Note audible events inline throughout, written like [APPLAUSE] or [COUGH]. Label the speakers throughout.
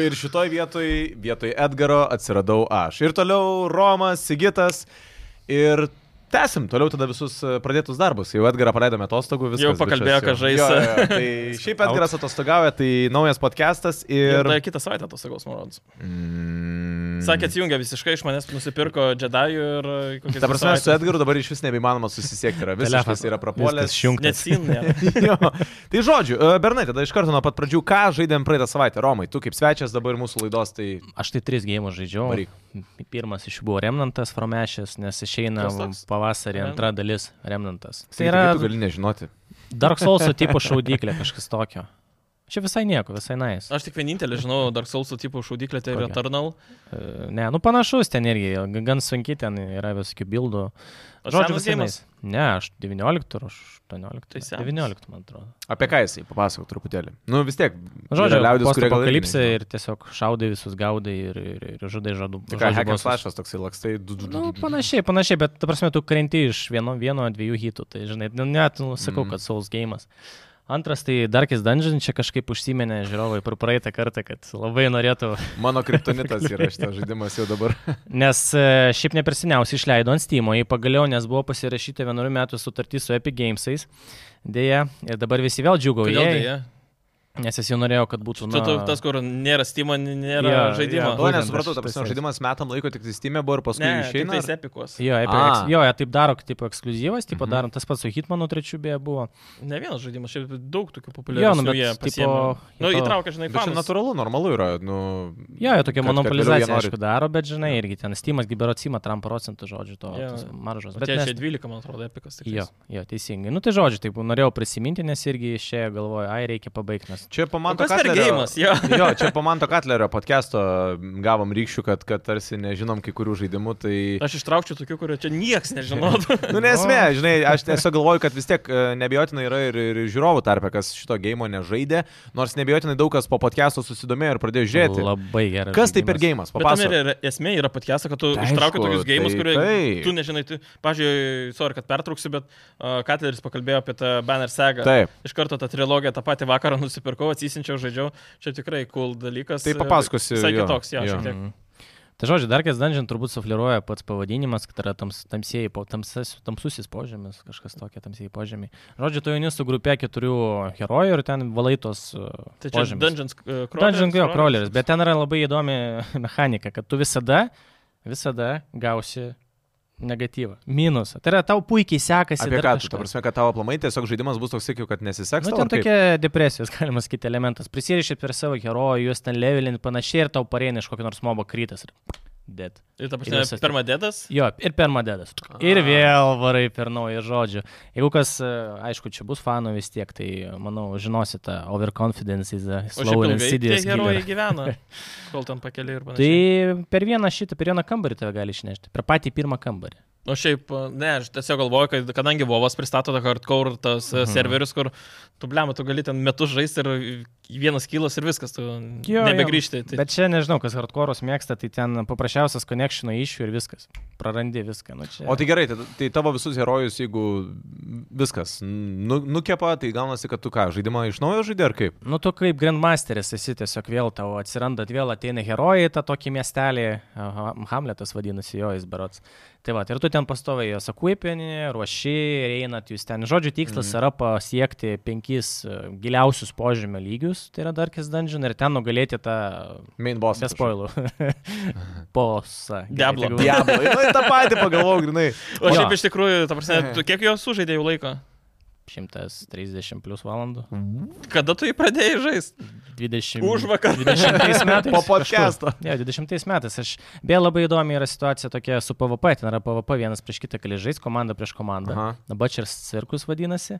Speaker 1: ir šitoj vietoj, vietoj Edgaro atsiradau aš. Ir toliau Romas, Sigitas. Ir tęsim toliau tada visus e, pradėtus darbus. Jau Edgarą paleidome atostogų, viskas.
Speaker 2: Jau pakalbėjo,
Speaker 1: bičias,
Speaker 2: kad
Speaker 1: jo.
Speaker 2: žais.
Speaker 1: Jo, jo, jo. Tai šiaip Edgaras atostogauja, tai naujas podcastas
Speaker 2: Ir
Speaker 1: ir...
Speaker 2: tai kitą savaitę tos sakos, man rodos.
Speaker 1: Mm.
Speaker 2: Sakė, atsijungia visiškai iš manęs, nusipirko džedajų ir e, kokią...
Speaker 1: Ta prasme, su Edgaru dabar iš vis nebeįmanoma susisiekti, yra viskas
Speaker 3: Telefas.
Speaker 1: yra prapuolęs.
Speaker 3: Viskas, šjungt.
Speaker 2: Neatsinė.
Speaker 1: jo. Tai žodžiu, e, Bernai, tada iš karto nuo pat pradžių, ką žaidėm praeitą savaitę, Romai, tu kaip svečias dabar mūsų laidos, tai
Speaker 3: Aš tai tris gėjimus žaidžiau.
Speaker 1: Varyk.
Speaker 3: Pirmas iš jų buvo Remnantas Fromešės, nes išeina
Speaker 2: Kas toks?
Speaker 3: pavasarį
Speaker 2: Remnant?
Speaker 3: antra dalis Remnantas.
Speaker 1: tai
Speaker 3: Tai yra
Speaker 1: tu gali nežinoti.
Speaker 3: Dark Souls
Speaker 1: [LAUGHS]
Speaker 3: tipo šaudyklė kažkas tokio. Čia visai nieko, visai nais. Nice.
Speaker 2: Aš tik vienintelį žinau Dark Souls tipų šaudyklę, tai yra
Speaker 3: Kokią?
Speaker 2: Eternal.
Speaker 3: E, Ne, nu panašus ten irgi, g- gan sunki ten yra visokių bildų.
Speaker 2: O
Speaker 3: Žodžiu,
Speaker 2: senas
Speaker 3: visai
Speaker 2: geimas?
Speaker 3: nice. Ne, aš 19 ar 18.
Speaker 2: Tai senas.
Speaker 3: 19, man atrodo.
Speaker 1: Apie ką jisai, papasakok truputėlį. Nu vis tiek,
Speaker 3: Žodžiu,
Speaker 1: yra liaudis, kurie gal irgi
Speaker 3: apokalipsė
Speaker 1: nežino.
Speaker 3: ir tiesiog šaudai visus gaudai ir, ir, ir žudai žadu.
Speaker 1: Tai ką,
Speaker 3: nu, žodžiu
Speaker 1: hack and
Speaker 3: bossus.
Speaker 1: slashas toksai lakstai, du du
Speaker 3: Nu,
Speaker 1: du.
Speaker 3: panašiai, panašiai, bet, ta prasme, tu krenti iš vieno, vieno dviejų hitų, tai, žinai, nu, net, nu, sakau,
Speaker 1: Mhm.
Speaker 3: kad Souls gėjimas. Antras, tai Darkis Dungeon čia kažkaip užsiminė žiūrovai per praeitą kartą, kad labai norėtų,
Speaker 1: [LAUGHS] Mano kriptonitas yra šitas žaidimas jau
Speaker 3: [LAUGHS]
Speaker 1: dabar.
Speaker 3: nes e, šiaip nepersiniausiai išleido ant Steam, jį pagaliau, nes buvo pasirašyta vienorių metų sutartis su Epic Gamesais, dėja, ir dabar visi vėl
Speaker 2: Kodėl
Speaker 3: džiugauja,
Speaker 2: dėja?
Speaker 3: nes jis jau norėjo, kad būtų...
Speaker 2: Tu tu tas, kur nėra Steam, nėra
Speaker 3: Jo,
Speaker 2: žaidimo.
Speaker 3: jo,
Speaker 1: To
Speaker 3: Būtent,
Speaker 1: nesupratau,
Speaker 3: aš
Speaker 1: ta prasme,
Speaker 3: tas-
Speaker 1: žaidimas metam laiko tik tai Steam'e buvo ir paskui
Speaker 2: Ne, tik
Speaker 1: išeina.
Speaker 2: tais
Speaker 1: ar-
Speaker 2: epikos.
Speaker 3: Jo, Epic,
Speaker 1: A.
Speaker 3: ex, jo, jie taip daro, kaip tipo, ekskluzyvas, tipo,
Speaker 1: Mhm.
Speaker 3: darom tas pats su Hitmanu trečiu beje buvo.
Speaker 2: Ne vienas žaidimas, šiaip daug tokių
Speaker 3: Jo,
Speaker 2: populiarių.
Speaker 3: nu, bet tipo-
Speaker 2: Nu,
Speaker 3: tipo-
Speaker 2: įtraukia, žinai,
Speaker 1: Bet čia
Speaker 2: fanus.
Speaker 1: natūralu, normalu yra. Nu,
Speaker 3: Jo, jo
Speaker 1: kad- kad vėliau
Speaker 3: tokia
Speaker 1: jie
Speaker 3: monopolizacija,
Speaker 1: nori-
Speaker 3: aišku, daro, bet žinai, irgi ten Steamas gibero atsima Trump procentų žodžių to
Speaker 2: Jo.
Speaker 3: tos maržos.
Speaker 2: Bet
Speaker 3: Bet
Speaker 2: tie
Speaker 3: mes...
Speaker 2: čia 12, man atrodo, epikas. tik
Speaker 3: Jo,
Speaker 2: tais.
Speaker 3: jo, teisingai. Nu tai žodžiu, taip norėjau prisiminti, nes irgi išėjo galvoju, ai reikia pabaigti, nes...
Speaker 1: Čia
Speaker 2: O
Speaker 1: pamanto
Speaker 2: Kas Nu, per gėjimas, jo.
Speaker 1: [LAUGHS]
Speaker 2: [LAUGHS]
Speaker 1: Jo, čia pamanto Katlerio podcast'o gavom rykščių, kad, kad tarsi nežinom kai kurių žaidimų, tai...
Speaker 2: Aš ištraukčiau tokių, kurio čia niekas nežinotų.
Speaker 1: Nu, nesmė, žinai, aš tiesiog galvoju, kad vis tiek e, nebejotinai yra ir, ir žiūrovų tarpe, kas šito gėjimo nežaidė, nors nebejotinai daug kas po podcast'o susidomėjo ir pradėjo žiūrėti.
Speaker 3: Labai gerai.
Speaker 1: Kas tai per gėjimas?
Speaker 2: Bet tam
Speaker 1: Papasakok.
Speaker 2: ir yra- esmė yra patkesa, kad tu
Speaker 1: Tai
Speaker 2: ištraukai
Speaker 1: aišku,
Speaker 2: tokius gėjimus,
Speaker 1: tai
Speaker 2: kurie
Speaker 1: taip.
Speaker 2: tu nežinai. Tu, pavyzdžiui, sorry, kad pertrauksiu, bet uh, Katleris pakalbėjo apie tą Banner Saga.
Speaker 1: Taip.
Speaker 2: Iš karto tą trilogiją tą patį vakarą nusipirkau, atsisinčiau, žaidžiau. Čia tikrai cool dalykas.
Speaker 1: Tai papasakosi,
Speaker 2: Visai
Speaker 1: jo,
Speaker 2: kitoks, jo,
Speaker 1: jo.
Speaker 2: šiek tiek.
Speaker 3: Mhm. Tai žodžiu, Darkės Dungeon turbūt sufliruoja pats pavadinimas, kad yra tams, tamsieji, po- tamsas, tamsusis požemis, kažkas tokia tamsieji požemiai. Žodžiu, tu jauni su grupė keturių herojų ir ten valaitos.
Speaker 2: Tai čia Dungeons uh, Crawleris.
Speaker 3: Dungeon jo, crawleris, bet ten yra labai įdomi [LAUGHS] mechanika, kad tu visada, visada gausi negatyvą, minusą. Tai yra tau puikiai sekasi.
Speaker 1: Apie
Speaker 3: dar
Speaker 1: ką?
Speaker 3: kažką.
Speaker 1: Tu, ta prasme, kad tavo plamai tiesiog žaidimas bus toks, sakiau, kad nesiseks.
Speaker 3: Nu,
Speaker 1: tau, ar
Speaker 3: ten
Speaker 1: kaip?
Speaker 3: tokia depresijos, [LAUGHS] galima sakyti, elementas. Prisirišai per savo herojų, juos ten levelinti panašiai ir tau pareina iš kokio nors mobo krytas. Ir... Dead.
Speaker 2: Ir ta
Speaker 3: Ir
Speaker 2: prasme,
Speaker 3: visas-
Speaker 2: pirmą dėdas.
Speaker 3: Jo, ir per madedas. Ir vėl varai per naują žodžių. Jeigu kas, e, aišku, čia bus fanų vis tiek, tai e, manau, žinosi tą overconfidence is a
Speaker 2: O šiaip
Speaker 3: slow and
Speaker 2: ilgai tie
Speaker 3: insidious killer.
Speaker 2: herojai
Speaker 3: [LAUGHS]
Speaker 2: gyvena, kol ten pakeliai ir
Speaker 3: Tai
Speaker 2: panašiai.
Speaker 3: per vieną šitą, per vieną kambarį tave gali išnešti. Per patį pirmą kambarį.
Speaker 2: O Nu, šiaip, a, ne, aš tiesiog galvoju, kad kadangi Vovas pristato tą hardcore tas mhm. serverius, kur tu blema, tu gali ten metus žaisti ir vienas kylas ir viskas, tu jo, nebegrįžti. Tai, bet...
Speaker 3: Bet čia nežinau, kas hardcore'us mėgsta, tai ten paprasčiausias connection issue ir viskas. Prarandi viską. Nu, čia...
Speaker 1: O tai gerai, tai, tai tavo visus herojus, jeigu viskas nu, nukepa, tai gaunasi, kad tu ką, žaidimą iš naujo žaidė ar kaip?
Speaker 3: Nu, tu kaip Grandmasteris esi tiesiog vėl tau atsiranda, vėl ateina herojai į tą tokį miestelį, aha, Hamletas vadinasi jo, jis berots. Tai va, ir tu ten pastovai jos akuipinį, ruoši, ir einat jūs ten. Žodžiu, tikslas mm. yra pasiekti penkis e, giliausius požemio lygius, tai yra Darkest Dungeon, ir ten nugalėti tą
Speaker 1: Main boss.
Speaker 3: Be spoilų. [LAUGHS] tai Posą.
Speaker 2: Diablo.
Speaker 1: Diablo. Na, tą patį pagalvojau, grinai.
Speaker 2: O šiaip
Speaker 3: jo.
Speaker 2: iš tikrųjų, ta prasme, tu kiek jo sužaidė jau laiko?
Speaker 3: 130 plus valandų.
Speaker 2: Kada tu jį pradėjai žaisti?
Speaker 3: 20.
Speaker 2: Už vakar. [LAUGHS]
Speaker 3: 20 metais.
Speaker 1: Po podcast'o.
Speaker 3: Ne, 20 metais. Aš, beje, labai įdomi yra situacija tokia su PVP. Ten yra PVP vienas prieš kitą, kai žais komanda prieš komandą.
Speaker 1: Aha.
Speaker 3: Dabar čia ir cirkus vadinasi.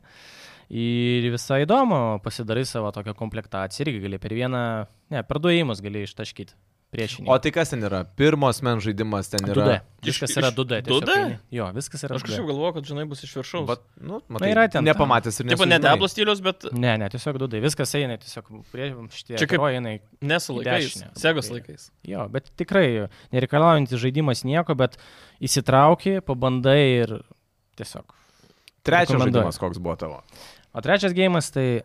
Speaker 3: Ir visai įdomu, pasidarai savo tokią komplektaciją. Irgi gali per vieną, ne, per du įimus gali ištaškyti priešinį.
Speaker 1: O tai kas ten yra? Pirmos men žaidimas ten yra.
Speaker 3: 2D. Viskas
Speaker 2: Iš-
Speaker 3: yra
Speaker 2: iš
Speaker 3: 2D. tiesiog
Speaker 2: 2D?
Speaker 3: eini. Jo, viskas yra
Speaker 2: Aš
Speaker 3: 2D.
Speaker 2: kažkaip galvoju, kad žinai bus iš viršaus.
Speaker 1: Bet,
Speaker 2: Bet...
Speaker 1: nu, matai,
Speaker 3: yra ten ta.
Speaker 1: Nepamatęs ir
Speaker 2: Taip, ne
Speaker 1: nesužinai.
Speaker 2: Diablo stilius, bet
Speaker 3: Ne, ne, tiesiog dudai, viskas eina, tiesiog prie šitie.
Speaker 2: Čia kaip-
Speaker 3: herojai eina į-
Speaker 2: ne su
Speaker 3: Į
Speaker 2: laikais.
Speaker 3: dešinę.
Speaker 2: Segos laikais.
Speaker 3: Jo, bet tikrai nereikalaujantis žaidimas nieko, bet įsitrauki, pabandai ir tiesiog.
Speaker 1: Trečias
Speaker 3: Rekomenduoju.
Speaker 2: [LAUGHS]
Speaker 1: žaidimas koks buvo tavo.
Speaker 3: O trečias gėjimas tai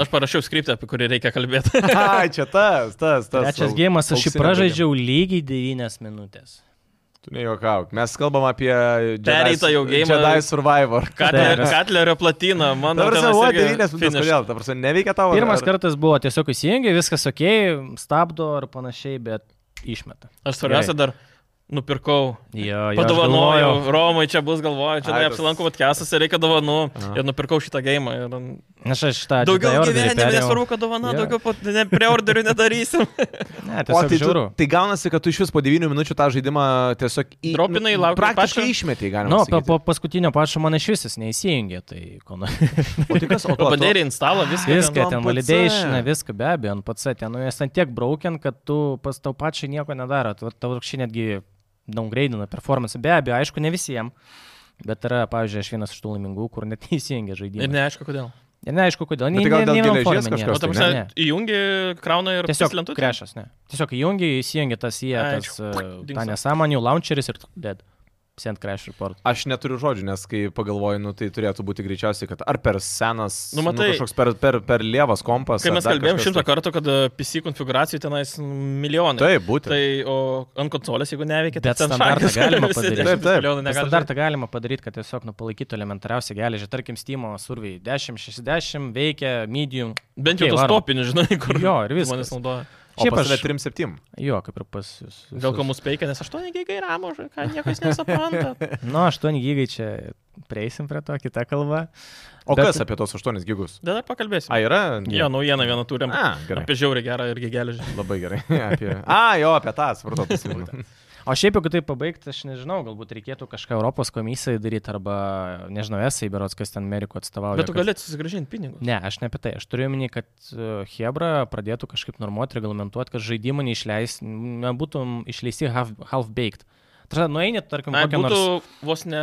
Speaker 2: Aš parašiau skriptą, apie kurį reikia kalbėti.
Speaker 1: [LAUGHS] Ai, čia tas, tas, tas.
Speaker 3: Trečias
Speaker 1: au-
Speaker 3: gėjimas aš jį
Speaker 1: auksinė
Speaker 3: pražaidžiau lygiai 9 minutės.
Speaker 1: pradžia. Tu nejuokauk, Nu, mes kalbam apie Jedi-
Speaker 2: Pereitą jau geimą.
Speaker 1: Jedi Survivor.
Speaker 2: Katler,
Speaker 3: Taip.
Speaker 2: Katlerio platina,
Speaker 1: Na,
Speaker 2: mano.
Speaker 1: prasme,
Speaker 2: tenais
Speaker 1: o,
Speaker 2: nu, irgi
Speaker 1: 9 minutės,
Speaker 2: finish.
Speaker 1: kodėl? Ta prasme, neveikia tavo.
Speaker 3: Pirmas kartas buvo tiesiog įsijungi, viskas ok, stabdo ir panašiai, bet išmeta.
Speaker 2: Aš svarbiausia dar nupirkau.
Speaker 3: Jo, jo, aš galvojau.
Speaker 2: Padovanojau, Romai čia bus, galvoju, čia
Speaker 1: Ai, tas-
Speaker 2: neapsilankau, kad kesas ir reikia dovanų.
Speaker 1: Aha.
Speaker 2: Ir nupirkau šitą gėjimą. Ir...
Speaker 3: Aš aš tą
Speaker 2: Daugiau gyvenime, nesvarbu,
Speaker 3: nesvarbu.
Speaker 2: kad dovana,
Speaker 3: tai Jo.
Speaker 2: daugiau po- ne, prie orderių
Speaker 3: [LAUGHS]
Speaker 2: nedarysim.
Speaker 3: Ne,
Speaker 1: O,
Speaker 3: tiesiog
Speaker 1: tai, tu,
Speaker 3: žiūriu.
Speaker 1: tai gaunasi, kad tu iš vis po 9 minučių tą žaidimą tiesiog į... nu,
Speaker 2: Dropinai, lauki
Speaker 1: Praktiškai
Speaker 2: pačio?
Speaker 1: išmetė, galima.
Speaker 3: Nu,
Speaker 1: sakyti.
Speaker 3: po, po paskutinio pačio man iš vis jis neįsijungė, tai ko nori.
Speaker 1: O tai kas, o tu,
Speaker 2: [LAUGHS]
Speaker 1: tu,
Speaker 2: Pabandėrė instalą, viską.
Speaker 3: Viską
Speaker 1: ant
Speaker 3: ten,
Speaker 1: PC.
Speaker 3: validation, viską be abejo, ant pats ten, nu jis ten tiek braukiant, kad tu pas tau pačiai nieko nedaro, tau tau atvirkščiai netgi downgradeina performance, be abejo, aišku, ne visiems. Bet yra, pavyzdžiui, aš vienas iš tų laimingų, kur net [LAUGHS] neįsijungia
Speaker 2: Ir
Speaker 3: žaidimą.
Speaker 2: neaišku, kodėl.
Speaker 3: Ir neaišku, kodėl.
Speaker 1: Bet tai gal dėl geležies
Speaker 2: O
Speaker 1: kažkas
Speaker 2: tam
Speaker 1: tai,
Speaker 2: prasme, įjungi krauną ir
Speaker 3: Nu, Tiesiog
Speaker 2: lentutę.
Speaker 3: krešas, ne. Tiesiog įjungi, įsijungi tas jie,
Speaker 2: Ai,
Speaker 3: tas
Speaker 2: čia-
Speaker 3: e, tą
Speaker 2: dingsta.
Speaker 3: nesąmonių, launcheris ir dead. Sent crash report.
Speaker 1: Aš neturiu žodžių, nes kai pagalvoju, nu, tai turėtų būti greičiausiai, kad ar per senas,
Speaker 2: Nu,
Speaker 1: nu,
Speaker 2: matai-
Speaker 1: kažkoks per, per, per lievas kompas.
Speaker 2: Kai
Speaker 1: ar
Speaker 2: mes
Speaker 1: dar
Speaker 2: kalbėjom
Speaker 1: kažkas
Speaker 2: šimtą
Speaker 1: tai-
Speaker 2: kartų, kad e, PC konfiguracijų tenais milijonai.
Speaker 1: Taip, būtent.
Speaker 2: Tai o ant konsolės, jeigu neveikia, tai
Speaker 3: Bet standartą
Speaker 2: [LAUGHS]
Speaker 3: galima padaryti.
Speaker 1: Taip, taip.
Speaker 2: Nu,
Speaker 3: Nes Standartą galima padaryti, kad tiesiog nupalaikytų elementariausią geležį. Tarkim, Steam survey 1060 veikia medium.
Speaker 2: Bent jau
Speaker 3: Okei,
Speaker 2: tos
Speaker 3: varom.
Speaker 2: topinius, žinai, kur
Speaker 3: Jo, ir
Speaker 2: žmonės
Speaker 3: viskas.
Speaker 2: naudoja.
Speaker 1: O
Speaker 3: Šiaip
Speaker 1: pas
Speaker 3: aš...
Speaker 1: tave 3-7.
Speaker 3: Jo, kaip ir pas jūs.
Speaker 2: Gal ką mus peikia, nes 8 gigai ramo, ž- ką niekas nesupranta.
Speaker 1: [LAUGHS]
Speaker 3: Nu, 8 gigai čia prieisim prie to, kita kalba.
Speaker 1: O
Speaker 3: Bet-
Speaker 1: kas apie tos 8 gigus?
Speaker 2: Tada pakalbėsim.
Speaker 1: A, yra?
Speaker 2: Jo, naujieną vieną turim.
Speaker 1: A, gerai.
Speaker 2: Apie žiaurį gerą irgi geležį.
Speaker 1: Labai gerai. [LAUGHS] apie... A, jo, apie tą, supratau. prisimenu.
Speaker 3: O šiaip jau, kad tai pabaigti, aš nežinau, galbūt reikėtų kažką Europos komisijai daryti arba, nežinau, esai berots, kas ten Ameriko atstovauja.
Speaker 2: Bet tu
Speaker 3: kad-
Speaker 2: gali susigražinti pinigus.
Speaker 3: Ne, aš ne apie tai. Aš turiu omeny, kad e, Hebra pradėtų kažkaip normuoti, reglamentuoti, kad žaidimų neišleis, nebūtum išleisti half- half-baked. Half Nueinit, tarkim,
Speaker 2: Na,
Speaker 3: kokią
Speaker 2: būtų
Speaker 3: nors...
Speaker 2: vos ne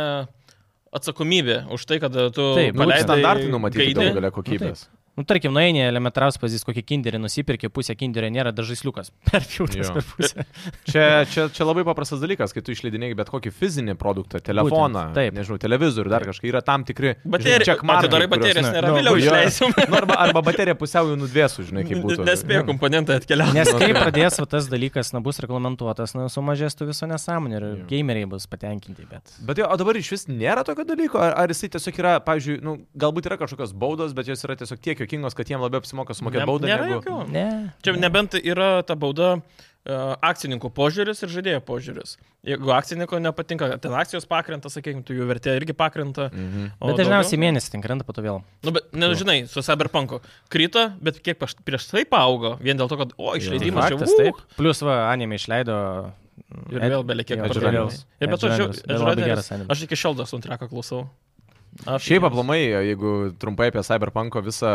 Speaker 2: atsakomybė už tai, kad e, tu
Speaker 3: Taip,
Speaker 1: Nu,
Speaker 2: paleidai
Speaker 1: standartai numatyti
Speaker 2: gaidį.
Speaker 1: galų galę kokybės.
Speaker 3: Nu, tarkim, nueini elementariausias pavyzdys, kokį kinderį nusipirki, pusę kinderio nėra, dar [LAUGHS] žaisliukas. Perpjūtas
Speaker 1: Jo.
Speaker 3: per pusę.
Speaker 1: Čia, čia, čia labai paprastas dalykas, kai tu išleidinėjai bet kokį fizinį produktą, telefoną,
Speaker 3: Būtent, taip.
Speaker 1: nežinau, televizorių, dar kažką, yra tam tikri...
Speaker 2: Baterija.
Speaker 1: žinai, check markai,
Speaker 2: Atidarai
Speaker 1: kuriuos-
Speaker 2: baterijas,
Speaker 3: ne,
Speaker 2: nėra
Speaker 3: nu,
Speaker 2: vėliau
Speaker 1: jo.
Speaker 2: išleisim.
Speaker 1: Nu, arba, arba baterija pusiau jau nudvėsų, žinai, kaip būtų.
Speaker 2: Nespėjo komponentai atkeliauti.
Speaker 3: Nes kai pradės va tas dalykas, na, bus reglamentuotas, na, sumažės tų viso nesąmonė ir
Speaker 1: Jo.
Speaker 3: gameriai bus patenkinti, bet...
Speaker 1: Bet jo, o dabar iš vis nėra tokio dalyko, ar, ar jisai tiesiog yra, pavyzdžiui, nu, galbūt yra kažkokios baudos, bet jos yra tiesiog tiek juokingos, kad jiem labiau apsimoka sumokėti baudą
Speaker 2: Nėra
Speaker 1: negu...
Speaker 2: jokių.
Speaker 3: Ne.
Speaker 2: Čia nebent yra ta bauda e, akcininkų požiūris ir žaidėjo požiūris. Jeigu akcininko nepatinka, kad ten akcijos pakrenta, sakykime, tu jų vertė irgi pakrenta.
Speaker 1: Mhm.
Speaker 2: o
Speaker 3: Bet dažniausiai mėnesį ten krenta, po to vėl.
Speaker 2: Daugiau, nu, bet, ne, žinai, su Cyberpunku krito, bet kiek paš, prieš tai paaugo, vien dėl to, kad, o, išleidimas
Speaker 3: Tai Faktas,
Speaker 2: jau
Speaker 3: taip. Plus, va, anime išleido... mm,
Speaker 2: Ir vėl belie kiek
Speaker 3: jo,
Speaker 1: Edge
Speaker 2: pardavimų.
Speaker 1: Runners.
Speaker 2: Ir bet
Speaker 3: Edge
Speaker 2: to žiau-
Speaker 3: Runners.
Speaker 2: Edge
Speaker 3: Labai
Speaker 2: Runners,
Speaker 3: geras anime.
Speaker 2: Aš iki šiol dar suntreko klausau. Aš
Speaker 1: Šiaip aplamai, jeigu trumpai apie Cyberpunko visą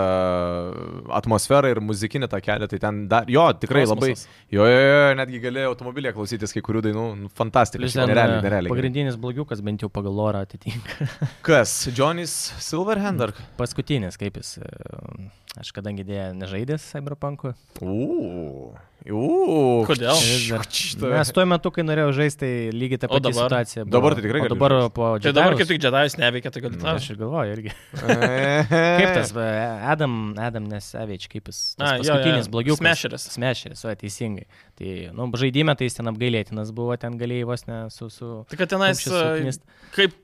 Speaker 1: atmosferą ir muzikinį tą kelią, tai ten dar, jo, tikrai
Speaker 2: Kosmosas.
Speaker 1: labai, jo, jo, jo, jo, netgi gali automobilėje klausytis kai kurių dainų, nu, fantastika,
Speaker 3: Plius
Speaker 1: šiaip
Speaker 3: ten,
Speaker 1: nerealiai,
Speaker 3: e,
Speaker 1: nerealiai. gerai.
Speaker 3: Pagrindinis blogiukas bent jau pagal lorą atitinka.
Speaker 1: Kas, Johnny's Silverhand ar...
Speaker 3: [LAUGHS] Paskutinis, kaip jis. e, Aš kadangi dėja nežaidęs Cyberpunk'u. tai
Speaker 1: Uuu. Uuu.
Speaker 2: Kodėl?
Speaker 3: vis dar-
Speaker 1: Štai.
Speaker 3: Nes tuo metu, kai norėjau žaisti, tai lygiai ta
Speaker 2: O
Speaker 3: pati
Speaker 2: dabar?
Speaker 3: situacija. Buvo.
Speaker 1: Dabar tai tikrai
Speaker 3: O
Speaker 1: gali
Speaker 3: dabar
Speaker 1: žaist.
Speaker 3: po...
Speaker 2: Tai dabar
Speaker 3: Jedi'aus-
Speaker 2: kaip tik Jedajus neveikia, tai gali tą.
Speaker 3: Aš ir galvoju, irgi.
Speaker 1: [LAUGHS]
Speaker 3: [LAUGHS] Kaip
Speaker 1: Kaip
Speaker 3: tas, va, Adam, Adam Nesavič, kaip jis. tas
Speaker 2: A, jo,
Speaker 3: Paskutinis
Speaker 2: jo,
Speaker 3: blogiukas.
Speaker 2: Smasheris.
Speaker 3: Smešeris, va, teisingai. Tai, nu, žaidime tai jis ten apgailėtinas buvo, ten galėjai vos ne su... su...
Speaker 2: Tai kad tenais,
Speaker 3: Kupšis suknist.
Speaker 2: e, kaip,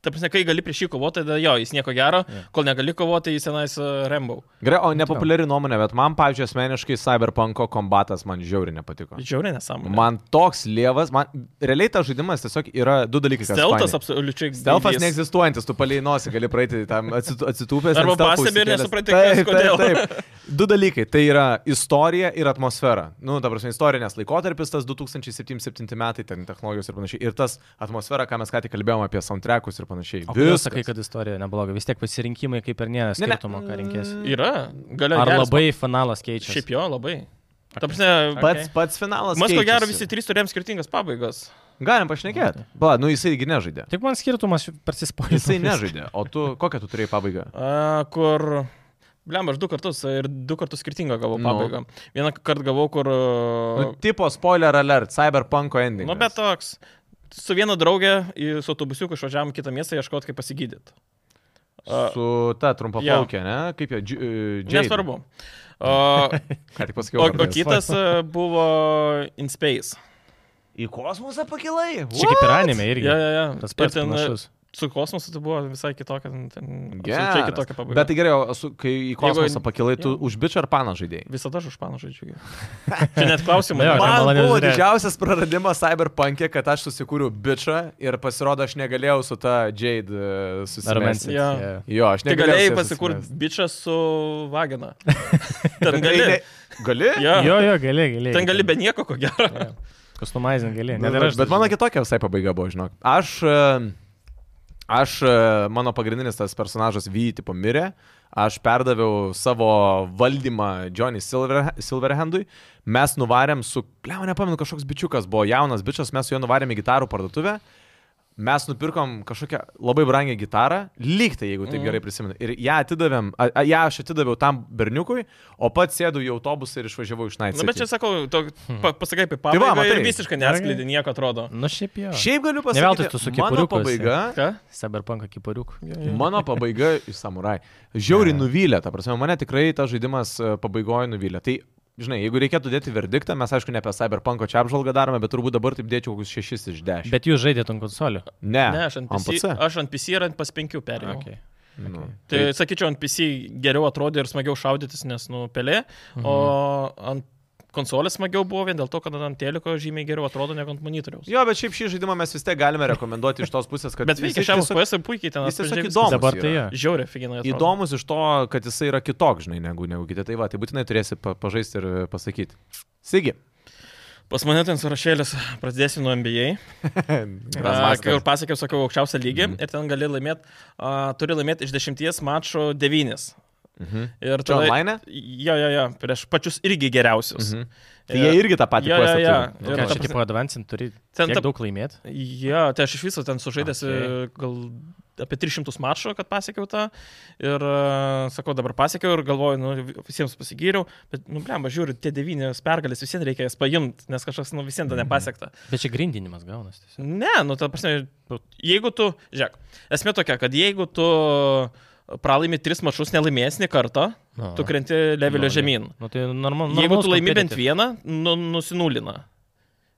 Speaker 2: ta prasme, kai gali prieš jį kovoti, tada jo, jis nieko gero,
Speaker 3: Jo.
Speaker 2: kol negali kovoti, jis tenais e, Rambo.
Speaker 1: Gerai, o nepopuliari nuomonė, bet man, pavyzdžiui, asmeniškai Cyberpunko kombatas man žiauriai nepatiko.
Speaker 2: Žiauriai nesąmonė.
Speaker 1: Man toks lievas, man realiai tas žaidimas tiesiog yra du dalykai. kas
Speaker 2: Steltas
Speaker 1: faini.
Speaker 2: absoliučiai.
Speaker 1: Stelfas
Speaker 2: gaidys.
Speaker 1: neegzistuojantis, tu palėinosi, gali praeiti tam atsitu- atsitūpęs. ant
Speaker 2: Arba
Speaker 1: stelfo
Speaker 2: pastebi ir
Speaker 1: užsikėlęs.
Speaker 2: nesupranti,
Speaker 1: Taip,
Speaker 2: kas, kodėl.
Speaker 1: Taip, taip. Du dalykai - tai yra istorija ir atmosfera. Nu, ta prasme, istorinės laikotarpis, tas 2077 metai, ten technologijos ir panašiai. Ir tas atmosfera, ką mes ką tik kalbėjome apie soundtrackus ir panašiai.
Speaker 3: O kodėl
Speaker 1: Viskas.
Speaker 3: sakai, kad istorija nebloga? Vis tiek pasirinkimai kaip ir nėra
Speaker 1: Ne, ne,
Speaker 3: skirtumo, ką reikės.
Speaker 1: mm,
Speaker 2: Yra, galiausiai.
Speaker 3: Ar labai finalas keičiasi?
Speaker 2: Šiaip jo, labai. Ta prasme,
Speaker 1: Pats, pats finalas.
Speaker 2: Mes ko gero
Speaker 1: keičiasi.
Speaker 2: visi trys turėjom skirtingas pabaigas.
Speaker 1: Galim pašnekėti. Bla, nu jisai
Speaker 3: [LAUGHS]
Speaker 1: nežaidė.
Speaker 3: Tik man skirtumas persispoilino.
Speaker 1: Jisai nežaidė, o tu kokią tu turėjai pabaigą?
Speaker 2: A, kur... Blem, aš du kartus e, ir du kartus skirtingą gavau
Speaker 1: Nu.
Speaker 2: pabaigą. Vieną kartą gavau, kur...
Speaker 1: Nu, tipo spoiler alert, cyberpunko ending.
Speaker 2: Nu, bet toks. Su viena draugė į- su autobusiuku išvažiavam į kitą miestą ieškoti, kaip pasigydyt. A,
Speaker 1: Su ta trumpa
Speaker 2: jo.
Speaker 1: plaukė, ne? Kaip jie? Džiai.
Speaker 2: Nesvarbu.
Speaker 1: [LAUGHS]
Speaker 2: O,
Speaker 1: Ką tik pasakiau.
Speaker 2: o, o
Speaker 1: pavardės.
Speaker 2: kitas a, buvo In Space.
Speaker 1: Į kosmosą pakilai?
Speaker 3: [LAUGHS] Čia kaip ir anime irgi.
Speaker 2: Ja, ja, ja.
Speaker 3: Tas
Speaker 2: Ir
Speaker 3: pats
Speaker 2: ten, uh, a,
Speaker 3: panašus.
Speaker 2: Su kosmosu tai buvo visai kitokia. ten- ten absoliučiai
Speaker 1: Gerai.
Speaker 2: kitokia pabaiga.
Speaker 1: Bet tai gerai, o su, kai į kosmosą
Speaker 2: Jeigu-
Speaker 1: pakilai, tu
Speaker 2: jo.
Speaker 1: už bičią ar paną žaidėjai?
Speaker 2: Visada aš už paną žaidžiu. Čia net
Speaker 1: [LAUGHS]
Speaker 2: klausimai. nėra.
Speaker 3: Jo, ten
Speaker 1: Man
Speaker 3: maloniau
Speaker 1: buvo
Speaker 3: žiūrėt.
Speaker 1: didžiausias praradimas Cyberpunk'e, kad aš susikūriau bičią ir pasirodo, aš negalėjau su ta Jade e,
Speaker 3: Romansit.
Speaker 1: susimesti.
Speaker 2: Jo.
Speaker 3: jo.
Speaker 1: Jo, aš
Speaker 2: Tai
Speaker 1: negalėjau.
Speaker 2: galėjai
Speaker 1: su ja
Speaker 2: pasikurti
Speaker 1: susimest.
Speaker 2: bičią su
Speaker 1: [LAUGHS]
Speaker 2: vagina. Ten
Speaker 1: Bet
Speaker 2: gali.
Speaker 1: tai ne- Gali?
Speaker 2: Jo,
Speaker 3: Jo, jo, gali, gali.
Speaker 2: ten gali be nieko, ko gero. Nu,
Speaker 3: Customizing gali.
Speaker 1: Nu,
Speaker 3: Net ir
Speaker 1: bet-
Speaker 3: aš.
Speaker 1: bet
Speaker 3: tai
Speaker 1: mano
Speaker 3: žinau.
Speaker 1: kitokia visai pabaiga buvo, žinok. Aš, e, aš e, mano pagrindinis tas personažas V tipo mirė, aš perdaviau savo valdymą Johnny Silver, Silverhandui, mes nuvarėm su, kliau, nepamenu, kažkoks bičiukas buvo jaunas bičias, mes su juo nuvarėm į gitarų parduotuvę. Mes nupirkom kažkokią labai brangią gitarą, lyg tai, jeigu taip mm. gerai prisimenu. Ir ją atidavėm, a, a, ją aš atidaviau tam berniukui, o pats sėdu į autobusą ir išvažiavau iš Naitės.
Speaker 3: Nu,
Speaker 2: Na, bet čia sakau, to, pa, pasakai apie
Speaker 1: Hmm. Tai va,
Speaker 2: pabaigą ir
Speaker 1: matai.
Speaker 2: visiškai neatskleidė nieko, atrodo.
Speaker 3: Nu šiaip jo.
Speaker 1: Šiaip galiu
Speaker 3: Ne veltui
Speaker 1: pasakyti,
Speaker 3: tu su
Speaker 1: mano
Speaker 3: kepuriuku esi.
Speaker 1: pabaiga.
Speaker 2: Ką?
Speaker 3: Cyberpunk kipariuk.
Speaker 1: Mano pabaiga iš samuraj. Žiauriai nuvylė, ta prasme, mane tikrai tas žaidimas e, pabaigoje nuvylė. Tai, žinai, jeigu reikėtų dėti verdiktą, mes aišku ne apie Cyberpunk čia apžvalgą darome, bet turbūt dabar taip dėčiau kokius 6 iš 10.
Speaker 3: Bet jūs žaidėte ant konsolių.
Speaker 1: Ne,
Speaker 2: Ne, aš ant PC,
Speaker 1: PC.
Speaker 2: aš ant PC ir ant pas 5 perėjau. Okay.
Speaker 3: Okay.
Speaker 1: Nu,
Speaker 2: Tai sakyčiau, ant PC geriau atrodė ir smagiau šaudytis, nes, nu, pelė, mhm. o ant konsolės smagiau buvo vien dėl to, kad ant teliko žymiai geriau atrodo negu ant monitoriaus.
Speaker 1: Jo, bet šiaip šį žaidimą mes vis tiek galime rekomenduoti iš tos pusės, kad
Speaker 2: Bet veikia
Speaker 1: jis
Speaker 2: šiam
Speaker 1: tiesiog,
Speaker 2: SPS puikiai ten.
Speaker 1: jis tiesiog
Speaker 2: atspindžiai
Speaker 1: įdomus.
Speaker 3: Dabar tai
Speaker 1: yra.
Speaker 3: jo.
Speaker 2: viskas. Žiauriai, figinai.
Speaker 1: Įdomus iš to, kad jisai yra kitoks, žinai, negu, negu kiti. Tai va, tai būtinai turėsi pa pažaisti ir e, pasakyti. Sigi. [LAUGHS]
Speaker 2: Pas mane ten sąrašėlis, pradėsiu nuo NBA. A, Kai ir
Speaker 1: Grandmaster.
Speaker 2: pasakiau, sakau, aukščiausią lygį mm. ir ten gali laimėti, uh, turi laimėti iš dešimties mačų devynis.
Speaker 1: Mhm.
Speaker 2: Ir
Speaker 1: Čia
Speaker 2: tada...
Speaker 1: online?
Speaker 2: Jo, jo, jo, prieš pačius irgi geriausius.
Speaker 1: Mhm. Tai jie irgi tą patį
Speaker 2: Jo, jo,
Speaker 1: questą
Speaker 2: jo.
Speaker 1: turi. Nu,
Speaker 2: Ir
Speaker 3: Ką
Speaker 2: ta
Speaker 3: čia
Speaker 2: prasme-
Speaker 3: tipo advancing turi
Speaker 2: Ten
Speaker 3: tiek
Speaker 2: ta-
Speaker 3: daug laimėti?
Speaker 2: Jo, tai aš iš viso ten sužaidęs
Speaker 3: Okay.
Speaker 2: okay. gal apie 300 mačų, kad pasiekiau tą. Ir a, sakau, dabar pasiekiau ir galvoju, nu, visiems pasigyriau, bet, nu, blem, žiūriu, tie devynios pergalės visiems reikia jas paimti, nes kažkas, nu, visiems dar nepasiekta.
Speaker 3: Bet čia grindinimas gaunasi. tiesiog.
Speaker 2: Ne, nu, ta prasme, jeigu tu, žiūrėk, esmė tokia, kad jeigu tu pralaimi tris mačius, nelaimėsi nei kartą,
Speaker 3: Na.
Speaker 2: tu krenti levelio
Speaker 3: Nu,
Speaker 2: žemyn.
Speaker 3: Nu, tai normalu.
Speaker 2: Jeigu tu laimi bent vieną, nu, nusinulina.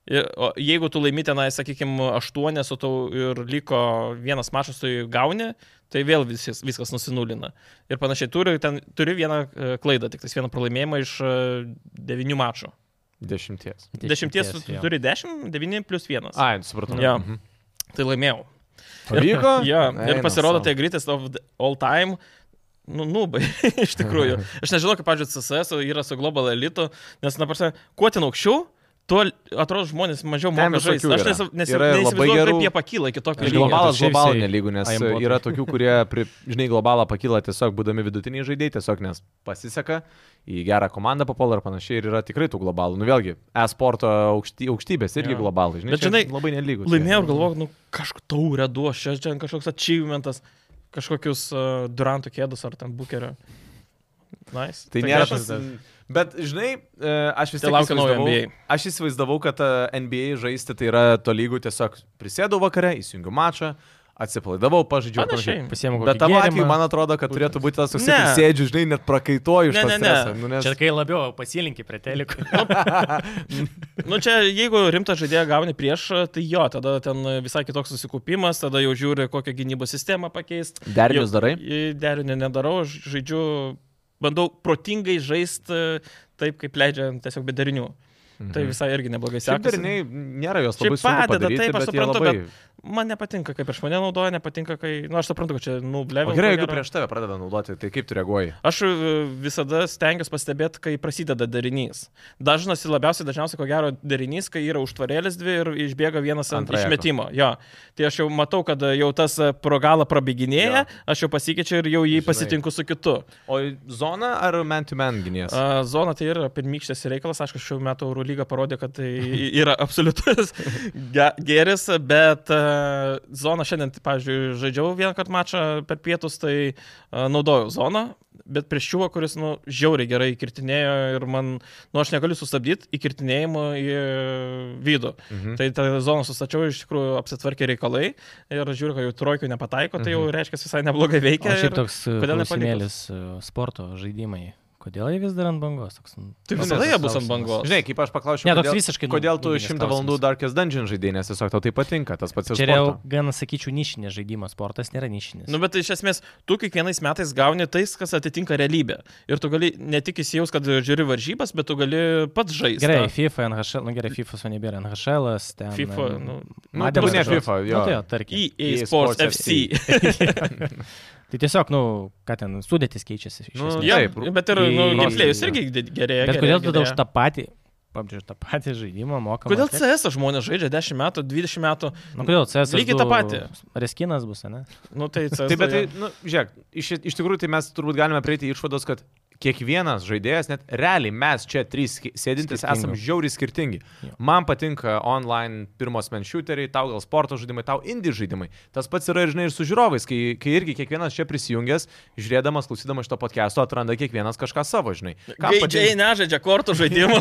Speaker 2: Ir, o jeigu tu laimi tenai, sakykime, aštuonias, o tau ir liko vienas mačas, tu jį gauni, tai vėl viskas, viskas nusinulina. Ir panašiai, turi, ten, turi vieną e, klaidą, tik tais vieną pralaimėjimą iš e, devynių mačų.
Speaker 1: Dešimties.
Speaker 2: Dešimties, tu tu turi dešimt, devyni plus vienas.
Speaker 1: Ai, supratau.
Speaker 2: Jo.
Speaker 1: Mhm.
Speaker 2: Tai laimėjau. [LAUGHS]
Speaker 1: Pavyko?
Speaker 2: Ja, ir
Speaker 1: Eina
Speaker 2: pasirodo,
Speaker 1: sau.
Speaker 2: tai greatest of the- all time. Nu, nubai, [LAUGHS] iš
Speaker 1: [LAUGHS]
Speaker 2: tikrųjų. Aš nežinau, kaip, pavyzdžiui, CSS yra su Global Elite, nes, na, prasme, kuo ten aukščiau, tuo atrodo žmonės mažiau
Speaker 1: Ten
Speaker 2: moka žaisti.
Speaker 1: visokių
Speaker 2: Aš
Speaker 1: yra.
Speaker 2: nes, nes,
Speaker 1: Yra ir labai
Speaker 2: neįsivaizduoju,
Speaker 1: gerų-
Speaker 2: kaip jie pakyla iki tokio
Speaker 3: Aš
Speaker 1: Ir
Speaker 3: Lygiai,
Speaker 2: lygio.
Speaker 3: galvau-
Speaker 1: globalas
Speaker 3: tas šiaip
Speaker 1: globalų
Speaker 3: jisai
Speaker 1: nelygų, nes
Speaker 3: aimbota.
Speaker 1: yra tokių, kurie, pri, žinai, globalą pakyla tiesiog būdami vidutiniai žaidėjai, tiesiog nes pasiseka, į gerą komandą papuola ir panašiai, ir yra tikrai tų globalų. Nu vėlgi, e-sporto aukšty, aukštybės irgi
Speaker 2: Jo.
Speaker 1: globalai, žinai,
Speaker 2: Bet,
Speaker 1: čia
Speaker 2: žinai,
Speaker 1: labai nelygus.
Speaker 2: Laimėjau ir galvoju, nu, kažkokią taurę duos, čia čia kažkoks achievementas, kažkokius uh, Durantų kėdus ar ten bukerio. Nice.
Speaker 1: Tai nėra
Speaker 2: aš-
Speaker 1: tas. Bet, žinai, e, aš vis
Speaker 2: Tai
Speaker 1: tiek
Speaker 2: laukia naujo
Speaker 1: įsivaizdavau,
Speaker 2: NBA.
Speaker 1: aš įsivaizdavau, kad e, NBA žaisti tai yra tolygų tiesiog prisėdau vakare, įsijungiu mačą, atsipalaidavau, pažaidžiau. ir
Speaker 2: Panašiai.
Speaker 1: panašiai.
Speaker 3: Pasiemu kokį
Speaker 1: Bet tavo atveju,
Speaker 3: gėrimą.
Speaker 1: man atrodo, kad turėtų būti tas toks,
Speaker 2: Ne.
Speaker 1: kad sėdžiu, žinai, net prakaituoju iš
Speaker 2: Ne,
Speaker 1: to
Speaker 2: ne, ne.
Speaker 1: streso. Nu, nes-
Speaker 3: Čia kai labiau pasilinkį prie
Speaker 2: [LAUGHS]
Speaker 3: telikų.
Speaker 1: [LAUGHS]
Speaker 2: Nu čia, jeigu rimtą žaidėją gauni prieš, tai jo, tada ten visai kitoks susikūpimas, tada jau žiūri, kokią gynybos sistemą pakeisti.
Speaker 1: Derinius darai?
Speaker 2: Derinį nedarau, aš žaidžiu, bandau protingai žaisti taip, kaip leidžia tiesiog be derinių. Mhm. Tai visai irgi neblogai
Speaker 1: Šiaip
Speaker 2: sekasi.
Speaker 1: deriniai nėra jos
Speaker 2: Šiaip
Speaker 1: labai sunku
Speaker 2: padeda,
Speaker 1: padaryti,
Speaker 2: taip, aš
Speaker 1: bet jie
Speaker 2: suprantu,
Speaker 1: labai...
Speaker 2: Man nepatinka, kaip prieš mane naudoja, nepatinka, kai... Na, nu, aš suprantu, kad čia
Speaker 1: O
Speaker 2: nubleviau.
Speaker 1: gerai, jeigu prieš tave pradeda naudoti, tai kaip tu reaguoji?
Speaker 2: Aš e, visada stengiuosi pastebėti, kai prasideda darinys. Dažnas ir labiausiai dažniausiai, ko gero, darinys, kai yra užtvarėlis dvi ir išbėga vienas ant
Speaker 1: Ant rajako.
Speaker 2: išmetimo. Jo. Tai aš jau matau, kad e, jau tas e, pro galą prabėginėja,
Speaker 1: Jo.
Speaker 2: aš jau pasikeičiu ir jau jį
Speaker 1: Žinai.
Speaker 2: pasitinku su kitu.
Speaker 1: O zona ar man to man gynės?
Speaker 2: A, Zona tai yra pirmykštės reikalas, aišku, [LAUGHS] šių metų Eurolyga parodė, kad tai yra absoliutus ge- gėris, bet a, zoną šiandien, pavyzdžiui, žaidžiau vieną kartą mačą per pietus, tai e, naudojau zoną, bet prieš čiūvą, kuris, nu, žiauriai gerai kirtinėjo ir man, nu, aš negaliu sustabdyti įkirtinėjimo į vidų.
Speaker 1: Mhm.
Speaker 2: Tai tą zoną sustačiau, iš tikrųjų apsitvarkė reikalai ir žiūriu, kad jau trojkių nepataiko, tai jau
Speaker 1: Mhm.
Speaker 2: reiškia visai neblogai
Speaker 3: O
Speaker 2: veikia.
Speaker 3: šiaip
Speaker 2: ir-
Speaker 3: toks e,
Speaker 2: kodėl nepaliko?
Speaker 3: klausimėlis e, sporto žaidimai. Kodėl jie vis dar ant bangos? Toks, nu,
Speaker 2: Tai
Speaker 3: paprastas
Speaker 2: visada jie bus ant
Speaker 3: klausimas.
Speaker 2: bangos.
Speaker 1: Žinai, kaip aš paklausiau,
Speaker 3: Ne, toks
Speaker 1: kodėl,
Speaker 3: visiškai nu-
Speaker 1: kodėl tu
Speaker 3: nulinis
Speaker 1: 100 valandų
Speaker 3: klausimas.
Speaker 1: Darkest Dungeon žaidėjai, nes tiesiog tau tai patinka, tas pats ir
Speaker 3: Čia yra jau
Speaker 1: sportas.
Speaker 3: gan, sakyčiau, nišinis žaidimas, sportas nėra nišinis.
Speaker 2: Nu, bet iš esmės, tu kiekvienais metais gauni tais, kas atitinka realybę. Ir tu gali ne tik įsijaus, kad žiūri varžybas, bet tu gali pats žaisti.
Speaker 3: Gerai, FIFA, NHL, nu gerai, FIFA su nebėra, NHL, ten.
Speaker 2: FIFA,
Speaker 3: em,
Speaker 2: nu,
Speaker 1: Nu,
Speaker 3: Matėm
Speaker 1: tu ne
Speaker 3: varžovus.
Speaker 1: FIFA,
Speaker 3: Nu,
Speaker 1: jo.
Speaker 3: tai, jo, tarkim.
Speaker 2: EA Sports
Speaker 1: EA E Sports
Speaker 2: FC.
Speaker 3: [LAUGHS] Tai tiesiog, nu, ką ten, sudėtis keičiasi. iš
Speaker 1: Nu,
Speaker 3: esmės.
Speaker 2: Jo,
Speaker 1: Taip,
Speaker 2: bet ir nu,
Speaker 3: į-
Speaker 2: gameplayus irgi di- gerėja.
Speaker 3: Bet
Speaker 2: gerėja,
Speaker 3: kodėl tada
Speaker 2: gerėja.
Speaker 3: už tą patį, pabrėžiu, tą patį žaidimą mokama?
Speaker 2: Kodėl
Speaker 3: tiek?
Speaker 2: CS žmonės žaidžia 10 metų, 20 metų?
Speaker 3: Nu, kodėl CS?
Speaker 2: Lygiai tą patį.
Speaker 3: Reskinas bus, ne?
Speaker 2: Nu, tai CS.
Speaker 1: Taip, bet tai, nu, žiūrėk, iš, iš tikrųjų tai mes turbūt galime prieiti išvados, kad kiekvienas žaidėjas, net realiai mes čia trys ski- sėdintys
Speaker 3: Skirtingi.
Speaker 1: esame žiauriai skirtingi.
Speaker 3: Jo.
Speaker 1: Man patinka online pirmos men shooteriai, tau gal sporto žaidimai, tau indie žaidimai. Tas pats yra ir, žinai, ir su žiūrovais, kai, kai irgi kiekvienas čia prisijungęs, žiūrėdamas, klausydamas šito podcast'o, atranda kiekvienas kažką savo, žinai. Kam
Speaker 2: Gaidžiai
Speaker 1: patinka-
Speaker 2: nežaidžia kortų [LAUGHS] žaidimų.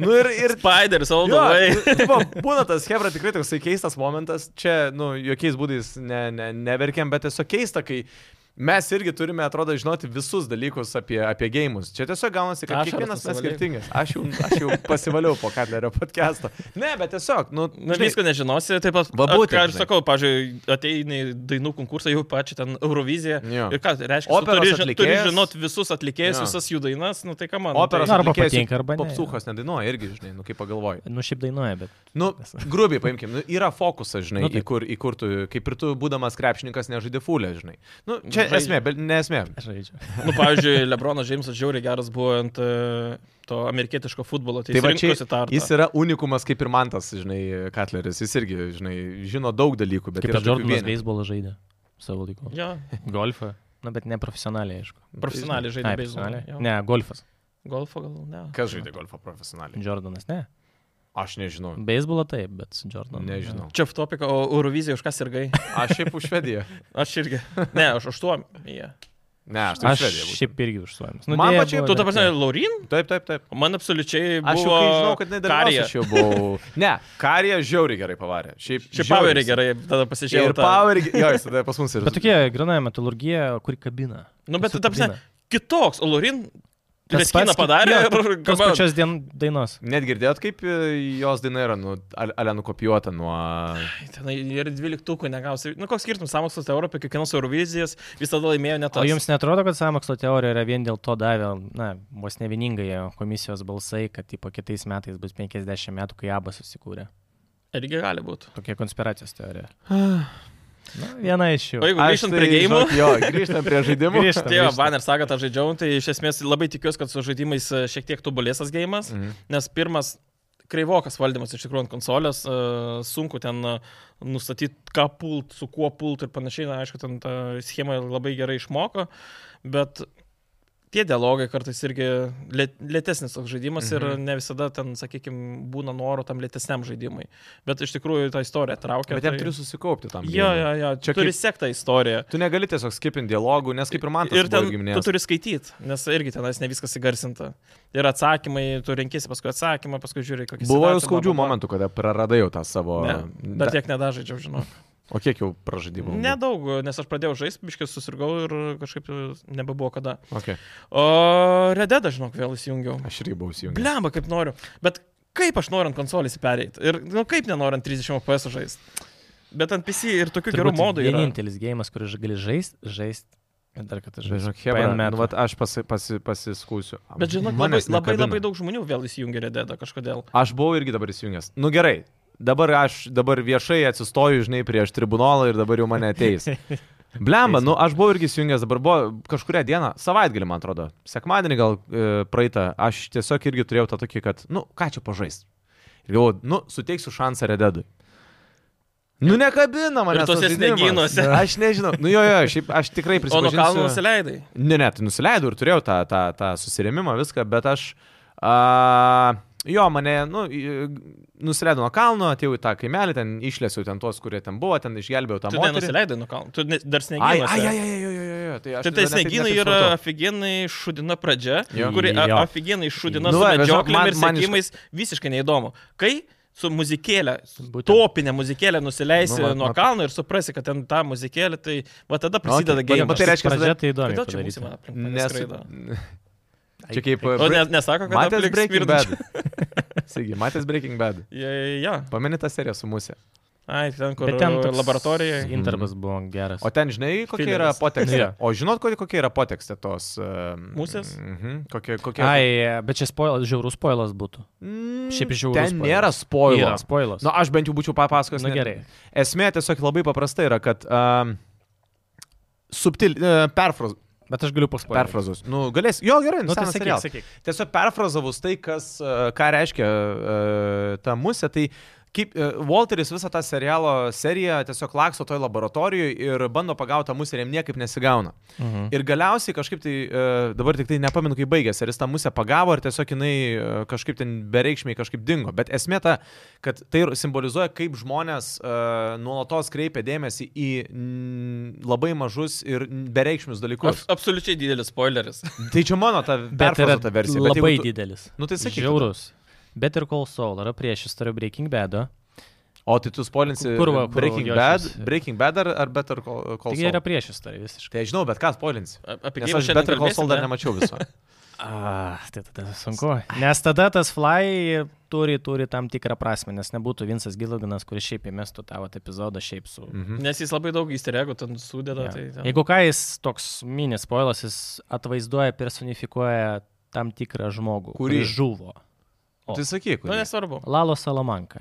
Speaker 1: Nu ir, ir
Speaker 2: Spiders, all the
Speaker 1: Jo,
Speaker 2: way.
Speaker 1: nu,
Speaker 2: [LAUGHS]
Speaker 1: tipo, būna tas Hebra tikrai toksai keistas momentas, čia, nu, jokiais būdais ne, ne, neverkiam, bet tiesiog keista, kai mes irgi turime, atrodo, žinoti visus dalykus apie, apie gėjimus. Čia tiesiog gaunasi, kad
Speaker 2: Ašaras
Speaker 1: kiekvienas mes
Speaker 2: pasivaliai.
Speaker 1: skirtingas. Aš jau, aš jau pasivaliau po Katlerio podcast'o. Ne, bet tiesiog, nu,
Speaker 2: Na,
Speaker 1: žinai,
Speaker 2: visko nežinosi, taip pat.
Speaker 1: Va
Speaker 2: at-
Speaker 1: būtent,
Speaker 2: Ką aš
Speaker 1: žinai.
Speaker 2: sakau, pažiūrėjau, ateini į dainų konkursą, jau pačią ten Euroviziją.
Speaker 1: Jo.
Speaker 2: Ir ką, tai reiškia, tu
Speaker 1: Operos
Speaker 2: turi, ži- turi
Speaker 1: atlikėjas.
Speaker 2: žinot visus atlikėjus,
Speaker 1: Jo.
Speaker 2: visas jų dainas, nu tai ką man.
Speaker 1: Operos
Speaker 3: Na, arba
Speaker 1: atlikėjas
Speaker 3: patinka, arba ne.
Speaker 1: Popsūchos nedainuoja irgi, žinai, nu kaip pagalvoji.
Speaker 3: Nu, šiaip dainuoja, bet. [LAUGHS]
Speaker 1: Nu, grubiai paimkim, nu, yra fokusas, žinai,
Speaker 3: Nu,
Speaker 1: nu, į,
Speaker 3: taip.
Speaker 1: kur, į kur tu, kaip ir tu, būdamas krepšininkas, nežaidė fulę, žinai. Nu, čia
Speaker 2: Žaidžia.
Speaker 1: esmė, bet ne esmė.
Speaker 3: Žaidžiu.
Speaker 2: Tai, nu, pavyzdžiui, Lebronas Džeimsas žiauriai geras buvo ant e, to amerikietiško futbolo. Tai,
Speaker 1: Tai va čia
Speaker 2: jis tarp.
Speaker 1: jis yra unikumas kaip ir Mantas, žinai, Katleris. Jis irgi, žinai, žino daug dalykų, bet
Speaker 3: Kaip
Speaker 1: yra
Speaker 3: ir Jordanas
Speaker 1: tokių vienių.
Speaker 3: beisbolą žaidė savo laiku.
Speaker 2: Ja,
Speaker 3: Golfą. Na, bet ne profesionaliai, aišku.
Speaker 2: profesionaliai žaidė
Speaker 3: Ai,
Speaker 2: beisbolą.
Speaker 3: profesionaliai.
Speaker 2: jo.
Speaker 3: Ne, golfas.
Speaker 2: Golfo gal ne.
Speaker 1: Kas žaidė golfą profesionaliai?
Speaker 3: Jordanas, ne.
Speaker 1: Aš nežinau.
Speaker 3: Beisbolą taip, bet su Jordanu. ne.
Speaker 1: Nežinau.
Speaker 2: Čia v topika, o Eurovizija už ką sirgai?
Speaker 1: Aš šiaip už Švediją.
Speaker 2: Aš irgi.
Speaker 1: [LAUGHS]
Speaker 2: Ne, aš aštuom. Yeah.
Speaker 1: Ne, aš tai už
Speaker 3: Aš
Speaker 1: Švediją.
Speaker 3: šiaip irgi Nu, užsuojamas.
Speaker 1: Man pačiai-
Speaker 2: Tu dabar, žinai, Laurin?
Speaker 1: būčiau. Taip, taip, taip.
Speaker 2: Man absoliučiai.
Speaker 1: Aš jau
Speaker 2: buvo
Speaker 1: kai žinau, kad nedalyvaus,
Speaker 2: Karija.
Speaker 1: aš jau buvau. [LAUGHS] Ne, Karija žiauriai gerai pavarė. Šiaip,
Speaker 2: Šiaip
Speaker 1: žiauriai.
Speaker 2: Powerį gerai tada pasižiūrėjau.
Speaker 1: Ir
Speaker 2: tą-
Speaker 1: Powerį. ge- Jo, jis tada pas mus ir.
Speaker 3: Bet tokie grinoja metalurgija, kuri kabina.
Speaker 2: Nu, bet
Speaker 3: Tiesiog
Speaker 2: ta prasme,
Speaker 3: kabina.
Speaker 2: kitoks. O Lorin
Speaker 3: Tas
Speaker 2: Reskiną
Speaker 3: pats kaip-
Speaker 2: padarė
Speaker 3: jo,
Speaker 2: ir
Speaker 3: Tos
Speaker 2: gaba-
Speaker 3: pačios dien, dainos.
Speaker 1: Net girdėjot, kaip e, jos daina yra, nu, ale ale nukopijuota nuo...
Speaker 2: Ai, Tenai ir dvyliktukų negausi. Nu, koks skirtumas samokslas Europė, kiekvienos Eurovizijas visada laimėjo net
Speaker 3: O jums netrodo, kad samokslo teorija yra vien dėl to davė, na, vos ne vieningai komisijos balsai, kad tipo kitais metais bus 50 metų, kai abas susikūrė.
Speaker 2: irgi gali būti.
Speaker 3: Tokia konspiracijos
Speaker 2: [SIGHS]
Speaker 3: teorija. Na, viena iš
Speaker 2: O
Speaker 3: jų.
Speaker 2: jeigu
Speaker 1: Aš
Speaker 2: grįžtant
Speaker 1: tai,
Speaker 2: prie gėjimų.
Speaker 1: žinok, Jo, grįžtant prie žaidimų.
Speaker 3: Grįžtam,
Speaker 2: Tai jo,
Speaker 3: grįžtam.
Speaker 2: banner saga tą žaidžiau, tai iš esmės labai tikiuosi, kad su žaidimais e, šiek tiek tobulės tas gėjimas,
Speaker 1: Mhm.
Speaker 2: nes pirmas kreivokas valdymas iš tikrųjų ant konsolės, e, sunku ten e, nustatyti, ką pult, su kuo pult ir panašiai, na, aišku, ten tą schemą labai gerai išmoko, bet tie dialogai kartais irgi lė- lėtesnis toks žaidimas
Speaker 1: Mhm.
Speaker 2: ir ne visada ten, sakykime, būna noro tam lėtesniam žaidimui, bet iš tikrųjų tą istoriją traukia.
Speaker 1: Bet jam turiu susikaupti tam.
Speaker 2: tai- Jo,
Speaker 1: gėjimui.
Speaker 2: jo, jo,
Speaker 1: Čia
Speaker 2: čia turi
Speaker 1: kaip-
Speaker 2: sektą istoriją.
Speaker 1: Tu negali tiesiog skipinti dialogų, nes kaip ir man tas
Speaker 2: Ir ten tu
Speaker 1: giminės.
Speaker 2: turi skaityti, nes irgi tenais ne viskas įgarsinta. Ir atsakymai, tu renkėsi paskui atsakymą, paskui žiūri, kokie
Speaker 1: Buvo jau skaudžių momentų, kada praradai jau tą savo...
Speaker 2: Ne, dar
Speaker 1: Da-
Speaker 2: tiek nedažaidžiau,
Speaker 1: [LAUGHS]
Speaker 2: žinau.
Speaker 1: O kiek jau pražadimų?
Speaker 2: Nedaug, nes aš pradėjau žaisti, biškis susirgau ir kažkaip nebebuvo kada.
Speaker 1: Okay.
Speaker 2: O rededą, žinok, vėl įsijungiau.
Speaker 1: Aš irgi buvau įjungęs.
Speaker 2: Blemba, kaip noriu. Bet kaip aš noriu ant konsolės pereiti? Ir nu, kaip nenoriu ant 30 FPS žaisti? Bet ant PC ir tokių gerų
Speaker 3: Turbūt
Speaker 2: modų yra.
Speaker 3: Vienintelis gėjimas, kurį gali žaisti, žaisti. Dar kartą žaisti.
Speaker 1: Žinok, Hebra,
Speaker 3: PN
Speaker 1: nu,
Speaker 3: metų.
Speaker 1: vat aš pasi, pasi, pasiskūsiu.
Speaker 2: Bet žinok, labai,
Speaker 1: Manęs
Speaker 2: labai,
Speaker 1: nekabina.
Speaker 2: labai daug žmonių vėl įsijungia rededą kažkodėl.
Speaker 1: Aš buvau irgi dabar įjungęs. Nu gerai, dabar aš dabar viešai atsistoju, žinai, prieš tribunolą ir dabar jau mane
Speaker 2: [LAUGHS]
Speaker 1: ateis. Blemba, nu aš buvau irgi įjungęs, dabar buvo kažkuria diena, savaitgalį, man atrodo, sekmadienį gal e, praeitą, aš tiesiog irgi turėjau tą tokį, kad, nu ką čia pažaist. Ir galvoju, nu suteiksiu šansą Rededui. Nu nekabina
Speaker 2: Ir
Speaker 1: manęs. tas
Speaker 2: tuose
Speaker 1: žaidimas.
Speaker 2: sniegynuose.
Speaker 1: Aš nežinau. Nu jo, jo, šiaip aš tikrai
Speaker 2: O nuo
Speaker 1: prisipažinsiu.
Speaker 2: kalno nusileidai.
Speaker 1: Ne, ne, tai nusileidau ir turėjau tą, tą, tą susirėmimą, viską, bet aš... A, Jo, mane, nu, į- nusileidau nuo kalno, atėjau į tą kaimelį, ten išlėsiu ten tuos, kurie ten buvo, ten išgelbėjau tą
Speaker 2: Tu
Speaker 1: moterį.
Speaker 2: nenusileidai nuo kalno, tu ne,
Speaker 1: Ai,
Speaker 2: dar snieginas.
Speaker 1: ai, ai, ai, ai, ai, ai, ai, tai aš tada ne
Speaker 2: Tai tai
Speaker 1: taip- ne taip
Speaker 2: snieginai yra
Speaker 1: supratau.
Speaker 2: afigenai šudina pradžia,
Speaker 1: Jo.
Speaker 2: kuri a-
Speaker 3: Jo.
Speaker 2: afigenai šudina
Speaker 1: Nu,
Speaker 2: su
Speaker 1: va, žinok,
Speaker 2: medžioklėm
Speaker 1: man-
Speaker 2: ir
Speaker 1: man iš-
Speaker 2: sekimais visiškai neįdomu. Kai su muzikėlė, su
Speaker 3: Būtent.
Speaker 2: topinė muzikėlė nusileisi
Speaker 1: Nu, va,
Speaker 2: nuo
Speaker 1: mat-
Speaker 2: kalno ir suprasi, kad ten ta muzikėlė, tai va tada prasideda
Speaker 1: bet- bet
Speaker 2: gėjimas.
Speaker 1: tai reiškia,
Speaker 3: pradžia
Speaker 1: tada-
Speaker 3: tai įdomi.
Speaker 2: Kodėl čia būsime
Speaker 1: Nes...
Speaker 2: aplinkos?
Speaker 1: [LAUGHS] Čia kaip... uh,
Speaker 2: O ne, nesako, kad
Speaker 1: Matęs
Speaker 2: aplink
Speaker 1: Breaking
Speaker 2: smirda.
Speaker 1: Bad. [LAUGHS] Sakyk, matęs Breaking Bad.
Speaker 2: Ja, ja.
Speaker 1: Pameni tą seriją su musė.
Speaker 2: Ai, ten kur
Speaker 3: Bet ten toks
Speaker 2: laboratorijoje.
Speaker 3: Intervas buvo geras.
Speaker 1: Mhm. O ten žinai, kokia
Speaker 2: Fileris.
Speaker 1: yra
Speaker 2: [LAUGHS]
Speaker 1: potekstė.
Speaker 3: Jo.
Speaker 1: O žinot, kokia, kokia yra potekstė tos... Um,
Speaker 2: Musės?
Speaker 1: Mhm. Kokia... kokia...
Speaker 3: Ai, bet čia spoilas, žiaurus spoilas būtų.
Speaker 1: Mm,
Speaker 3: šiaip žiaurus
Speaker 1: Ten
Speaker 3: spoileris.
Speaker 1: nėra spoilo.
Speaker 3: Yra spoilas.
Speaker 1: Na, aš bent jau būčiau papasakojęs.
Speaker 3: nu,
Speaker 1: Nu, ne-
Speaker 3: gerai.
Speaker 1: Esmė tiesiog labai paprasta yra, kad... Um, subtil... Uh, perfraz,
Speaker 3: Bet aš galiu paspoilint.
Speaker 1: perfrazus. Nu, galės... Jo, gerai,
Speaker 3: Nu, tai
Speaker 1: senas
Speaker 3: sakyk,
Speaker 1: serialas.
Speaker 3: sakyk.
Speaker 1: Tiesiog perfrazavus tai, kas, e, ką reiškia e, ta musė, tai kaip e, Walteris visą tą serialo seriją tiesiog lakso toj laboratorijoje ir bando pagauti tą musę ir jam niekaip nesigauna.
Speaker 3: Mhm.
Speaker 1: Ir galiausiai kažkaip tai, e, dabar tik tai nepamenu, kai baigėsi, ar jis tą musę pagavo, ar tiesiog jinai e, kažkaip ten bereikšmiai kažkaip dingo. Bet esmė ta, kad tai ir simbolizuoja, kaip žmonės e, nuolatos kreipia dėmesį į mm, labai mažus ir bereikšmius dalykus.
Speaker 2: Abs- Absoliučiai didelis spoileris.
Speaker 1: Tai čia mano ta
Speaker 3: Bet yra
Speaker 1: perfrazuota versija. bet jeigu
Speaker 3: labai
Speaker 1: tu-
Speaker 3: didelis.
Speaker 1: Nu tai sakyk. tada.
Speaker 3: Žiaurus. Bet ir Call Saul yra priešistorė Breaking Bado.
Speaker 1: O tai tu spoilinsi
Speaker 3: Kur va, kur
Speaker 1: Breaking
Speaker 3: jo
Speaker 1: Bad,
Speaker 3: šis-
Speaker 1: Breaking Bad ar, ar Better Call Call
Speaker 3: Tai
Speaker 1: Saul?
Speaker 3: yra priešistorė visiškai.
Speaker 1: Tai aš žinau, bet ką spoilinsi.
Speaker 2: A- Apie
Speaker 1: Nes
Speaker 2: gėjimą
Speaker 1: aš
Speaker 2: šiandien
Speaker 1: Better Call Saul dar
Speaker 2: kalbėsime.
Speaker 1: nemačiau
Speaker 2: [LAUGHS]
Speaker 1: viso.
Speaker 3: Ah, tai tada sunku. Nes tada tas fly turi, turi tam tikrą prasme, nes nebūtų Vinsas Gilaganas, kuris šiaip įmestų tavo epizodą šiaip su...
Speaker 1: Mhm.
Speaker 2: Nes jis labai daug įsteregų ten sudeda.
Speaker 3: Jo.
Speaker 2: Tai, ten...
Speaker 3: Jeigu ką jis toks mini spoilas, jis atvaizduoja, personifikuoja tam tikrą žmogų,
Speaker 1: Kurį?
Speaker 3: kuris žuvo. O.
Speaker 1: Tai sakyk,
Speaker 2: Nu,
Speaker 1: kuris.
Speaker 2: nesvarbu.
Speaker 3: Lalo Salamanka.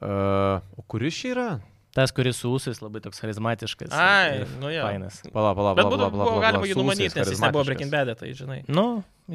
Speaker 1: Uh, o kuris čia yra?
Speaker 3: Tas, kuris su ūsais labai toks charizmatiškas.
Speaker 2: Ai,
Speaker 3: ir
Speaker 2: nu jo.
Speaker 3: Fainas.
Speaker 1: Pala, pala,
Speaker 2: Bet
Speaker 1: pala,
Speaker 2: būtų
Speaker 1: pala, pala,
Speaker 2: buvo
Speaker 1: pala,
Speaker 2: galima jį
Speaker 1: su ūsais,
Speaker 2: numanyti, nes jis nebuvo
Speaker 1: charizmatiškas.
Speaker 2: Breaking Bad, tai žinai.
Speaker 3: Nu,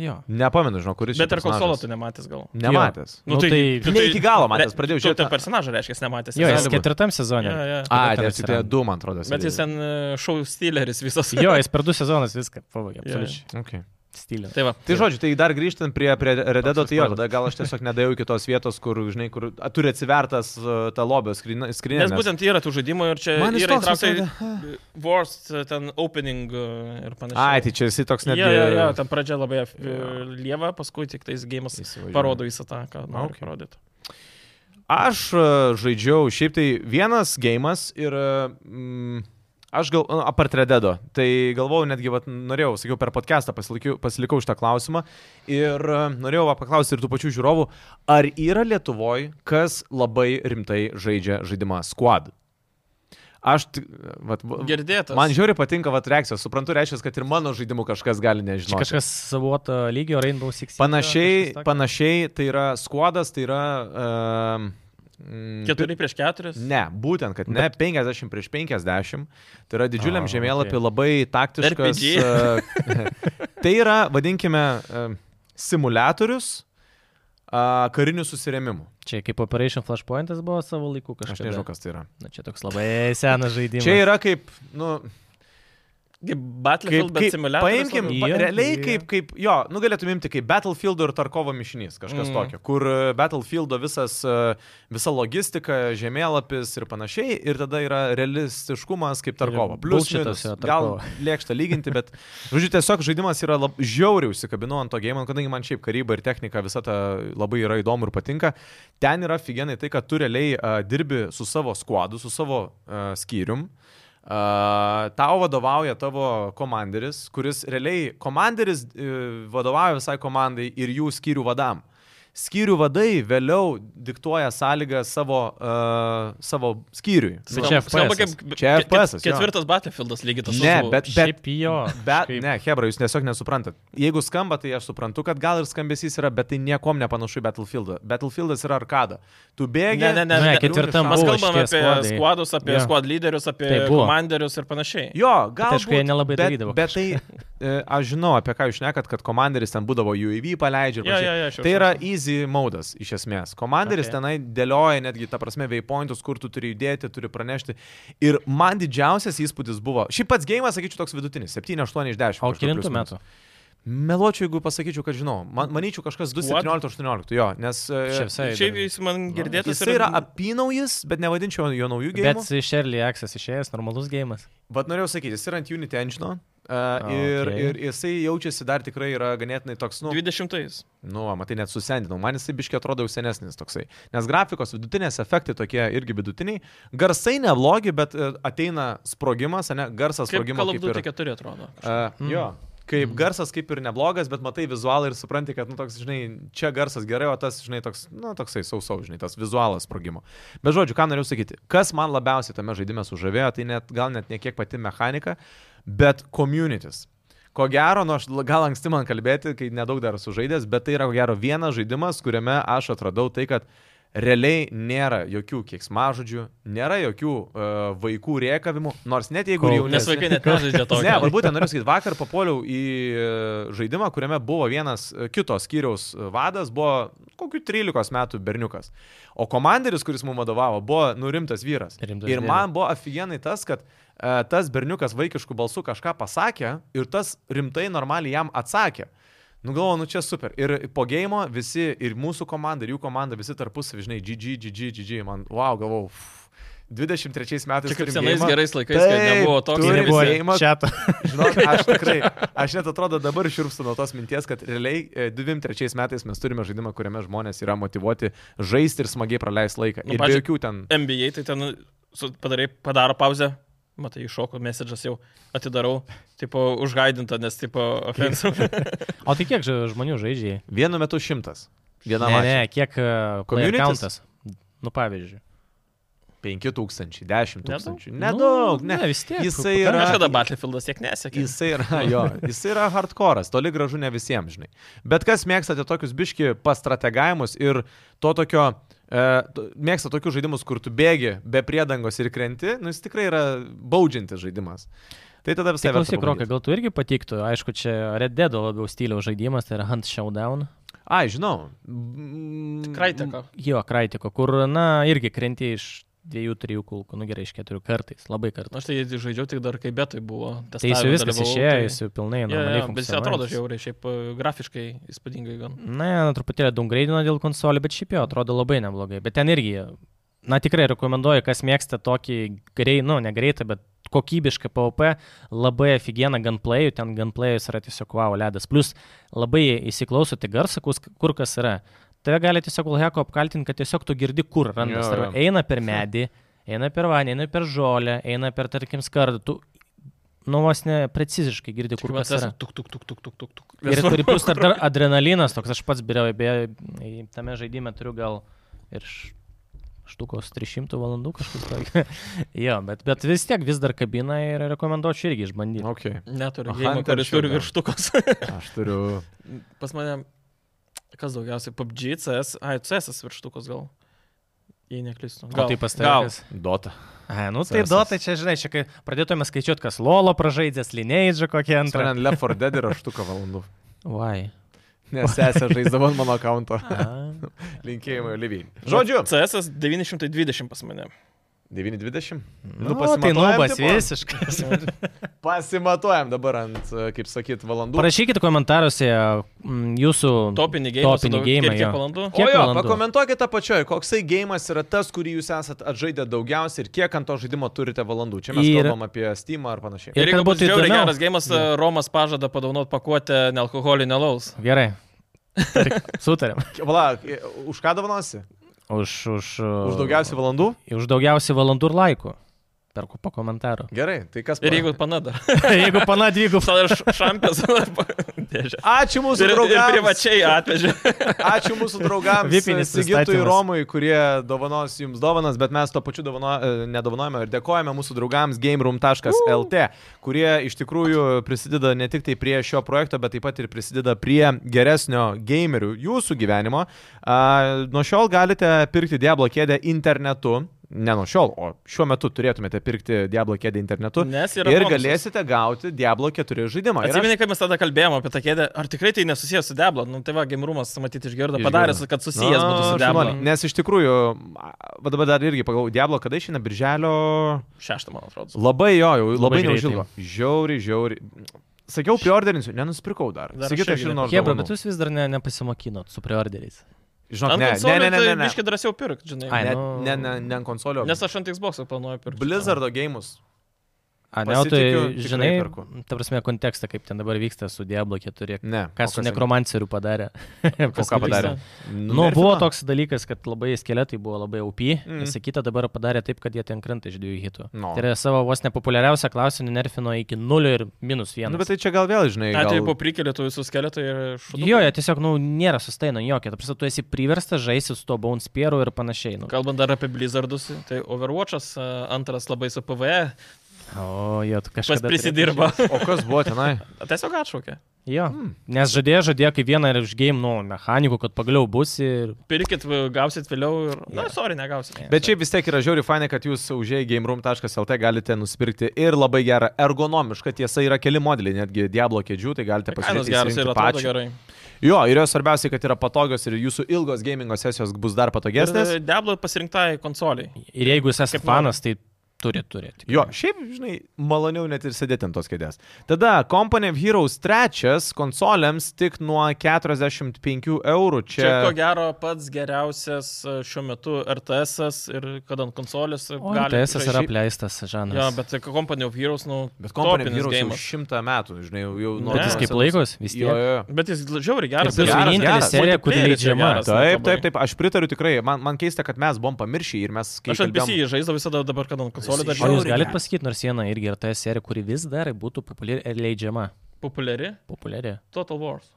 Speaker 3: jo.
Speaker 1: Nepamenu, žinau, kuris čia
Speaker 2: Bet ar konsolo tu
Speaker 1: personažas.
Speaker 2: nematęs gal?
Speaker 1: Nematęs.
Speaker 3: Nu, tai-
Speaker 1: Ne iki galo matęs,
Speaker 2: Re-
Speaker 1: pradėjau
Speaker 2: Tu tą
Speaker 1: žiūrėti.
Speaker 2: personažą, reiškia, nematęs.
Speaker 3: Jo,
Speaker 1: gali
Speaker 3: jis
Speaker 1: būt.
Speaker 3: ketvirtam sezonė.
Speaker 2: Jo, jo.
Speaker 1: A,
Speaker 3: Kada ten
Speaker 1: tai tik tai
Speaker 3: atsirado?
Speaker 1: du, man atrodo.
Speaker 2: Bet jis
Speaker 1: serijoje.
Speaker 2: ten e, šou stileris visas.
Speaker 3: Jo, jis per du sezonus viską
Speaker 2: Jo,
Speaker 3: pavogė.
Speaker 2: jo.
Speaker 3: absoliučiai.
Speaker 1: Okay.
Speaker 3: Stilių.
Speaker 2: [LAUGHS] Tai va.
Speaker 1: Tai žodžiu, tai dar grįžtant prie, prie Rededo,
Speaker 3: Toks
Speaker 1: tai jo,
Speaker 3: spoilas.
Speaker 1: tada gal aš tiesiog nedėjau iki tos vietos, kur, žinai, kur a, turi atsivertas e, ta lobio skrinė.
Speaker 2: Nes būtent yra tų žaidimų ir čia
Speaker 1: Man jis
Speaker 2: yra
Speaker 1: toks
Speaker 2: įtraukta
Speaker 1: visada-
Speaker 2: e, worst e, ten opening e, ir panašiai.
Speaker 1: Ai, tai čia jisai toks netgi...
Speaker 2: Jo, jo, jo, ten pradžia labai e,
Speaker 1: Jo.
Speaker 2: lieva, paskui tik tais gėjimas
Speaker 1: Įsivažiuoju.
Speaker 2: parodo visą tą, ką nori
Speaker 1: Okay.
Speaker 2: parodyti.
Speaker 1: Aš e, žaidžiau šiaip tai vienas gėjimas ir e, mm, aš gal, nu, apart Rededo, tai galvojau netgi, vat, norėjau, sakiau, per podcastą pasilikiu- pasilikau šitą klausimą ir e, norėjau va paklausti ir tų pačių žiūrovų, ar yra Lietuvoje, kas labai rimtai žaidžia žaidimą Squad? Aš, tik- vat, va-
Speaker 2: Girdėtas.
Speaker 1: man žiauri patinka vat reakcijos, suprantu, reiškia, kad ir mano žaidimų kažkas gali
Speaker 3: Čia
Speaker 1: nežinoti.
Speaker 3: kažkas savoto lygio Rainbow Six. Siege, kažkas
Speaker 1: Panašiai,
Speaker 3: tokio.
Speaker 1: panašiai, tai yra skuodas, tai yra... Uh,
Speaker 2: Keturi prieš keturis.
Speaker 1: Ne, būtent, kad ne 50 prieš 50. Tai yra didžiuliam
Speaker 3: A,
Speaker 1: žemėlapį
Speaker 3: okei.
Speaker 1: labai taktiškas.
Speaker 2: RPG.
Speaker 1: e, [LAUGHS] tai yra, vadinkime, e, simuliatorius a, karinių susiremimų.
Speaker 3: Čia kaip Operation Flashpointas buvo savo laiku kažkas.
Speaker 1: Aš nežinau, kas tai yra.
Speaker 3: Na, čia toks labai senas žaidimas.
Speaker 1: Čia yra kaip, nu,
Speaker 2: Kaip
Speaker 1: kaip,
Speaker 2: Battlefield, bet
Speaker 1: kaip
Speaker 2: simuliatorius.
Speaker 1: paimkim,
Speaker 2: labiau.
Speaker 1: pa,
Speaker 3: Jo,
Speaker 1: realiai
Speaker 3: jo.
Speaker 1: kaip, kaip, jo, nu galėtum imti kaip Battlefield ir Tarkovo mišinys, kažkas
Speaker 2: Mm.
Speaker 1: mm. tokio, kur e, Battlefieldo visas, e, visa logistika, žemėlapis ir panašiai, ir tada yra realistiškumas kaip Tarkovo.
Speaker 3: Ir
Speaker 1: Plius minus,
Speaker 3: bullshitas jo
Speaker 1: gal
Speaker 3: Tarkovo.
Speaker 1: lėkšta lyginti, bet, žodžiu, tiesiog žaidimas yra lab, žiauriai užsikabinu ant to game, kadangi man šiaip karyba ir technika visa ta labai yra įdomu ir patinka. Ten yra figenai tai, kad tu realiai uh, dirbi su savo skuadu, su savo uh, skyrium. Uh, tau vadovauja tavo komanderis, kuris realiai komanderis uh, vadovauja visai komandai ir jų skyrių vadam. Skyrių vadai vėliau diktuoja sąlygą savo, uh, savo skyriui.
Speaker 3: Tai
Speaker 2: Skamba-
Speaker 3: čia
Speaker 2: skamba
Speaker 3: FPS-as.
Speaker 2: kaip-
Speaker 1: Čia
Speaker 2: ke-
Speaker 1: FPS-as, jo.
Speaker 2: Ketvirtas Battlefieldas lygiai tas
Speaker 1: Ne,
Speaker 2: pats buvo.
Speaker 1: bet, bet,
Speaker 3: Šiaip jo.
Speaker 1: Bet,
Speaker 3: kažkaip-
Speaker 1: ne, Hebra, jūs tiesiog nesuprantat. Jeigu skamba, tai aš suprantu, kad gal ir skambesys yra, bet tai niekom nepanašu į Battlefieldą. Battlefieldas yra arkada. Tu bėgi.
Speaker 2: Ne, ne, ne, ne,
Speaker 3: ketvirtam
Speaker 2: Mes
Speaker 3: buvo
Speaker 2: kalbame
Speaker 3: šitie
Speaker 2: apie
Speaker 3: skuadai.
Speaker 2: skuadus, apie
Speaker 3: Jo.
Speaker 2: skuad lyderius, apie
Speaker 3: Taip buvo.
Speaker 2: komanderius ir panašiai.
Speaker 1: Tai Jo, gal.
Speaker 3: aišku, jie nelabai
Speaker 1: bet,
Speaker 3: darydavo
Speaker 1: Bet tai, e, aš žinau, apie ką jūs nekat, kad komanderis ten būdavo UAV paleidžia. ir
Speaker 2: Jo,
Speaker 1: panašiai.
Speaker 2: jo, jo, aš jau
Speaker 1: tai
Speaker 2: žinau.
Speaker 1: yra easy modas iš esmės. Komanderis
Speaker 3: Okay.
Speaker 1: okay. tenai dėlioja netgi, ta prasme, waypointus, kur tu turi judėti, turi pranešti. Ir man didžiausias įspūdis buvo, šiaip pats gėjimas, sakyčiau, toks vidutinis - 7-8 iš 10.
Speaker 3: O
Speaker 1: kažkur
Speaker 3: kilintų
Speaker 1: plius minus.
Speaker 3: metų?
Speaker 1: Meločiau, jeigu pasakyčiau, kad žinau. Man, manyčiau kažkas
Speaker 2: What?
Speaker 1: 2.17.18, jo, nes... e,
Speaker 3: Čia visai.
Speaker 2: Tai Šiaip
Speaker 3: įdomi.
Speaker 2: jis man girdėtas
Speaker 1: Jisai yra apynaujis, bet nevadinčiau jo naujų gėjimų.
Speaker 3: Bet iš Early Access išėjęs normalus gėjimas.
Speaker 1: Vat norėjau sakyti, jis yra ant Unity Engine. Uh, ir,
Speaker 3: Ok.
Speaker 1: ir jisai jaučiasi dar tikrai yra ganėtinai toks, nu,
Speaker 2: 20.
Speaker 1: nu va, matai, net susendinau, man jisai biškiai atrodo jau senesnis toksai. Nes grafikos vidutinės efektai tokie irgi vidutiniai, garsai neblogi, bet e, ateina sprogimas, ne, garsas
Speaker 2: Kaip
Speaker 1: sprogimo.
Speaker 2: Call of
Speaker 1: kaip ir-
Speaker 2: Duty 4 atrodo. Hmm.
Speaker 1: Uh, jo. Kaip garsas kaip ir neblogas, bet matai vizualą ir supranti, kad, nu, toks, žinai, čia garsas gerai, o tas, žinai, toks, nu, toksai sausau, žinai, tas vizualas sprogimo. Bet žodžiu, ką norėjau sakyti, kas man labiausiai tame žaidime sužavėjo, tai net, gal net ne kiek pati mechanika, bet communities. Ko gero, nors nu, aš- gal anksti man kalbėti, kai nedaug dar esu žaidęs, bet tai yra ko gero vienas žaidimas, kuriame aš atradau tai, kad realiai nėra jokių kieksmažodžių, nėra jokių uh, vaikų riekavimų, nors net jeigu ir
Speaker 3: Kol-
Speaker 1: jau
Speaker 2: Nes vaikai net
Speaker 1: [LAUGHS]
Speaker 2: nežaidžia to.
Speaker 1: Ne, vat būtent noriu sakyti, vakar papuoliau į e, žaidimą, kuriame buvo vienas e, kito skyriaus e, vadas, buvo kokiu 13 metų berniukas. O komanderis, kuris mums vadovavo, buvo nurimtas vyras.
Speaker 3: Rimtas
Speaker 1: ir man buvo aфиgenai tas, kad e, tas berniukas vaikiškų balsų kažką pasakė ir tas rimtai normaliai jam atsakė. Nu galvoju, nu čia super. Ir po gėjimo visi, ir mūsų komanda, ir jų komanda, visi tarpusavį, žinai, GG, GG, GG, man, wow, galvau. 23 metais.
Speaker 2: Čia kaip
Speaker 1: turim
Speaker 2: senais
Speaker 1: geimą.
Speaker 2: gerais laikais, kai
Speaker 1: Taip,
Speaker 2: nebuvo toks
Speaker 1: turim
Speaker 2: ir
Speaker 1: buvo
Speaker 2: visi-
Speaker 1: geimą,
Speaker 3: Čia to.
Speaker 1: Žinok, aš tikrai, aš net atrodo dabar širpstu nuo tos minties, kad realiai 23 metais mes turime žaidimą, kuriame žmonės yra motivuoti žaisti ir smagiai praleisti laiką.
Speaker 2: Nu,
Speaker 1: Nu, ir be
Speaker 2: pavyzdžiui,
Speaker 1: jokių ten...
Speaker 2: NBA, tai ten su- padarai, padaro pauzę, matai, iššoko message'as jau atidarau, tipo užgaidinta, nes tipo offensive.
Speaker 3: O tai kiek ž- žmonių žaidžia?
Speaker 1: Vienu metu šimtas. Viena
Speaker 3: Ne, ne,
Speaker 1: mačą.
Speaker 3: kiek
Speaker 1: Communities?
Speaker 3: komunikauntas? Nu, pavyzdžiui.
Speaker 1: 5000, 10
Speaker 2: Nedaug.
Speaker 1: tūkstančių. Nedaug,
Speaker 3: Nu,
Speaker 1: ne.
Speaker 3: ne, vis tiek.
Speaker 1: Jisai
Speaker 3: pakankamai.
Speaker 1: yra-
Speaker 2: Kažkada Battlefieldas tiek nesiekė.
Speaker 1: Jisai yra, [LAUGHS] jo, jisai yra hardcore'as, toli gražu ne visiems, žinai. Bet kas mėgstate tokius biški pastrategavimus ir to tokio, e, to- mėgsta tokius žaidimus, kur tu bėgi be priedangos ir krenti, nu jis tikrai yra baudžiantis žaidimas. Tai tada visai
Speaker 3: Tai
Speaker 1: verta.
Speaker 3: klausyk, Rokai,
Speaker 1: pabandyt.
Speaker 3: gal tu irgi patiktų, aišku, čia Red Dead labiau stiliaus žaidimas, tai yra Hunt Showdown.
Speaker 1: Ai, žinau. Mm,
Speaker 2: Tikrai teko.
Speaker 3: Jo, Kraitiko, kur, na, irgi krenti iš dviejų, trijų kulkų, nu gerai, iš keturių kartais, labai kartais.
Speaker 2: Aš tai žaidžiau tik dar kai betai buvo.
Speaker 3: Tai
Speaker 2: testavime
Speaker 3: jis jau viskas
Speaker 2: dalyvavau,
Speaker 3: išėjo,
Speaker 2: tai-
Speaker 3: jis jau pilnai
Speaker 2: Jo,
Speaker 3: normaliai.
Speaker 2: jo, Bet jis
Speaker 3: funkcionuojantis.
Speaker 2: atrodo žiauriai, šiaip e, grafiškai įspūdingai gan.
Speaker 3: Na, jie, na, truputėlį dungreidino dėl konsolių, bet šiaip jo, atrodo labai neblogai. Bet ten irgi, na, tikrai rekomenduoju, kas mėgsta tokį greitą, nu, negreitą, bet kokybišką POP, labai aфиgeną gunplayų, ten gunplayus yra tiesiog wow ledas. Plus labai įsiklausote garsą, kus- kur kas yra. Tave gali tiesiog ulheko apkaltinti, kad tiesiog tu girdi, kur randas.
Speaker 1: Jo, jo.
Speaker 3: Ar eina per medį, eina per vandenį, eina per žolę, eina per, tarkim, skardą. Tu, nu, vos ne preciziškai girdi, Tai kur
Speaker 2: Kur mes
Speaker 3: kas yra.
Speaker 2: esame? Tuk, tuk, tuk, tuk, tuk, tuk, tuk.
Speaker 3: Ir turi plus dar, dar adrenalinas toks, aš pats biriau, beje, į- tame žaidime turiu gal ir š- štukos 300 valandų kažkas tokio. [LAUGHS] jo, bet, bet vis tiek vis dar kabina ir rekomenduočiau irgi išbandyti. [LAUGHS]
Speaker 1: Okay.
Speaker 2: Neturiu.
Speaker 1: Aha, ten
Speaker 2: Game, kuris turi
Speaker 1: šiandien.
Speaker 2: virštukos.
Speaker 1: Mm, Aš turiu.
Speaker 2: [LAUGHS] Pas mane, kas daugiausiai, PUBG, CS, ai, CS virštukos gal. Jei neklystu.
Speaker 3: Gal tai pastatytas.
Speaker 1: Dota.
Speaker 3: A, nu tai
Speaker 1: Sesas.
Speaker 3: dotai čia, žinai, čia kai pradėtume skaičiuoti, kas lolo pražaidęs, lineidžia kokie antrą.
Speaker 1: Antran Left 4 Dead ir aštuką
Speaker 3: [LAUGHS]
Speaker 1: valandų.
Speaker 3: Why?
Speaker 1: Nes esate žaisdavo ant mano akonto.
Speaker 3: A,
Speaker 1: Linkėjimai Olivijai. Žodžiu.
Speaker 2: CS 920 pas mane.
Speaker 1: 9.20.
Speaker 3: nu, tai nubas visiškas.
Speaker 1: Pasimatuojam dabar ant, e, kaip sakyt, valandų.
Speaker 3: Parašykite komentaruose mm, jūsų
Speaker 2: Topinį gėjimą.
Speaker 3: Topinį geimą,
Speaker 2: Kiek
Speaker 3: jo.
Speaker 2: tiek valandų?
Speaker 1: O
Speaker 3: Kiek
Speaker 1: jo,
Speaker 3: valandų?
Speaker 1: pakomentuokite apačioje, koksai gėjimas yra tas, kurį jūs esat atžaidę daugiausiai ir kiek ant to žaidimo turite valandų. Čia mes
Speaker 3: Ir-
Speaker 1: ir... kalbam apie Steam ar panašiai.
Speaker 3: Ir
Speaker 2: Ir jeigu
Speaker 3: kad būtų
Speaker 2: būtų žiauriai
Speaker 3: įdomiau.
Speaker 2: geras gėjimas, e, Romas pažada padaunot pakuotę nealkoholinio laus.
Speaker 3: Gerai. Tark- [LAUGHS] Sutarėm.
Speaker 1: Vala, e, už ką davanosi?
Speaker 3: Už, už,
Speaker 1: Už daugiausiai valandų?
Speaker 3: Už daugiausiai valandų ir laikų. Per po
Speaker 1: [LAUGHS]
Speaker 3: komentarų.
Speaker 1: Gerai, tai kas
Speaker 2: Ir jeigu panada.
Speaker 3: Jeigu pana dvigubą.
Speaker 2: Tada aš šampės dėžę.
Speaker 1: Ačiū mūsų
Speaker 2: Ir, ir
Speaker 1: draugams.
Speaker 2: privačiai atvežė.
Speaker 1: Ačiū mūsų draugams.
Speaker 3: Vipinis
Speaker 1: Sigitui
Speaker 3: pristatymas.
Speaker 1: Romui, kurie dovanos jums dovanas, bet mes to pačiu dovano, e, nedovanojame ir dėkojame mūsų draugams gameroom.lt, kurie iš tikrųjų prisideda ne tik tai prie šio projekto, bet taip pat ir prisideda prie geresnio gamerių jūsų gyvenimo. A, Nuo šiol galite pirkti Diablo kėdę internetu. Ne nuo šiol, o šiuo metu turėtumėte pirkti Diablo kėdę internetu.
Speaker 2: Nes Mm. yra
Speaker 1: Ir
Speaker 2: bonusas.
Speaker 1: galėsite gauti Diablo 4 žaidimą. Ir aš
Speaker 2: Atsimeni, kai mes tada kalbėjome apie tą kėdę, ar tikrai tai nesusijęs su Deblo? Nu, tai va, gimrumas, matyti, išgirdo,
Speaker 1: Išgirdo.
Speaker 2: padarė, kad susijęs
Speaker 1: Na,
Speaker 2: būtų su
Speaker 1: šaunuoliai.
Speaker 2: Deblo.
Speaker 1: Nes iš tikrųjų, va dabar dar irgi pagalvoju, Diablo kada išeina birželio.
Speaker 2: Šeštą, man atrodo.
Speaker 1: Labai jo, jau labai, labai
Speaker 3: greitai.
Speaker 1: neužilgo. Žiauri, žiauri. sakiau, priorderinsiu, nenusipirkau dar.
Speaker 2: Dar
Speaker 1: Sakyk, tai
Speaker 2: aš
Speaker 1: aš
Speaker 2: irgi
Speaker 1: ir nors.
Speaker 3: Hebra, bet jūs vis dar ne, nepasimokinot su preorderiais.
Speaker 1: Žinok, ne, ne, ne, ne, ne, ne.
Speaker 2: Biškai tai drąsiau pirkti, žinai.
Speaker 3: Ai,
Speaker 1: Ne,
Speaker 3: nu.
Speaker 1: ne, ne, ne ant konsolio.
Speaker 2: Nes aš ant Xbox planuoju pirkti.
Speaker 1: Blizzardo gėjimus.
Speaker 3: A, ne, o tu
Speaker 1: Pasitikiu, tikrai
Speaker 3: žinai,
Speaker 1: perku.
Speaker 3: ta prasme, kontekstą, kaip ten dabar vyksta su Diablo 4.
Speaker 1: Ne.
Speaker 3: Ką su nekromanceriu padarė?
Speaker 1: O ką
Speaker 3: [LAUGHS] Paskui
Speaker 1: padarė?
Speaker 3: vyksta. Nu, buvo toks dalykas, kad labai skeletai buvo labai aupi,
Speaker 1: Mm.
Speaker 3: mm. visa kita dabar padarė taip, kad jie ten krenta iš dviejų hitų.
Speaker 1: No.
Speaker 3: Tai yra savo vos nepopuliariausią klausimą nerfino iki 0 ir minus 1.
Speaker 1: Nu, bet tai čia gal vėl, žinai,
Speaker 2: Atėjau
Speaker 1: gal...
Speaker 2: po prikelėtų visus keletą ir šūdu.
Speaker 3: Jo, jie tiesiog, nu, nėra sustaino jokio. Ta prasme, tu esi priverstas žaisti su to Bones Pieru ir panašiai. Nu.
Speaker 2: Kalbant dar apie Blizzardus, tai Overwatch'as a, antras labai su E, PVE,
Speaker 3: O, jo, tu
Speaker 2: kas
Speaker 3: kažkas.
Speaker 2: prisidirba.
Speaker 1: O kas buvo
Speaker 2: [LAUGHS]
Speaker 1: tenai? Hmm.
Speaker 2: Tiesiog atšaukė.
Speaker 3: Jo, nes žadėjo, žadėjo kaip vieną ir iš game, nu, mechanikų, kad pagaliau bus ir...
Speaker 2: Pirkit, v- gausit vėliau ir... Na,
Speaker 3: Jo.
Speaker 2: sorry, negausit.
Speaker 1: Bet šiaip vis tiek yra žiauri fainai, kad jūs užėjai gameroom.lt galite nusipirkti ir labai gerą ergonomišką, tiesa yra keli modeliai, netgi Diablo kėdžių, tai galite
Speaker 2: Kainos
Speaker 1: pasirinkti
Speaker 2: geras ir
Speaker 1: įsirinkti
Speaker 2: atrodo
Speaker 1: pačią.
Speaker 2: gerai.
Speaker 1: Jo, ir jos svarbiausia, kad yra patogios ir jūsų ilgos gamingo sesijos bus dar patogesnės.
Speaker 2: Ir e, Diablo pasirinktai konsoliai.
Speaker 3: Ir jeigu jūs esate
Speaker 2: Kaip nori.
Speaker 3: fanas, tai turi turėti.
Speaker 1: Jo, šiaip, žinai, maloniau net ir sėdėti ant tos kėdės. Tada Company of Heroes 3 konsolėms tik nuo 45 eurų. Čia,
Speaker 2: Čia, Čia ko gero pats geriausias a, šiuo metu RTS ir kad ant konsolės e,
Speaker 3: O
Speaker 2: gali.
Speaker 3: TS yra
Speaker 2: žaisti.
Speaker 3: apleistas žanas.
Speaker 2: Jo, bet tai Company of Heroes, nu,
Speaker 1: Bet Company of
Speaker 2: topinis
Speaker 1: Heroes jau
Speaker 2: geimas.
Speaker 1: šimtą metų, žinai, jau, jau
Speaker 3: bet jis
Speaker 2: ne,
Speaker 3: kaip
Speaker 1: senus.
Speaker 3: laikos, vis
Speaker 1: Jo,
Speaker 3: tiek.
Speaker 1: jo, jo.
Speaker 2: Bet jis žiauriai geras.
Speaker 1: Ir bus
Speaker 2: geras,
Speaker 1: vienintelė
Speaker 2: geras.
Speaker 3: serija, kuri
Speaker 2: Multiplayeris jo
Speaker 3: leidžiama.
Speaker 2: geras,
Speaker 1: Taip,
Speaker 2: labai.
Speaker 1: taip, taip, aš pritariu tikrai. Man, man keista, kad mes buvom pamiršę jį ir mes
Speaker 2: Aš ant
Speaker 1: kalbėjom-
Speaker 2: PC jį žaisdavau visada dabar, kad ant konsolės
Speaker 1: Jisai
Speaker 2: dar
Speaker 3: O
Speaker 1: žiauriai
Speaker 3: jūs
Speaker 2: žiauriai
Speaker 1: geras.
Speaker 3: galite pasakyti nors vieną irgi ir TS seriją, kuri vis dar būtų populiari ir leidžiama.
Speaker 2: populiari.
Speaker 3: Populiari.
Speaker 2: Total Wars.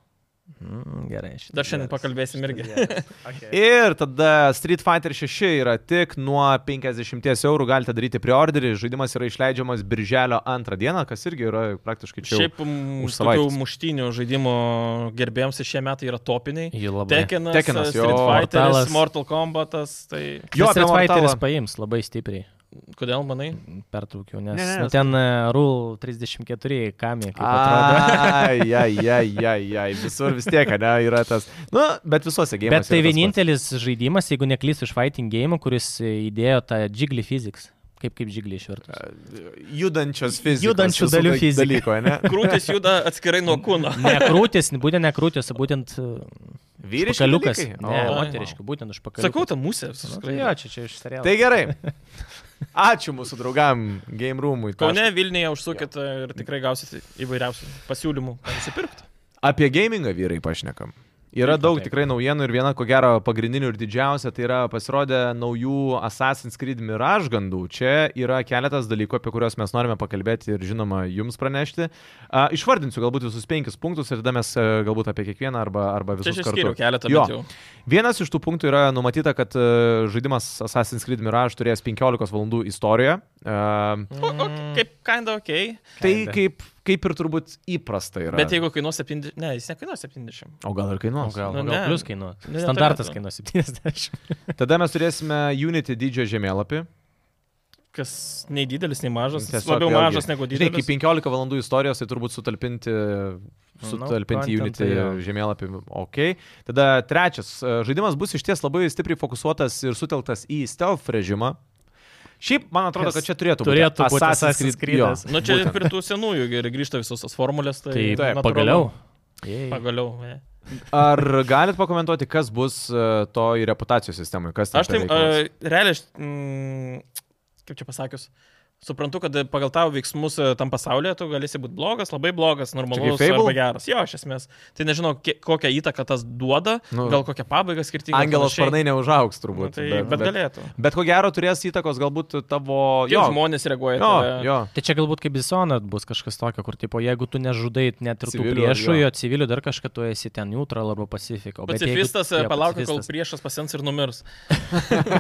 Speaker 3: Mm, gerai. šitas
Speaker 2: Dar šiandien
Speaker 3: geras.
Speaker 2: pakalbėsim irgi.
Speaker 1: Ir tada Street Fighter 6 yra tik nuo 50 eurų, galite daryti preorderį, žaidimas yra išleidžiamas birželio 2 dieną, kas irgi yra praktiškai čia. jau-
Speaker 2: Šiaip mm,
Speaker 1: už
Speaker 2: tokių
Speaker 1: savaitės.
Speaker 2: muštinių žaidimų gerbėjams šie metai yra topiniai.
Speaker 3: Ji labai.
Speaker 2: Tekinas,
Speaker 1: Tekkenas,
Speaker 2: Tekinas,
Speaker 1: jo.
Speaker 2: Street Fighteris,
Speaker 3: Mortalas.
Speaker 2: Mortal Kombatas, tai
Speaker 1: Jo,
Speaker 3: Jo,
Speaker 1: apie
Speaker 3: Street Fighteris
Speaker 1: Mortalą.
Speaker 3: paims labai stipriai.
Speaker 2: kodėl manai?
Speaker 3: Pertraukiau, nes
Speaker 1: Ne, ne,
Speaker 3: nu,
Speaker 1: ne.
Speaker 3: ten e, Rule 34 kamė, kaip atrodo.
Speaker 1: Ai, ai, ai, ai, ai, visur vis tiek, ne, yra tas. Nu, bet visuose gėjimuose.
Speaker 3: Bet tai vienintelis žaidimas, jeigu neklysiu, iš fighting game, kuris e, įdėjo tą Jiggly Physics. Kaip kaip Jiggly išvertus.
Speaker 1: [LAUGHS] Judančios fizikos.
Speaker 3: Judančių
Speaker 1: visų
Speaker 3: dalių
Speaker 1: daly-
Speaker 3: fizika.
Speaker 1: Dalyko, ne?
Speaker 2: Krūtis juda atskirai nuo
Speaker 1: [LAUGHS]
Speaker 2: kūno.
Speaker 3: Nekrūtis, būtent nekrūtis, o būtent
Speaker 1: Vyriškas.
Speaker 3: pakaliukas. Ne,
Speaker 2: O,
Speaker 3: moteriškių, būtent už pakaliuką.
Speaker 2: Sakau, ta musė.
Speaker 1: Nu,
Speaker 3: jo, čia čia iš serialo.
Speaker 1: Tai gerai. Ačiū mūsų draugam Game Roomui.
Speaker 2: Kaune Vilniuje užsukit ir tikrai gausite įvairiausių pasiūlymų, ką nusipirkti.
Speaker 1: Apie gamingą vyrai pašnekam. Yra
Speaker 3: Taip,
Speaker 1: daug
Speaker 3: taip.
Speaker 1: tikrai naujienų ir viena, ko gero, pagrindinių ir didžiausia, tai yra pasirodę naujų Assassin's Creed Mirage gandų. Čia yra keletas dalykų, apie kuriuos mes norime pakalbėti ir žinoma jums pranešti. A, išvardinsiu galbūt visus penkis punktus ir tada mes a, galbūt apie kiekvieną arba, arba
Speaker 2: Čia
Speaker 1: visus
Speaker 2: aš
Speaker 1: kartu.
Speaker 2: išskiriu keletą,
Speaker 1: Jo.
Speaker 2: bet jau.
Speaker 1: Vienas iš tų punktų yra numatyta, kad a, žaidimas Assassin's Creed Mirage turės 15 valandų istoriją. E, A,
Speaker 2: O, o, kaip kinda ok.
Speaker 1: tai
Speaker 3: Kinda.
Speaker 1: kaip, kaip ir turbūt įprasta yra.
Speaker 2: Bet jeigu kainuos 70... Ne, jis nekainuos 70.
Speaker 1: O gal ir
Speaker 3: O
Speaker 1: kainuos?
Speaker 3: gal,
Speaker 2: Nu,
Speaker 3: nu,
Speaker 2: ne.
Speaker 3: gal plus kainuoja.
Speaker 2: Ne, ne,
Speaker 3: Standartas
Speaker 2: turėtų.
Speaker 3: kainuoja 70.
Speaker 1: Tada mes turėsime Unity didžiojo žemėlapį.
Speaker 2: Kas nei didelis, nei mažas. Jis
Speaker 1: Tiesiog
Speaker 2: labiau
Speaker 1: vėlgi.
Speaker 2: mažas negu
Speaker 1: Žinai,
Speaker 2: didelis. Nu,
Speaker 1: iki 15 valandų istorijos, tai turbūt sutalpinti, sutalpinti
Speaker 3: content,
Speaker 1: Unity
Speaker 3: jo.
Speaker 1: žemėlapį. Ok. Tada trečias. e, Žaidimas bus iš ties labai stipriai fokusuotas ir sutelktas į stealth režimą. Šiaip, man atrodo,
Speaker 3: Kas
Speaker 1: kad čia turėtų,
Speaker 3: turėtų
Speaker 1: būti
Speaker 3: būt Assassin's
Speaker 1: jo.
Speaker 3: Creed'as.
Speaker 2: Nu čia
Speaker 1: būtent.
Speaker 2: prie tų senųjų ir grįžta visos tos formulės. Tai,
Speaker 3: Tai
Speaker 1: Taip,
Speaker 2: natūralu.
Speaker 3: pagaliau. Jei.
Speaker 2: Pagaliau. e.
Speaker 1: Ar galit pakomentuoti, kas bus e, toj reputacijos sistemai? Kas ten
Speaker 2: Aš tai,
Speaker 1: per reikalas?
Speaker 2: e, realiai, aš, mm, kaip čia pasakius, suprantu, kad pagal tavo veiksmus e, tam pasaulyje tu galėsi būti blogas, labai blogas, normalus,
Speaker 1: Fable?
Speaker 2: arba geras. Jo, iš esmės. Tai nežinau, kie- kokią įtaką tas duoda,
Speaker 1: Nu,
Speaker 2: gal kokią pabaigą skirtingą.
Speaker 1: Angelas sparnai neužauks
Speaker 2: Nu,
Speaker 1: turbūt.
Speaker 2: tai, bet, bet galėtų.
Speaker 1: bet ko gero turės įtakos galbūt tavo...
Speaker 2: Jo, žmonės reaguoja.
Speaker 1: jo,
Speaker 2: tave.
Speaker 1: jo.
Speaker 2: [LAUGHS]
Speaker 3: Tai čia galbūt kaip Dishonored bus kažkas tokio, kur, tipo, jeigu tu nežudai net ir tų
Speaker 1: Civilių,
Speaker 3: priešų,
Speaker 1: jo.
Speaker 3: jo civilių dar kažką tu esi ten neutral arba pacifiko. bet jeigu-
Speaker 2: Pacifistas e,
Speaker 3: jo,
Speaker 2: palaukia, kol
Speaker 3: pacifistas.
Speaker 2: priešas pasens ir numirs.
Speaker 1: Nu,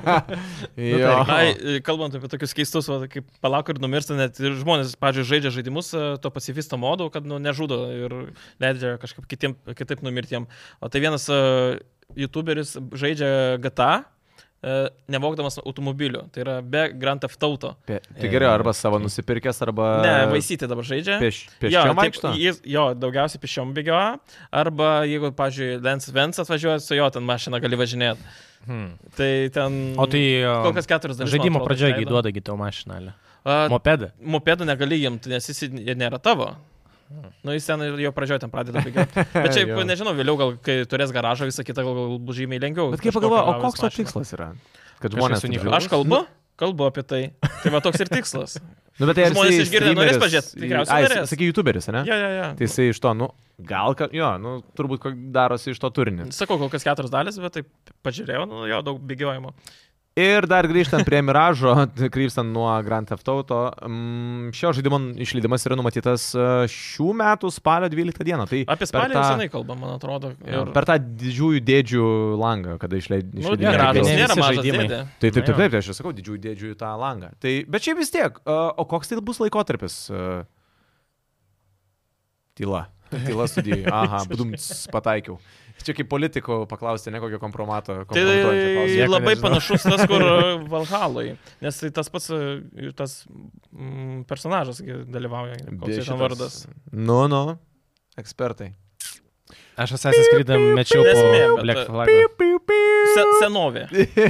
Speaker 1: jo.
Speaker 2: Na, e, kalbant apie tokius keistus, va, tai kaip palaukia ir numirsta, net ir žmonės, pavyzdžiui, žaidžia žaidimus e, to pacifisto modu, kad nu, nežudo ir leidžia kažkaip kitiem, kitaip numirtiem. O tai vienas e, YouTuberis žaidžia GTA, e, nevokdamas automobilių, tai yra be Grand Theft Auto.
Speaker 1: Pe- Tai gerai, arba savo nusipirkęs, arba...
Speaker 2: Ne, vaisyti dabar žaidžia.
Speaker 1: Pieš,
Speaker 2: jo,
Speaker 1: pėsčiom
Speaker 2: taip,
Speaker 1: vaikšto?
Speaker 2: jis, jo, daugiausiai pešiom bėgioja. Arba jeigu, pavyzdžiui, Lens Vens atvažiuoja, su jo ten mašina gali važinėti.
Speaker 3: Hmm.
Speaker 2: Tai ten...
Speaker 3: O tai
Speaker 2: Kol kas keturias dalis.
Speaker 3: žaidimo pradžioje įduodagi tau mašinalę.
Speaker 2: duoda.
Speaker 3: Mopedą.
Speaker 2: Mopedą negali imti, nes jis nėra tavo. Nu, jis ten ir jo pradžioje ten
Speaker 1: [LAUGHS]
Speaker 2: pradeda bėgioti. Bet šiaip,
Speaker 1: Jo.
Speaker 2: nežinau, vėliau gal, kai turės garažą, visą kitą gal, gal bus žymiai lengviau.
Speaker 1: Bet kaip
Speaker 2: Kažkokią
Speaker 1: pagalvoju, o
Speaker 2: gavęs
Speaker 1: koks to
Speaker 2: mašiną.
Speaker 1: tikslas Nu. yra? Kad
Speaker 3: Kažkas
Speaker 1: žmonės
Speaker 3: unikalus.
Speaker 2: Aš kalbu, kalbu apie tai. Tai va toks ir
Speaker 1: [LAUGHS]
Speaker 2: tikslas.
Speaker 1: Nu, bet tai ar
Speaker 2: Žmonės
Speaker 1: jisai
Speaker 2: išgirdę norės
Speaker 1: streameris-
Speaker 2: pažiūrėt, tikriausiai
Speaker 1: Ai,
Speaker 2: norės.
Speaker 1: Sakai, YouTuberis, ne?
Speaker 2: Ja, ja, ja.
Speaker 1: Tai jisai iš to, nu, gal, ka- jo, nu, turbūt ko- darosi iš to turinį.
Speaker 2: Sakau, kol kas keturios dalis, bet taip pažiūrėjau, nu jo, daug bėgiojimo.
Speaker 1: Ir dar grįžtant prie Miražo, [LAUGHS] krypstant nuo Grand Theft Auto, mm, šio žaidimo išleidimas yra numatytas e, šių metų spalio 12 dieną. Tai
Speaker 2: Apie
Speaker 1: per
Speaker 2: spalį
Speaker 1: tą-
Speaker 2: jau senai kalbam, man atrodo.
Speaker 1: jo,
Speaker 2: Ir,
Speaker 1: Per tą didžiųjų dėdžių langą, kada išleid-
Speaker 2: nu,
Speaker 1: išleidinėjo. žaidimą.
Speaker 2: garažas
Speaker 3: gražūs, ne
Speaker 2: nėra
Speaker 3: visi
Speaker 2: mažas
Speaker 3: žaidimai.
Speaker 2: dėdė.
Speaker 1: Tai taip,
Speaker 3: Na
Speaker 1: taip,
Speaker 3: jo.
Speaker 1: taip, tai aš ir sakau, didžiųjų dėdžių į tą langą. Tai, bet čia vis tiek, e, o koks tai bus laikotarpis? E, Tyla. Tyla
Speaker 2: [LAUGHS]
Speaker 1: studijai. Aha, būdums pataikiau. Čia kaip politiko paklausti, ne kokio kompromato.
Speaker 2: Tai
Speaker 1: kompromituojančio klausimo.
Speaker 2: labai
Speaker 3: nežinau.
Speaker 2: panašus tas,
Speaker 1: [LAUGHS]
Speaker 2: kur Valhalai, nes tai tas pats e, tas mm, personažas gi dalyvauja, koks jis
Speaker 1: Šitas-
Speaker 2: ten vardas.
Speaker 1: Nu, nu, ekspertai.
Speaker 3: Aš Assassin's Creed mečiau
Speaker 2: Nesmė,
Speaker 3: po
Speaker 2: bet-
Speaker 3: Black Flag.
Speaker 2: Se, senovė.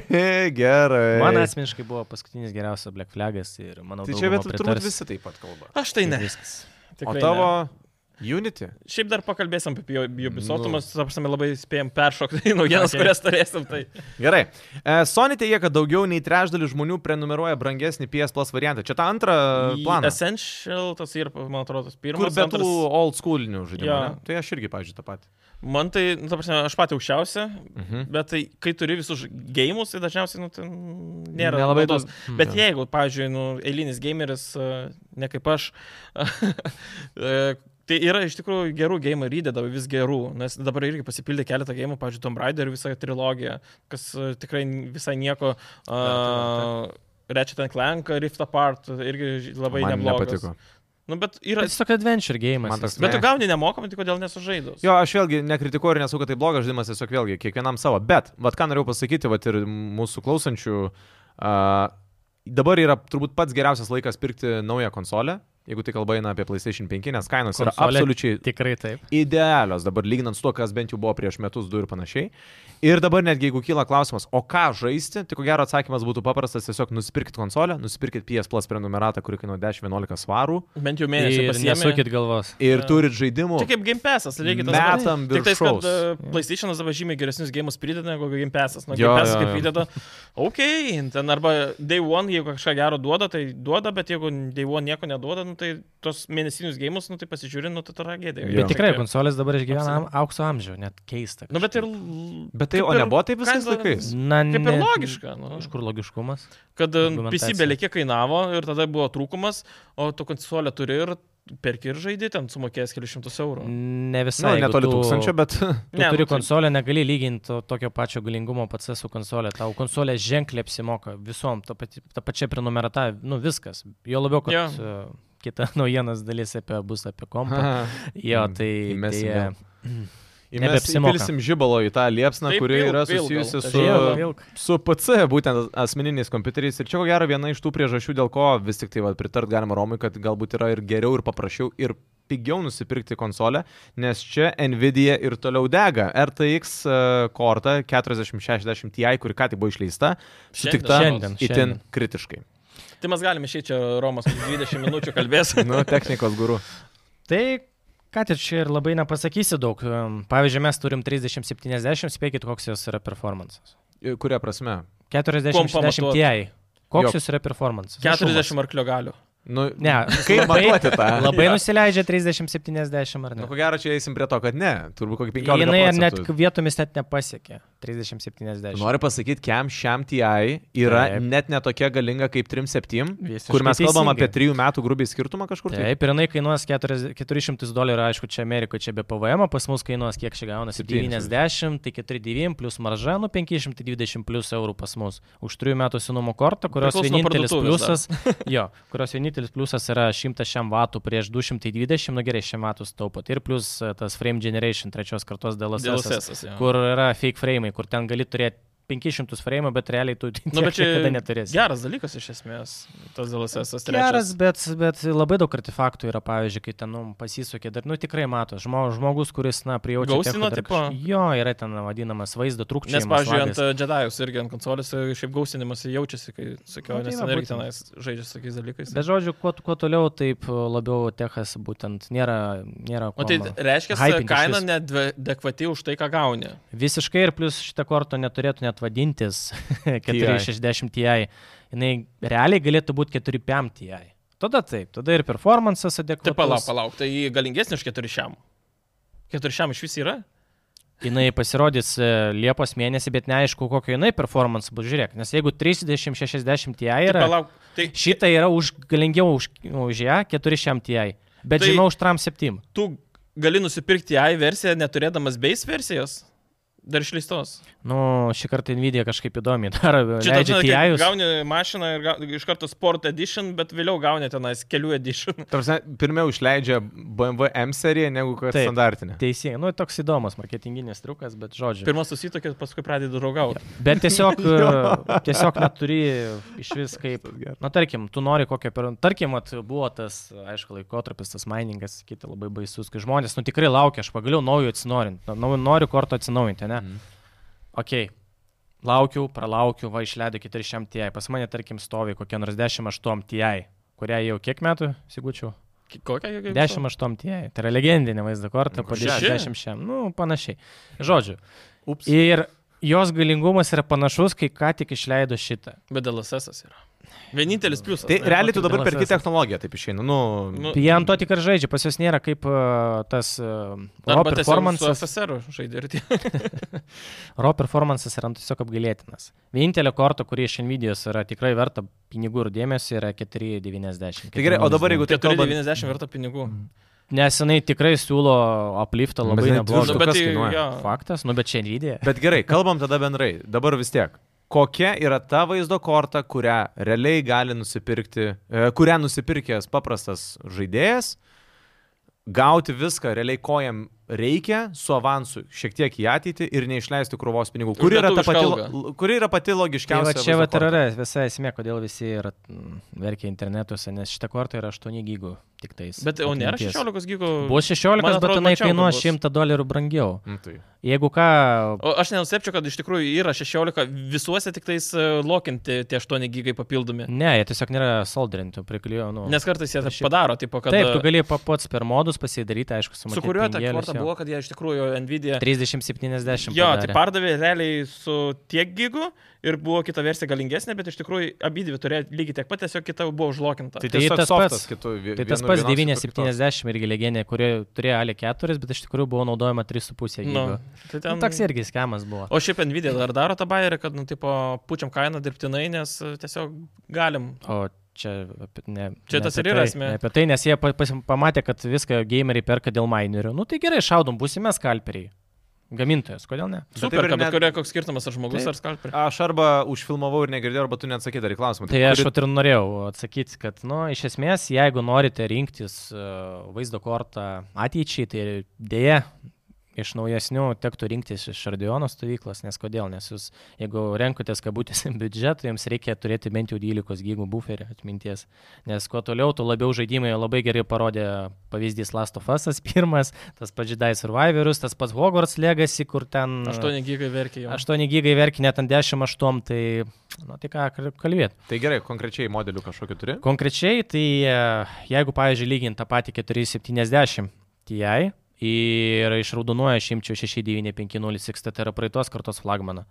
Speaker 1: [LAUGHS] Gerai.
Speaker 3: Man asmeniškai buvo paskutinis geriausias Black Flagas ir manau,
Speaker 1: Tai čia
Speaker 3: dauguma
Speaker 1: bet turbūt
Speaker 3: pritars.
Speaker 1: visi taip pat kalba.
Speaker 2: Aš tai ne.
Speaker 3: Viskas.
Speaker 1: O
Speaker 2: Tikrai
Speaker 1: tavo Unity?
Speaker 2: Ne. Šiaip dar pakalbėsim apie Ju- Ubisoftų,
Speaker 1: Nu.
Speaker 2: mes, apsame, labai spėjom peršokti į naujienas,
Speaker 3: Okay.
Speaker 2: kurias turėsim. Tai.
Speaker 1: Gerai. E, Sony teigia, kad daugiau nei trečdalis žmonių prenumeruoja brangesnį PS Plus variantą. Čia tą antrą E, planą.
Speaker 2: Essential, tas ir, man atrodo, tas
Speaker 1: Kur
Speaker 2: pirmas.
Speaker 1: be tų
Speaker 2: antras-
Speaker 1: old schoolinių žaidimų.
Speaker 2: Jo.
Speaker 1: Ja. Tai aš irgi, pažiūrėjau, tą patį.
Speaker 2: Man tai, nu, ta prasme, aš pati aukščiausia,
Speaker 1: Mhm.
Speaker 2: bet tai, kai turi visus ž- gėjimus, tai dažniausiai, nu, ten nėra
Speaker 1: Nelabai Mhm.
Speaker 2: naudos.
Speaker 1: daug-
Speaker 2: Bet
Speaker 1: Mm, jo.
Speaker 2: jeigu, pavyzdžiui, nu, eilinis gameris, e, ne kaip aš, [LAUGHS] e, tai yra iš tikrųjų gerų gėjimų ir įdedavo vis gerų, nes dabar irgi pasipildė keletą gėjimų, pavyzdžiui, Tomb Raider visą trilogiją, kas e, tikrai n- visai nieko.
Speaker 1: tai
Speaker 2: Uh, Ratchet and Clank, Rift Apart, irgi ž- labai
Speaker 1: Man
Speaker 2: neblogas.
Speaker 1: nepatiko.
Speaker 2: Nu, bet
Speaker 3: Bet
Speaker 2: yra,
Speaker 3: Jis toks adventure game.
Speaker 1: Man toks-
Speaker 2: bet tu
Speaker 1: Ne.
Speaker 2: gauni nemokamai, tai kodėl nesužaidus?
Speaker 1: Jo, aš vėlgi nekritikuoju ir nesu, kad tai blogas žaidimas, tiesiog vėlgi kiekvienam savo. Bet, vad ką norėjau pasakyti, vad ir mūsų klausančių, uh, dabar yra turbūt pats geriausias laikas pirkti naują konsolę, jeigu tai kalba eina apie PlayStation 5, nes kainos yra
Speaker 3: Konsolė
Speaker 1: absoliučiai
Speaker 3: Tikrai taip.
Speaker 1: idealios dabar, lyginant su to, kas bent jau buvo prieš metus, du ir panašiai. Ir dabar netgi jeigu kyla klausimas, o ką žaisti, tai ko gero atsakymas būtų paprastas, tiesiog nusipirkit konsolę, nusipirkit PS Plus prenumeratą, kuri kainuoja 10-11 svarų
Speaker 2: Bent jau mėnesį
Speaker 3: Ir
Speaker 2: pasiemi.
Speaker 3: nesukit galvos.
Speaker 1: ir
Speaker 2: Jo.
Speaker 1: turit žaidimų.
Speaker 2: Čia kaip Game Passas, tai lygiai tas pats.
Speaker 1: metam
Speaker 2: Tik tais, kad
Speaker 1: viršaus.
Speaker 2: e, PlayStation'as dabar žymiai geresnius gėjimus prideda negu Game Passas. Nu,
Speaker 1: Jo,
Speaker 2: Game Passas
Speaker 1: jo,
Speaker 2: kaip
Speaker 1: jo.
Speaker 2: prideda, okei, okay, ten arba Day One, jeigu kažką gero duoda, tai duoda, bet jeigu Day One nieko neduoda, nu, tai tos mėnesinius gėjimus, nu, tai pasižiūri, nu, tai tragedija.
Speaker 1: Jo.
Speaker 3: Bet tikrai konsolės dabar išgyvena
Speaker 2: Apsimeta.
Speaker 3: am- aukso amžių, net keista.
Speaker 2: Nu, bet ir...
Speaker 1: Bet tai,
Speaker 2: kaip
Speaker 1: o
Speaker 2: ir
Speaker 1: nebuvo taip visais
Speaker 2: kaina-
Speaker 1: laikais?
Speaker 3: Na,
Speaker 2: Kaip ir
Speaker 3: ne-
Speaker 2: logiška, nu,
Speaker 3: Iš kur logiškumas?
Speaker 2: kad e,
Speaker 3: Argumentacija.
Speaker 2: PC belikė kainavo ir tada buvo trūkumas, o tu konsolę turi ir perki ir žaidži, ten sumokėjęs kelius šimtus eurų.
Speaker 3: Ne
Speaker 1: Na, nu,
Speaker 3: visai. jeigu
Speaker 1: netoli
Speaker 3: tu-
Speaker 1: tūkstančio, bet...
Speaker 2: [LAUGHS]
Speaker 3: Tu
Speaker 2: Ne,
Speaker 3: ne,
Speaker 2: nu,
Speaker 3: turi
Speaker 2: tai-
Speaker 3: konsolę, negali lyginti to- tokio pačio galingumo pats su konsolė. Tau konsolė ženkliai apsimoka visom, ta, pati, ta pačia prenumerata, nu viskas. Jo labiau, kad
Speaker 2: Jo.
Speaker 3: ja. kita [LAUGHS] naujienas dalis apie, bus apie kompą. Jo, tai
Speaker 1: Mm, Įmesim
Speaker 3: tai,
Speaker 1: vėl. Mes
Speaker 3: Nebeapsimoka.
Speaker 1: įpilsim žibalo į tą liepsną,
Speaker 2: Tai
Speaker 1: kuri
Speaker 2: pilk,
Speaker 1: yra
Speaker 2: pilk gal.
Speaker 1: susijusi
Speaker 2: Tai
Speaker 1: su...
Speaker 2: žibalo.
Speaker 3: Vėl, vėl.
Speaker 1: su PC, būtent asmeniniais kompiuteriais. Ir čia ko gero viena iš tų priežasčių, dėl ko vis tik tai va, pritart galima Romui, kad galbūt yra ir geriau, ir paprasčiau, ir pigiau nusipirkti konsolę, nes čia Nvidia ir toliau dega. RTX e, korta 4060 Ti, kuri ką tik buvo išleista, sutikta
Speaker 3: Šiandien,
Speaker 1: itin
Speaker 3: šiandien.
Speaker 1: kritiškai.
Speaker 2: Tai mes galime išėti čia, Romas, 20 minučių kalbės.
Speaker 1: [LAUGHS] Nu, technikos guru.
Speaker 3: Tai, ką tik čia ir labai nepasakysi daug. Em, Pavyzdžiui, mes turim 3070, spėkit, koks jos yra performances.
Speaker 1: I- Kuria prasme?
Speaker 2: Kuom
Speaker 3: 4070
Speaker 2: pamatuot?
Speaker 3: Ti.
Speaker 1: Jo.
Speaker 3: Koks jos yra performances?
Speaker 2: 40 arklio galių.
Speaker 1: Nu,
Speaker 3: Ne,
Speaker 1: kaip matuoti tą?
Speaker 3: Labai nusileidžia 3070 ar
Speaker 1: Nu,
Speaker 3: ne?
Speaker 1: ko gero čia eisim prie to, kad ne. Turbūt kokį 15
Speaker 3: Jinai
Speaker 1: procentų.
Speaker 3: net vietomis net nepasiekė 30-70.
Speaker 1: Noriu pasakyti, kiam šiam TI yra
Speaker 3: Taip.
Speaker 1: Taip. net netokia galinga kaip 3.7,
Speaker 3: Visiškai
Speaker 1: kur mes kalbam
Speaker 3: teisingai.
Speaker 1: apie 3 metų grubiai skirtumą kažkur. tai?
Speaker 3: Taip, ir jinai kainuos 40 400 dolerių, aišku, čia Amerikoje, čia be PVM, o pas mus kainuos kiek čia gaunasi
Speaker 1: 70.
Speaker 3: 90, tai 4,9 plus marža, nu 520 plus eurų pas mus už 3 metų senumo kortą, kurios
Speaker 2: Priklauso nuo
Speaker 3: vienintelis
Speaker 2: parduotuvės
Speaker 3: pliusas,
Speaker 2: [LAUGHS]
Speaker 3: jo, kurios vienintelis pliusas yra 100 šiam vatų prieš 220, nu gerai, šiam vatų staupot. Ir plus e, tas frame generation trečios kartos DLSS.
Speaker 2: DLSS, jo.
Speaker 3: kur yra fake frame'ai, kur ten gali turėti 500 frame, bet realiai tu
Speaker 2: Nu, bet čia
Speaker 3: niekada neturėsi.
Speaker 2: Geras dalykas iš esmės, tas DLSS trečias.
Speaker 3: Geras, bet, bet labai daug artefaktų yra, pavyzdžiui, kai ten nu, pasisukė, dar, nu tikrai mato, žmo- žmogus, kuris, na, prijaučia.
Speaker 2: Gausino
Speaker 3: techno dar
Speaker 2: tipo?
Speaker 3: kaž- Jo, yra ten vadinamas vaizdo trūkčiai.
Speaker 2: Nes, pavyzdžiui, ant e, Jedi'aus irgi ant konsolės e, šiaip gausinimas jaučiasi, kai sakiau,
Speaker 3: Nu, tai
Speaker 2: nes
Speaker 3: va,
Speaker 2: ten irgi
Speaker 3: būtent.
Speaker 2: tenais žaidžia su tokiais dalykais.
Speaker 3: Be žodžių, kuo, kuo toliau, taip e, labiau techas būtent nėra. nėra
Speaker 2: O tai
Speaker 3: kuom-
Speaker 2: reiškia,
Speaker 3: Hypinti
Speaker 2: kaina
Speaker 3: išvis.
Speaker 2: nedekvati už tai, ką gauni.
Speaker 3: Visiškai ir plus šitą kortą neturėtų net vadintis [LAUGHS] 460 TI. Jis realiai galėtų būti 4PM TI. Tada taip, tada ir performances adekvatus.
Speaker 2: Tai palauk, palauk, tai ji galingesnė už keturišiam. Keturišiam iš vis yra?
Speaker 3: Jis pasirodys e, Liepos mėnesį, bet neaišku, kokio jinai performance bus. Žiūrėk, nes jeigu 3060 TI
Speaker 2: Tai
Speaker 3: yra,
Speaker 2: palauk, tai
Speaker 3: šitą yra už, galingiau už, už ją, 400 TI, bet
Speaker 2: Tai-
Speaker 3: tai... žemiau už TRAM 7.
Speaker 2: tu gali nusipirkti AI versiją, neturėdamas base versijos? Dar išleistos.
Speaker 3: Nu, šį kartą Nvidia kažkaip įdomiai daro.
Speaker 2: ta prasme,
Speaker 3: Leidžia
Speaker 2: kai
Speaker 3: TI. -us.
Speaker 2: gauni mašiną ir gau- iš karto Sport Edition, bet vėliau gauni tenais kelių Edition.
Speaker 1: Tarsi, pirmiau išleidžia BMW M seriją negu kad
Speaker 3: Taip.
Speaker 1: standartinė.
Speaker 3: Teisingai, nu toks įdomus marketinginis triukas, bet žodžiu.
Speaker 2: Pirmas susitokė, paskui pradedi draugauti.
Speaker 3: Bet tiesiog, e, tiesiog neturi iš vis kaip. Na, tarkim, tu nori kokią per... Tarkim, at, buvo tas, aišku, laikotarpis, tas miningas, kiti labai baisus, kai žmonės, nu tikrai laukia, aš pagaliau naujo atsinaujinti, noriu kortą atsinaujinti, ne?
Speaker 1: Mhm.
Speaker 3: Mm. Ok, laukiu, pralaukiu, va išleido 400 TI, pas mane, tarkim, stovi kokia nors 18 TI, kurią jau kiek metų, sigučiau?
Speaker 2: Ki- Kokią? jėgą?
Speaker 3: 18 TI, tai yra legendinė vaizdo kortą, po
Speaker 2: Šeši?
Speaker 3: 10 šiam, nu panašiai. Žodžiu,
Speaker 1: Ups.
Speaker 3: ir jos galingumas yra panašus, kai ką tik išleido šitą.
Speaker 2: Bet DLSS yra. Vienintelis pliusas.
Speaker 1: Tai
Speaker 2: ne?
Speaker 1: realiai tu dabar
Speaker 3: kodėl
Speaker 1: perki
Speaker 3: esas-
Speaker 1: technologiją, taip išeina. Nu,
Speaker 2: Nu,
Speaker 3: Tai Jie ant to tik ir žaidžia, pas juos nėra kaip uh, tas uh, raw
Speaker 2: Arba tiesiog su
Speaker 3: performances.
Speaker 2: FSR žaidė ir tie.
Speaker 3: Raw performances yra tiesiog apgailėtinas. Vienintelė korta, kuri iš Nvidia yra tikrai verta pinigų ir dėmesio, yra 490.
Speaker 1: tai gerai, o dabar jeigu taip kalbant,
Speaker 2: 490 verta pinigų.
Speaker 3: Mm, Nes jinai tikrai siūlo upliftą
Speaker 1: Mm, Bet
Speaker 3: labai
Speaker 1: jinai
Speaker 2: Nu,
Speaker 1: Maždaug
Speaker 3: neblogą.
Speaker 1: turi-
Speaker 2: bet
Speaker 1: kas
Speaker 2: tai,
Speaker 1: kainuoja?
Speaker 2: jo.
Speaker 3: Faktas, nu bet čia Nvidia.
Speaker 1: bet gerai, kalbam tada bendrai. Dabar vis tiek. Kokia yra ta vaizdo korta, kurią realiai gali nusipirkti, e, kurią nusipirkęs paprastas žaidėjas, gauti viską realiai, ko jam reikia, su avansu šiek tiek į ateitį ir neišleisti krūvos pinigų.
Speaker 2: Už
Speaker 1: Kuri yra, ta
Speaker 2: lietuvišką
Speaker 1: pati,
Speaker 2: algą.
Speaker 1: lo- kuri yra pati
Speaker 3: Tai va
Speaker 1: logiškiausia?
Speaker 3: čia
Speaker 1: vaizdo
Speaker 3: va ir
Speaker 1: korta?
Speaker 3: yra visa esmė, kodėl visi yra, mm, verkia internetuose, nes šita korta yra 8 gigų tik tais.
Speaker 2: Bet o nėra
Speaker 3: atminties.
Speaker 2: 16 gigų.
Speaker 3: Buvo 16,
Speaker 2: Man atrodo,
Speaker 3: bet jinai
Speaker 2: mačiau, kad
Speaker 3: kainuoja
Speaker 2: bus.
Speaker 3: 100 dolerių brangiau.
Speaker 1: Mm, tai.
Speaker 3: Jeigu ką,
Speaker 2: O aš nenustepčiau, kad iš tikrųjų yra 16, visuose tik tais e, lokinti tie 8 gigai papildomi.
Speaker 3: ne, jie tiesiog nėra soldrintų, priklijuojų. Nu.
Speaker 2: Nes kartais jie taip
Speaker 3: Šiaip-
Speaker 2: padaro, tipo, kad... e,
Speaker 3: Taip, tu gali pa- pats per modus pasidaryti, aišku, su
Speaker 2: Su
Speaker 3: mokėti
Speaker 2: kuriuo ta
Speaker 3: pinigėlius,
Speaker 2: korta
Speaker 3: jo.
Speaker 2: buvo, kad jie iš tikrųjų Nvidia...
Speaker 3: 30-70.
Speaker 2: Jo, tai
Speaker 3: padarė.
Speaker 2: pardavė realiai su tiek gigų ir buvo kita versija galingesnė, bet iš tikrųjų abidvi turėjo lygiai tiek pat, tiesiog kita buvo užlokinta.
Speaker 1: Tai
Speaker 3: Tai
Speaker 1: tiesiog
Speaker 3: tas
Speaker 1: softas
Speaker 3: pats-
Speaker 1: kitų vi-
Speaker 3: Tai tas
Speaker 1: vienu-
Speaker 3: pats
Speaker 1: vienos kitų kitos.
Speaker 3: 970 irgi legendė, kuri turėjo Ali 4, bet iš tikrųjų buvo naudojama 3,5 gigų.
Speaker 2: Nu,
Speaker 3: Nu,
Speaker 2: tai ten...
Speaker 3: ten... Toks irgi skemas buvo.
Speaker 2: O šiaip Nvidia dar daro tą bairį, kad, nu, tipo, pučiam kainą dirbtinai, nes e, tiesiog galim.
Speaker 3: O čia apie- ne.
Speaker 2: Čia
Speaker 3: ne
Speaker 2: tas
Speaker 3: apie
Speaker 2: ir yra
Speaker 3: tai,
Speaker 2: esmė.
Speaker 3: ne Apie tai, nes jie pa- pasi- pamatė, kad viską gameriai perka dėl minerių. Nu tai gerai, šaudom, būsime skalperiai. Gamintojas, kodėl ne?
Speaker 1: Bet
Speaker 2: Super,
Speaker 1: taip ir
Speaker 2: bet
Speaker 1: net-
Speaker 2: kuria koks skirtumas, ar žmogus,
Speaker 3: Taip.
Speaker 2: ar skalperis.
Speaker 1: Aš arba užfilmavau ir negirdėjau, arba tu neatsakai dar į klausimą.
Speaker 3: Tai aš vat ir norėjau atsakyti, kad, nu, iš esmės, jeigu norite rinktis uh, vaizdo kortą ateičiai, tai dėje iš naujesnių tektų rinktis iš Ardiono stovyklos, nes kodėl, nes jūs, jeigu renkatės kabutėse [LAUGHS] biudžetą, jums reikia turėti bent jau 12 gigų buferį atminties, nes kuo toliau, tuo labiau žaidimai labai gerai parodė pavyzdys Last of Us pirmas, tas pats Jedi Survivorius, tas pats Hogwarts Legacy, kur ten...
Speaker 2: 8 gigai verkia jau.
Speaker 3: 8 gigai verkia net ant 10-8, tai, na, tai ką kalbėti.
Speaker 1: Tai gerai, konkrečiai modelių kažkokiu turi.
Speaker 3: Konkrečiai, tai e, jeigu, pavyzdžiui, lygint tą patį 470 Ti ir iš raudonuoja šimčio 69506, tai yra praeitos kartos flagmaną.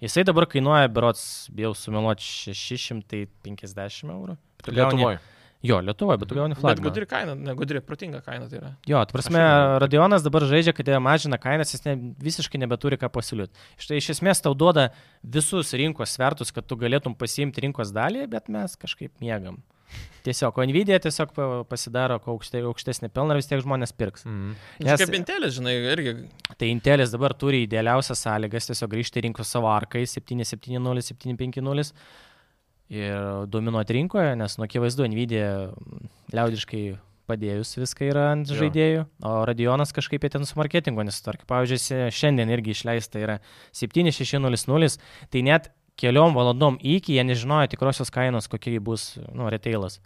Speaker 3: Jisai dabar kainuoja, berots, bijau sumeluoti, 650 eurų. Tu gauni-
Speaker 1: Lietuvoje.
Speaker 3: Jo, Lietuvoje, bet tu gauni
Speaker 2: Bet
Speaker 3: flagmaną.
Speaker 2: gudri kaina, ne gudri, protinga kaina tai yra.
Speaker 3: Jo, tu prasme, Radionas dabar žaidžia, kad jie mažina kainas, jis ne, visiškai nebeturi ką pasiūlyti. Štai iš esmės tau duoda visus rinkos svertus, kad tu galėtum pasiimti rinkos dalį, bet mes kažkaip mėgam. Tiesiog, o Nvidia tiesiog pa- pasidaro kuo aukšte, aukštesnį pelną ir vis tiek žmonės pirks.
Speaker 1: Mhm.
Speaker 2: Nes...
Speaker 3: Nes-
Speaker 2: Kaip Intelis, žinai, irgi.
Speaker 3: Tai Intelis dabar turi idealiausias sąlygas tiesiog grįžti į rinkos savo arkai 770, 750 ir dominuoti rinkoje, nes nu akivaizdu, Nvidia mm, liaudiškai padėjus viską yra ant
Speaker 1: Jo.
Speaker 3: žaidėjų, o Radionas kažkaip jie ten su marketingu nesutvarkė. Pavyzdžiui, se- šiandien irgi išleista yra 7600, tai net keliom valandom iki jie nežinojo tikrosios kainos, kokia ji bus, nu, retailas.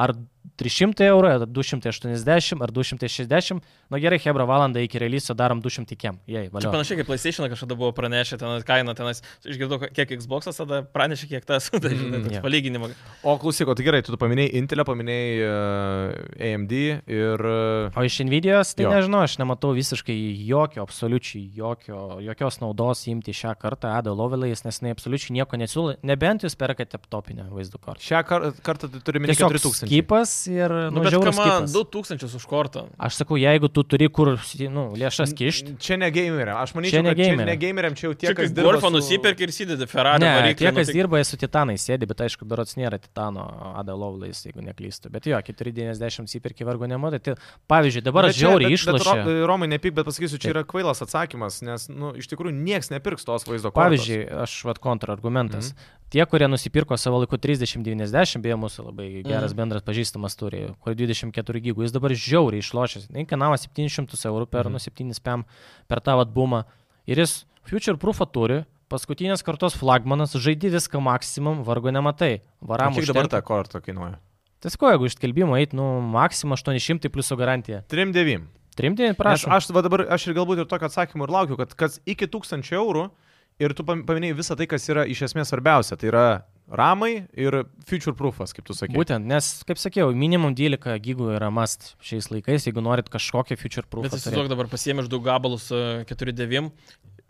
Speaker 3: Ar 300 eurų, ar 280, ar 260, nu gerai, Hebra valandą iki releaso darom 200 kiem. Jei,
Speaker 2: Čia
Speaker 3: valio.
Speaker 2: panašiai kaip PlayStation kažkada buvo pranešę ten kainą, tenais išgirdau, kiek Xbox, tada pranešė, kiek tas, [LAUGHS] tai žinai,
Speaker 3: Mm,
Speaker 2: toks
Speaker 3: jo.
Speaker 2: palyginimas.
Speaker 1: O klausyk, o tai gerai, tu paminėjai Intelą, paminėjai uh, AMD ir... Uh,
Speaker 3: O iš Nvidios, tai
Speaker 1: Jo.
Speaker 3: jo. nežinau, aš nematau visiškai jokio, absoliučiai jokio, jokios naudos imti šią kartą Ada Lovelais, nes jinai absoliučiai nieko nesiūlo, nebent jūs perkate topinę vaizdu kortą.
Speaker 1: šią kar kartą tu turi minėti
Speaker 3: Tiesiog
Speaker 1: 4000.
Speaker 3: skipas ir
Speaker 2: Nu, bet
Speaker 3: nužiauriai.
Speaker 2: kama,
Speaker 3: Nu,
Speaker 2: 2000 už kortą.
Speaker 3: aš sakau, jeigu tu turi kur nu, lėšas kišti.
Speaker 1: Čia ne gameriam. Aš manyčiau,
Speaker 3: Čia ne
Speaker 1: kad čia ne
Speaker 3: gameriam.
Speaker 1: gameriam, čia jau tie,
Speaker 2: Čia
Speaker 1: kas
Speaker 2: kaip
Speaker 1: dirba.
Speaker 2: golfą
Speaker 1: su-
Speaker 2: nusipirka ir įsidedi Ferrari.
Speaker 3: Ne,
Speaker 2: variklį,
Speaker 3: tie,
Speaker 2: nu,
Speaker 3: kas
Speaker 2: tai-
Speaker 3: dirba, jie su titanai sėdi, bet aišku, berots nėra titano Ada Lovelais, jeigu neklystu. Bet jo, 490 įpirki vargu nematai. Tai, pavyzdžiui, dabar
Speaker 1: Bet
Speaker 3: aš
Speaker 1: čia-
Speaker 3: žiauriai
Speaker 1: bet- bet
Speaker 3: išlošiu.
Speaker 1: Ro- Romai, nepyk, bet pasakysiu, čia yra kvailas atsakymas, nes, na, nu, iš tikrųjų niekas nepirks tos vaizdo kortos.
Speaker 3: Pavyzdžiui, aš vad kontrargumentas.
Speaker 1: Mhm.
Speaker 3: Tie, kurie nusipirko savo laiku 3090, beje, mūsų labai geras
Speaker 2: Mhm.
Speaker 3: bendras pažįstamas turi, kur 24 gigų, jis dabar žiauriai išlošęs. Jis kainavo 700 eurų per,
Speaker 1: Mhm.
Speaker 3: nu, 7 spam per tą atbumą. Ir jis future proofą turi, paskutinės kartos flagmanas, žaidi viską maksimum, vargo nematai.
Speaker 1: O
Speaker 3: Varam
Speaker 1: kiek dabar ta korta kainuoja?
Speaker 3: Tiesiog, Tai jeigu iš skelbimo eit, nu, maksimum 800 pliuso garantija.
Speaker 1: 3,9.
Speaker 3: Trimdien,
Speaker 1: Nes
Speaker 3: prašau.
Speaker 1: Aš va dabar, aš ir galbūt ir tokio atsakymo ir laukiu, kad kas iki 1000 eurų ir tu pam- paminėjai visą tai, kas yra iš esmės svarbiausia. Tai yra ramai ir future proofas, kaip tu sakai.
Speaker 3: Būtent, nes, kaip sakiau, minimum 12 gigų yra must šiais laikais, jeigu norit kažkokį future
Speaker 2: Bet
Speaker 3: proofą. turėt.
Speaker 2: įsivaizduok dabar pasiemi iš daug gabalus 4-9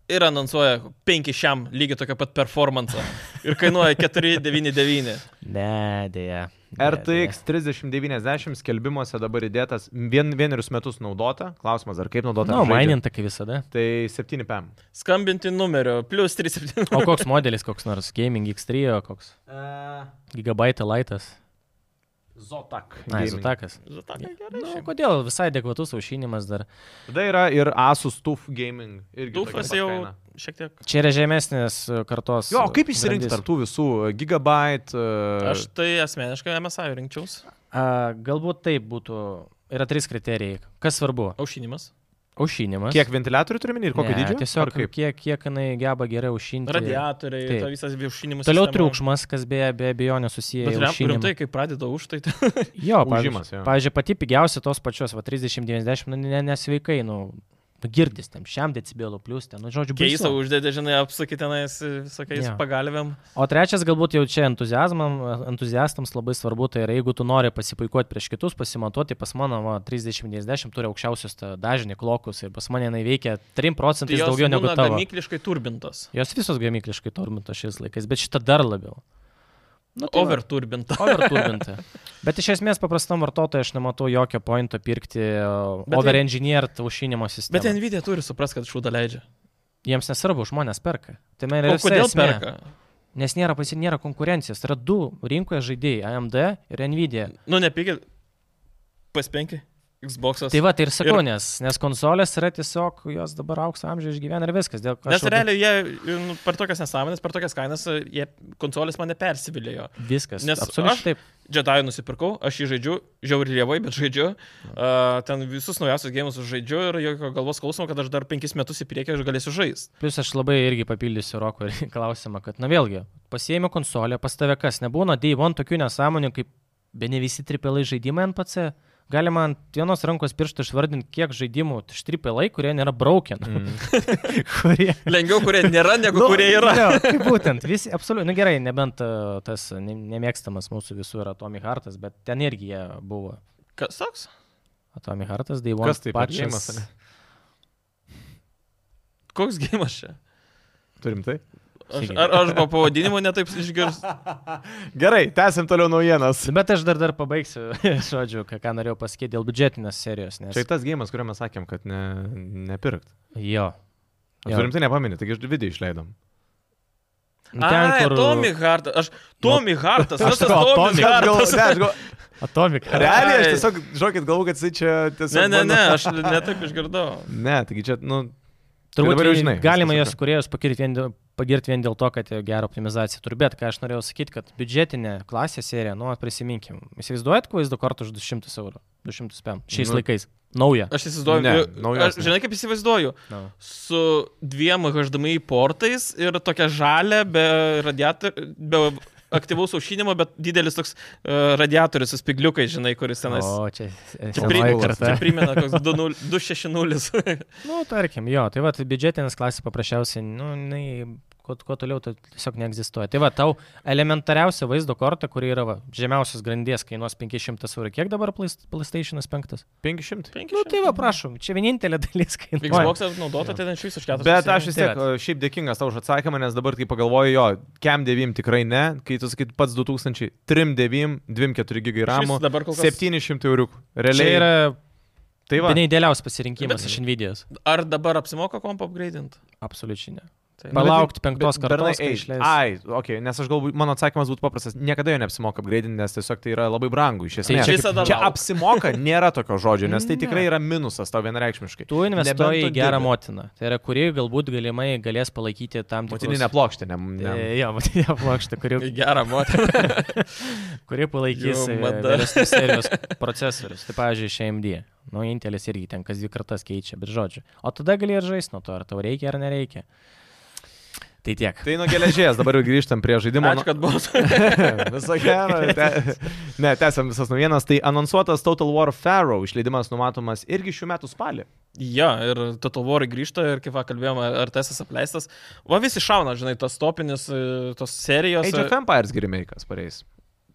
Speaker 2: ir anonsuoja 5 šiam lygiai tokio pat performance ir kainuoja 4-9-9.
Speaker 3: Ne, dėja. Ne, dėja.
Speaker 1: RTX 3090 skelbimuose dabar įdėtas vien, vienerius metus naudota. Klausimas, ar kaip naudota?
Speaker 3: Na,
Speaker 1: ar
Speaker 3: no,
Speaker 1: žaidžia?
Speaker 3: maininta kaip Nu, visada.
Speaker 1: Tai 7 PM.
Speaker 2: Skambinti numeriu, plus [LAUGHS] 3-7.
Speaker 3: O koks modelis, koks nors Gaming X3, o koks Gigabyte Lightas,
Speaker 1: Zotak.
Speaker 3: Naizutakas.
Speaker 2: Žinai, gerai.
Speaker 3: Na,
Speaker 2: šiaip.
Speaker 3: Nu, kodėl visai adekvatus aušinimas dar.
Speaker 1: Tada yra ir Asus TUF Gaming. irgi tokia
Speaker 2: Dufas
Speaker 1: pat
Speaker 2: jau
Speaker 1: kaina.
Speaker 2: šiek tiek.
Speaker 3: Čia yra žemesnės e, kartos.
Speaker 1: Jo, o
Speaker 3: e,
Speaker 1: kaip išsirinkti
Speaker 3: grandis.
Speaker 1: tarp tų visų e, Gigabyte? e,
Speaker 2: Aš tai asmeniškai MSI rinkčiaus.
Speaker 3: A, galbūt taip būtų. Yra trys kriterijai. Kas svarbu?
Speaker 2: Aušinimas.
Speaker 3: Aušinimas.
Speaker 1: Kiek ventiliatorių turime ir kokio
Speaker 3: Ne,
Speaker 1: dydžio? Ar
Speaker 3: Tiesiog
Speaker 1: kaip?
Speaker 3: kiek, kiek jinai geba gerai aušinti.
Speaker 2: Radiatoriai,
Speaker 3: Nu, tai- Taip.
Speaker 2: ta visas aušinimas.
Speaker 3: Toliau triukšmas, kas beje be abejonės susiję
Speaker 2: Bet
Speaker 3: su
Speaker 2: rem-
Speaker 3: aušinimu.
Speaker 2: rimtai, kai pradeda už, tai tai
Speaker 3: Jo,
Speaker 1: Ūžimas,
Speaker 3: pavyzdžiui,
Speaker 1: jo.
Speaker 3: pavyzdžiui, pati pigiausia tos pačios, va 30-90, nu, ne, nesveikai, nu, nu, girdis tam, šiam decibelų plus, ten, nu, žodžiu, baisu.
Speaker 2: keista uždėdė, žinai, apsakytinais visokiais
Speaker 3: Jo.
Speaker 2: pagalvėm.
Speaker 3: O trečias, galbūt jau čia entuziazmam- entuziastams labai svarbu, tai yra, jeigu tu nori pasipuikuoti prieš kitus, pasimatuoti, pas mano va, 30-90 turi aukščiausius tą dažnį klokus ir pas mane jinai veikia 3
Speaker 2: Tai
Speaker 3: procentais
Speaker 2: jos
Speaker 3: daugiau negu
Speaker 2: būna
Speaker 3: tavo.
Speaker 2: Gamykliškai turbintos.
Speaker 3: Jos visos gamykliškai turbintos šiais laikais, bet šita dar labiau. Nu, va.
Speaker 2: Overturbinta.
Speaker 3: [LAUGHS] Overturbinta. Bet iš esmės paprastam vartotojui aš nematau jokio pointo pirkti uh,
Speaker 2: Bet tai-
Speaker 3: overengineered aušinimo
Speaker 2: Bet
Speaker 3: sistemą.
Speaker 2: Nvidia turi supras, kad šūdą leidžia.
Speaker 3: Jiems nesvarbu, žmonės perka. Tai man
Speaker 2: O
Speaker 3: yra visa
Speaker 2: kodėl
Speaker 3: esmė.
Speaker 2: perka?
Speaker 3: Nes nėra, pasi, nėra konkurencijos. Yra du rinkoje žaidėjai - AMD ir Nvidia.
Speaker 2: Nu, nepykit. Pas penki. Xbox'as.
Speaker 3: Tai va, tai ir sakau,
Speaker 2: Ir-
Speaker 3: ir... Nes, nes konsolės yra tiesiog, jos dabar aukso amžiuje išgyvena ir viskas. Dėl,
Speaker 2: Nes
Speaker 3: aš labai-
Speaker 2: realiai jie nu, per tokias nesąmonės, per tokias kainas, jie konsolės mane persivilėjo.
Speaker 3: Viskas.
Speaker 2: nes
Speaker 3: Nes absoliučiai
Speaker 2: aš-
Speaker 3: aš... taip.
Speaker 2: Jedi nusipirkau, aš jį žaidžiu, žiauriai lievai, bet žaidžiu. Uh, ten visus naujausius gėjimus žaidžiu ir jokio galvos klausimo, kad aš dar penkis metus į priekį aš galėsiu žaisti.
Speaker 3: Plus aš labai irgi papildysiu Roko ir [LAUGHS] klausimą, kad, na vėlgi, pasiemi konsolę, pas tave kas nebūna, Deivon tokių nesąmonių, kaip be ne visi tripelai žaidimai NPC. Galima ant vienos rankos pirštų išvardinti, kiek žaidimų štripelai, kurie nėra broken.
Speaker 1: Mm.
Speaker 3: [LAUGHS] kurie...
Speaker 2: Lengviau, kurie nėra, negu kurie yra.
Speaker 3: Jo,
Speaker 1: [LAUGHS]
Speaker 3: tai būtent, visi, absoliučiai, na gerai, nebent e, tas ne- nemėgstamas mūsų visų yra Tommy Hartas, bet ten irgi jie buvo.
Speaker 2: Kas toks?
Speaker 3: Tommy Hartas, Deivon.
Speaker 1: Kas tai pačiamas?
Speaker 2: Koks gėjimas čia?
Speaker 1: Turim tai?
Speaker 2: Aš, ar aš po pavadinimu netaip išgirstu?
Speaker 1: Gerai, tęsim toliau naujienas.
Speaker 3: Nu, Bet aš dar, dar pabaigsiu, [LAUGHS] žodžiu, ką, ką norėjau pasakyti dėl biudžetinės serijos. Nes...
Speaker 1: Čia tas gėjimas, kuriuo mes sakėm, kad ne, nepirkt.
Speaker 3: Jo. Jo.
Speaker 1: Turim tai nepaminėti, taigi ir video išleidom.
Speaker 3: Nu,
Speaker 2: Ten, kur... Tommy Hartas. Aš... Tommy Hartas. Aš tas Tommy
Speaker 1: Aš galvo-
Speaker 2: Hartas.
Speaker 1: ne, aš galvo-
Speaker 3: Atomic.
Speaker 1: [LAUGHS] Realiai, aš
Speaker 2: Ai.
Speaker 1: tiesiog, žokit, galvoju, kad jis čia tiesiog.
Speaker 2: Ne, ne, ne,
Speaker 1: bando-
Speaker 2: aš netaip išgirdau.
Speaker 1: Ne, taigi čia, nu,
Speaker 3: Turbūt
Speaker 1: dabar jau žinai,
Speaker 3: Galima
Speaker 1: viskas
Speaker 3: jos kuriejus pakirti vien dėl- pagirti vien dėl to, kad jie gerą optimizaciją turi. Bet ką aš norėjau sakyti, kad biudžetinė klasė serija, nu, prisiminkim, įsivaizduojat, kuo jis du kartus už 200 eurų, 200 pem, šiais
Speaker 1: Nu.
Speaker 3: laikais, nauja.
Speaker 2: Aš įsivaizduoju,
Speaker 1: Ne,
Speaker 2: ju-
Speaker 1: naujos
Speaker 2: aš,
Speaker 1: ne.
Speaker 2: žinai kaip įsivaizduoju,
Speaker 3: Na.
Speaker 2: su dviem HDMI portais ir tokia žalia, be radiatorių, be aktyvaus aušinimo, bet didelis toks uh, radiatorius, su spigliukai, žinai, kuris tenais.
Speaker 3: O, čia
Speaker 2: Čia pri-
Speaker 3: senoji karta.
Speaker 2: čia primena, koks 20 260.
Speaker 3: Nu, tarkim, jo, tai va, biudžetinės klasės paprasčiausiai, nu, jinai, kuo, kuo toliau, tai tiesiog neegzistuoja. Tai va, tau elementariausia vaizdo korta, kuri yra va, žemiausios grandies, kainuos 500 eurų. Kiek dabar Playst- PlayStation'as 5?
Speaker 1: 500.
Speaker 3: Nu, tai va, prašom, čia vienintelė dalis kainuoja.
Speaker 2: Xbox naudota, tai ten iš viso išketas.
Speaker 1: Bet aš vis
Speaker 3: tai
Speaker 1: tiek
Speaker 3: vat.
Speaker 1: e, šiaip dėkingas tau už atsakymą, nes dabar, kai pagalvoju, jo, Cam 9 tikrai ne, kai tu sakyt pats 2000, 3 9, 24 GB RAM,
Speaker 2: dabar kol kas.
Speaker 1: 700 eurų.
Speaker 3: Čia
Speaker 1: Realiai
Speaker 3: yra
Speaker 1: Tai va.
Speaker 3: tai idealiausias pasirinkimas
Speaker 2: Bet-
Speaker 3: iš Nvididos.
Speaker 2: Ar dabar apsimoka kompą upgrade'int?
Speaker 3: Absoliučiai ne.
Speaker 2: Tai-
Speaker 3: Palaukti penktos
Speaker 1: Be- bernai,
Speaker 3: kartos, kai
Speaker 1: ei,
Speaker 3: išleis.
Speaker 1: Ai, okei, okay, nes aš galbūt, mano atsakymas būtų paprastas, niekada jo neapsimoka upgraidinti, nes tiesiog tai yra labai brangu iš esmės.
Speaker 3: čia
Speaker 2: visada
Speaker 1: čia
Speaker 2: lauk.
Speaker 1: apsimoka nėra tokio žodžio, nes tai
Speaker 2: Mm.
Speaker 3: Ne.
Speaker 1: tikrai yra minusas tau vienareikšmiškai.
Speaker 3: Tu investuoji į
Speaker 1: Nebent tu
Speaker 3: gerą
Speaker 1: dirbi.
Speaker 3: motiną. Tai yra, kuri galbūt galimai galės palaikyti tam tikrą...
Speaker 1: Motininė plokštė, ne. ne.
Speaker 3: Jo, motininė plokštė, kuri
Speaker 2: Į Gerą moterį.
Speaker 1: [LAUGHS]
Speaker 3: kurie palaikys
Speaker 2: Jau
Speaker 3: e,
Speaker 2: mada.
Speaker 3: vėlesnius
Speaker 2: [LAUGHS]
Speaker 3: serijos procesorius. Tai, pavyzdžiui, iš AMD. Nu, Intelis irgi ten kas dvi kartas keičia, bet žodžiu. O tada gali ir žaisti nuo to, ar tau reikia ar nereikia. Tai tiek.
Speaker 1: Tai nuo geležies, dabar jau grįžtam prie žaidimo. [LAUGHS]
Speaker 2: Ačiū, kad buvot. [LAUGHS]
Speaker 1: Visą gerą. Te... Ne, tęsiam visas naujienas. Tai anonsuotas Total War Pharaoh išleidimas numatomas irgi šių metų spalį.
Speaker 2: Jo, ir Total War grįžta ir kaip va kalbėjome, ar tas esi apleistas. Va visi šauna, žinai, tas topinis, e, tos serijos.
Speaker 1: Age of Empires remake'as pareis.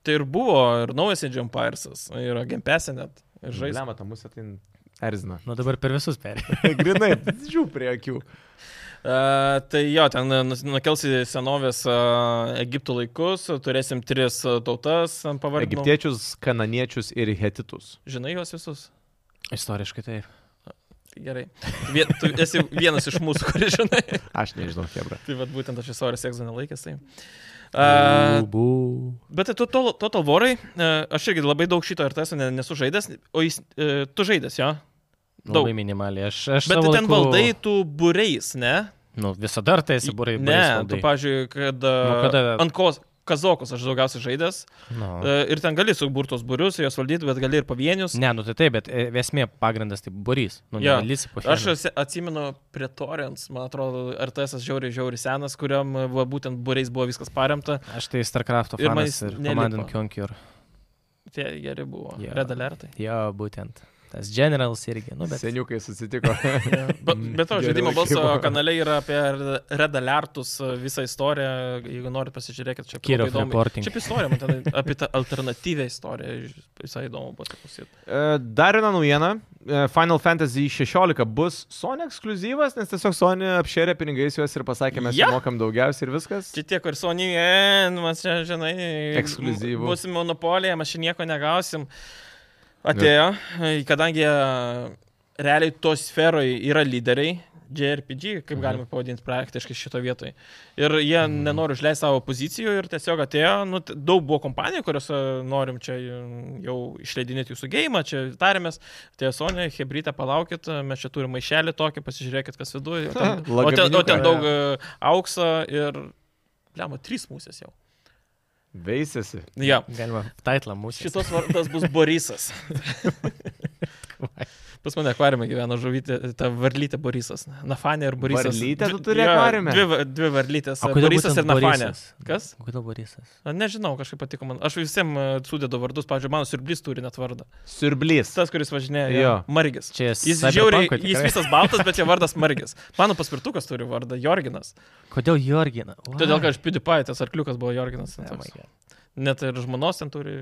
Speaker 2: Tai ir buvo, ir naujas Age of Empires, ir Gempesė net, ir žaidžiama.
Speaker 1: Žaidžiama, mus atin
Speaker 2: [LAUGHS]
Speaker 1: erzina.
Speaker 3: Nu dabar per visus perėjau.
Speaker 1: Grinai, žiū prie akių.
Speaker 2: Uh, tai jo, ten e, nus- nukelsi senovės uh, Egipto laikus, e, turėsim tris e, tautas ant pavardžių.
Speaker 1: Egiptiečius, kananiečius ir hetitus.
Speaker 2: Žinai juos visus?
Speaker 3: Istoriškai taip.
Speaker 2: Gerai. Vien, tu esi vienas iš mūsų, [LAUGHS] kurį žinai.
Speaker 1: Aš nežinau, Hebra.
Speaker 2: Tai vad būtent aš esu Oris Egzonė laikęs. Tai. Uh,
Speaker 3: Bū.
Speaker 2: Bet tai tu to, to talvorai, aš irgi labai daug šito RTS ne, nesu žaidęs, o jis, e, tu žaidęs jo. Daug.
Speaker 3: Nu, Labai minimaliai. Aš, aš
Speaker 2: Bet
Speaker 3: savo
Speaker 2: tu ten
Speaker 3: laiku-
Speaker 2: valdai tu būreis, ne?
Speaker 3: Nu, visada ar tai esi būrai?
Speaker 2: ne,
Speaker 3: būriais valdai.
Speaker 2: tu, pavyzdžiui, kad
Speaker 3: Nu, kada-
Speaker 2: kada... ant kos, kazokus aš daugiausiai žaidęs
Speaker 3: Nu.
Speaker 2: e, ir ten gali suburtos būrius, juos valdyti, bet gali ir pavienius.
Speaker 3: Ne, nu tai taip, bet e, esmė pagrindas tai burys. Nu,
Speaker 2: Jo.
Speaker 3: ja. Lysi po
Speaker 2: Aš
Speaker 3: šiandien.
Speaker 2: esi- atsimenu Pretorians, man atrodo, RTS žiauriai, žiauriai senas, kuriam e, va, būtent būreis buvo viskas paremta.
Speaker 3: Aš tai StarCraft'o
Speaker 2: Ir man
Speaker 3: fanas
Speaker 2: jis
Speaker 3: ir
Speaker 2: nelipo.
Speaker 3: Command and Conquer.
Speaker 2: Tie geri buvo.
Speaker 3: Jo.
Speaker 2: Yeah. Red alertai.
Speaker 3: Jo, būtent. Tas Generals irgi. Nu, bet...
Speaker 1: Seniukai
Speaker 2: [LAUGHS]
Speaker 1: susitiko.
Speaker 2: Bet, bet to
Speaker 1: Mm, Gerai,
Speaker 2: žaidimo
Speaker 1: kaip
Speaker 2: balso
Speaker 1: buvo.
Speaker 2: kanale yra apie Red Alertus e, visą istoriją. Jeigu norit pasižiūrėkit, čia
Speaker 3: Key of reporting.
Speaker 2: Čia istorija, man ten apie tą alternatyvę istoriją. iš- Visai įdomu bus klausyti.
Speaker 1: Dar viena naujiena. E, Final Fantasy 16 bus Sony ekskluzyvas, nes tiesiog Sony apšėrė pinigais juos ir pasakė, mes
Speaker 2: Ja.
Speaker 1: yeah. mokam daugiausiai ir viskas.
Speaker 2: Čia tie, kur Sony, e, nu, mes čia, žinai,
Speaker 1: Ekskliuzyvu.
Speaker 2: Būsim monopolija, mes čia nieko negausim. Atėjo, e, kadangi e, realiai to sferoje yra lyderiai. JRPG, kaip galima pavadinti praktiškai šito vietoj. Ir jie mm. nenori užleisti savo pozicijų ir tiesiog atėjo, nu, t- daug buvo kompanijų, kurios e, norim čia e, jau išleidinėti jūsų gėjimą, čia tarėmės, tie Sonia, Hebrytė, palaukit, e, mes čia turime maišelį tokį, pasižiūrėkit, kas viduje. O ten, o ten, o
Speaker 1: Lagaminiuką.
Speaker 2: ten daug e, aukso ir, lemo, trys musės jau.
Speaker 1: Veisėsi.
Speaker 2: Ja.
Speaker 3: Galima taitlą mūsų.
Speaker 2: Šitas vardas bus Borisas. Pas mane akvariume gyvena žuvytė, ta varlytė Borisas. Nafanė ir Borisas.
Speaker 1: Varlytę tu
Speaker 2: Dvi-
Speaker 1: turi
Speaker 2: jo,
Speaker 1: akvariume?
Speaker 2: Dvi, va- dvi varlytės.
Speaker 3: O kodėl
Speaker 2: Borisas
Speaker 3: būtent
Speaker 2: ir Nafanė.
Speaker 3: Borisas?
Speaker 2: Kas?
Speaker 3: Kodėl Borisas?
Speaker 2: A, Nežinau, kažkaip patiko man. Aš visiems sudėdu vardus, pavyzdžiui, mano siurblys turi net vardą.
Speaker 1: Surblys.
Speaker 2: Tas, kuris važinėja.
Speaker 1: Jo.
Speaker 2: jo, Margis.
Speaker 3: Čia
Speaker 2: Jis žiauriai,
Speaker 3: Cyberpunk'o
Speaker 2: jis
Speaker 3: tikrai.
Speaker 2: visas baltas, bet jo vardas Margis. Mano paspirtukas turi vardą Jorginas.
Speaker 3: Kodėl Jorgina? Wow.
Speaker 2: Todėl, kad aš PewDiePie, tas arkliukas buvo Jorginas.
Speaker 3: Oh my
Speaker 2: Oh
Speaker 3: God.
Speaker 2: Net ir žmonos ten turi.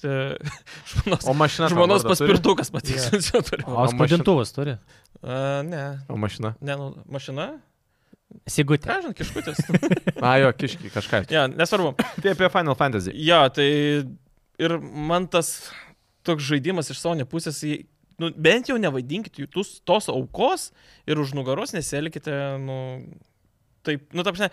Speaker 2: e, [LAUGHS] Žmonos,
Speaker 1: O mašina. tau
Speaker 2: žmonos
Speaker 1: vardą turi?
Speaker 2: paspirtukas [LAUGHS] patiksinsiu yeah. turi.
Speaker 3: O
Speaker 1: O
Speaker 3: spaudintuvas turi.
Speaker 2: A, ne,
Speaker 1: O mašina.
Speaker 2: ne, nu, mašina.
Speaker 3: Sigutė.
Speaker 2: Ką žinai, kiškutės. [LAUGHS]
Speaker 1: A, jo, kiški, kažką.
Speaker 2: ja, nesvarbu.
Speaker 1: Tai apie Final Fantasy.
Speaker 2: Ja, tai ir man tas toks žaidimas iš Sonio pusės, jį- nu, bent jau nevaidinkit jų tus- tos aukos ir už nugaros nesielkite, nu, taip, nu, tapšne.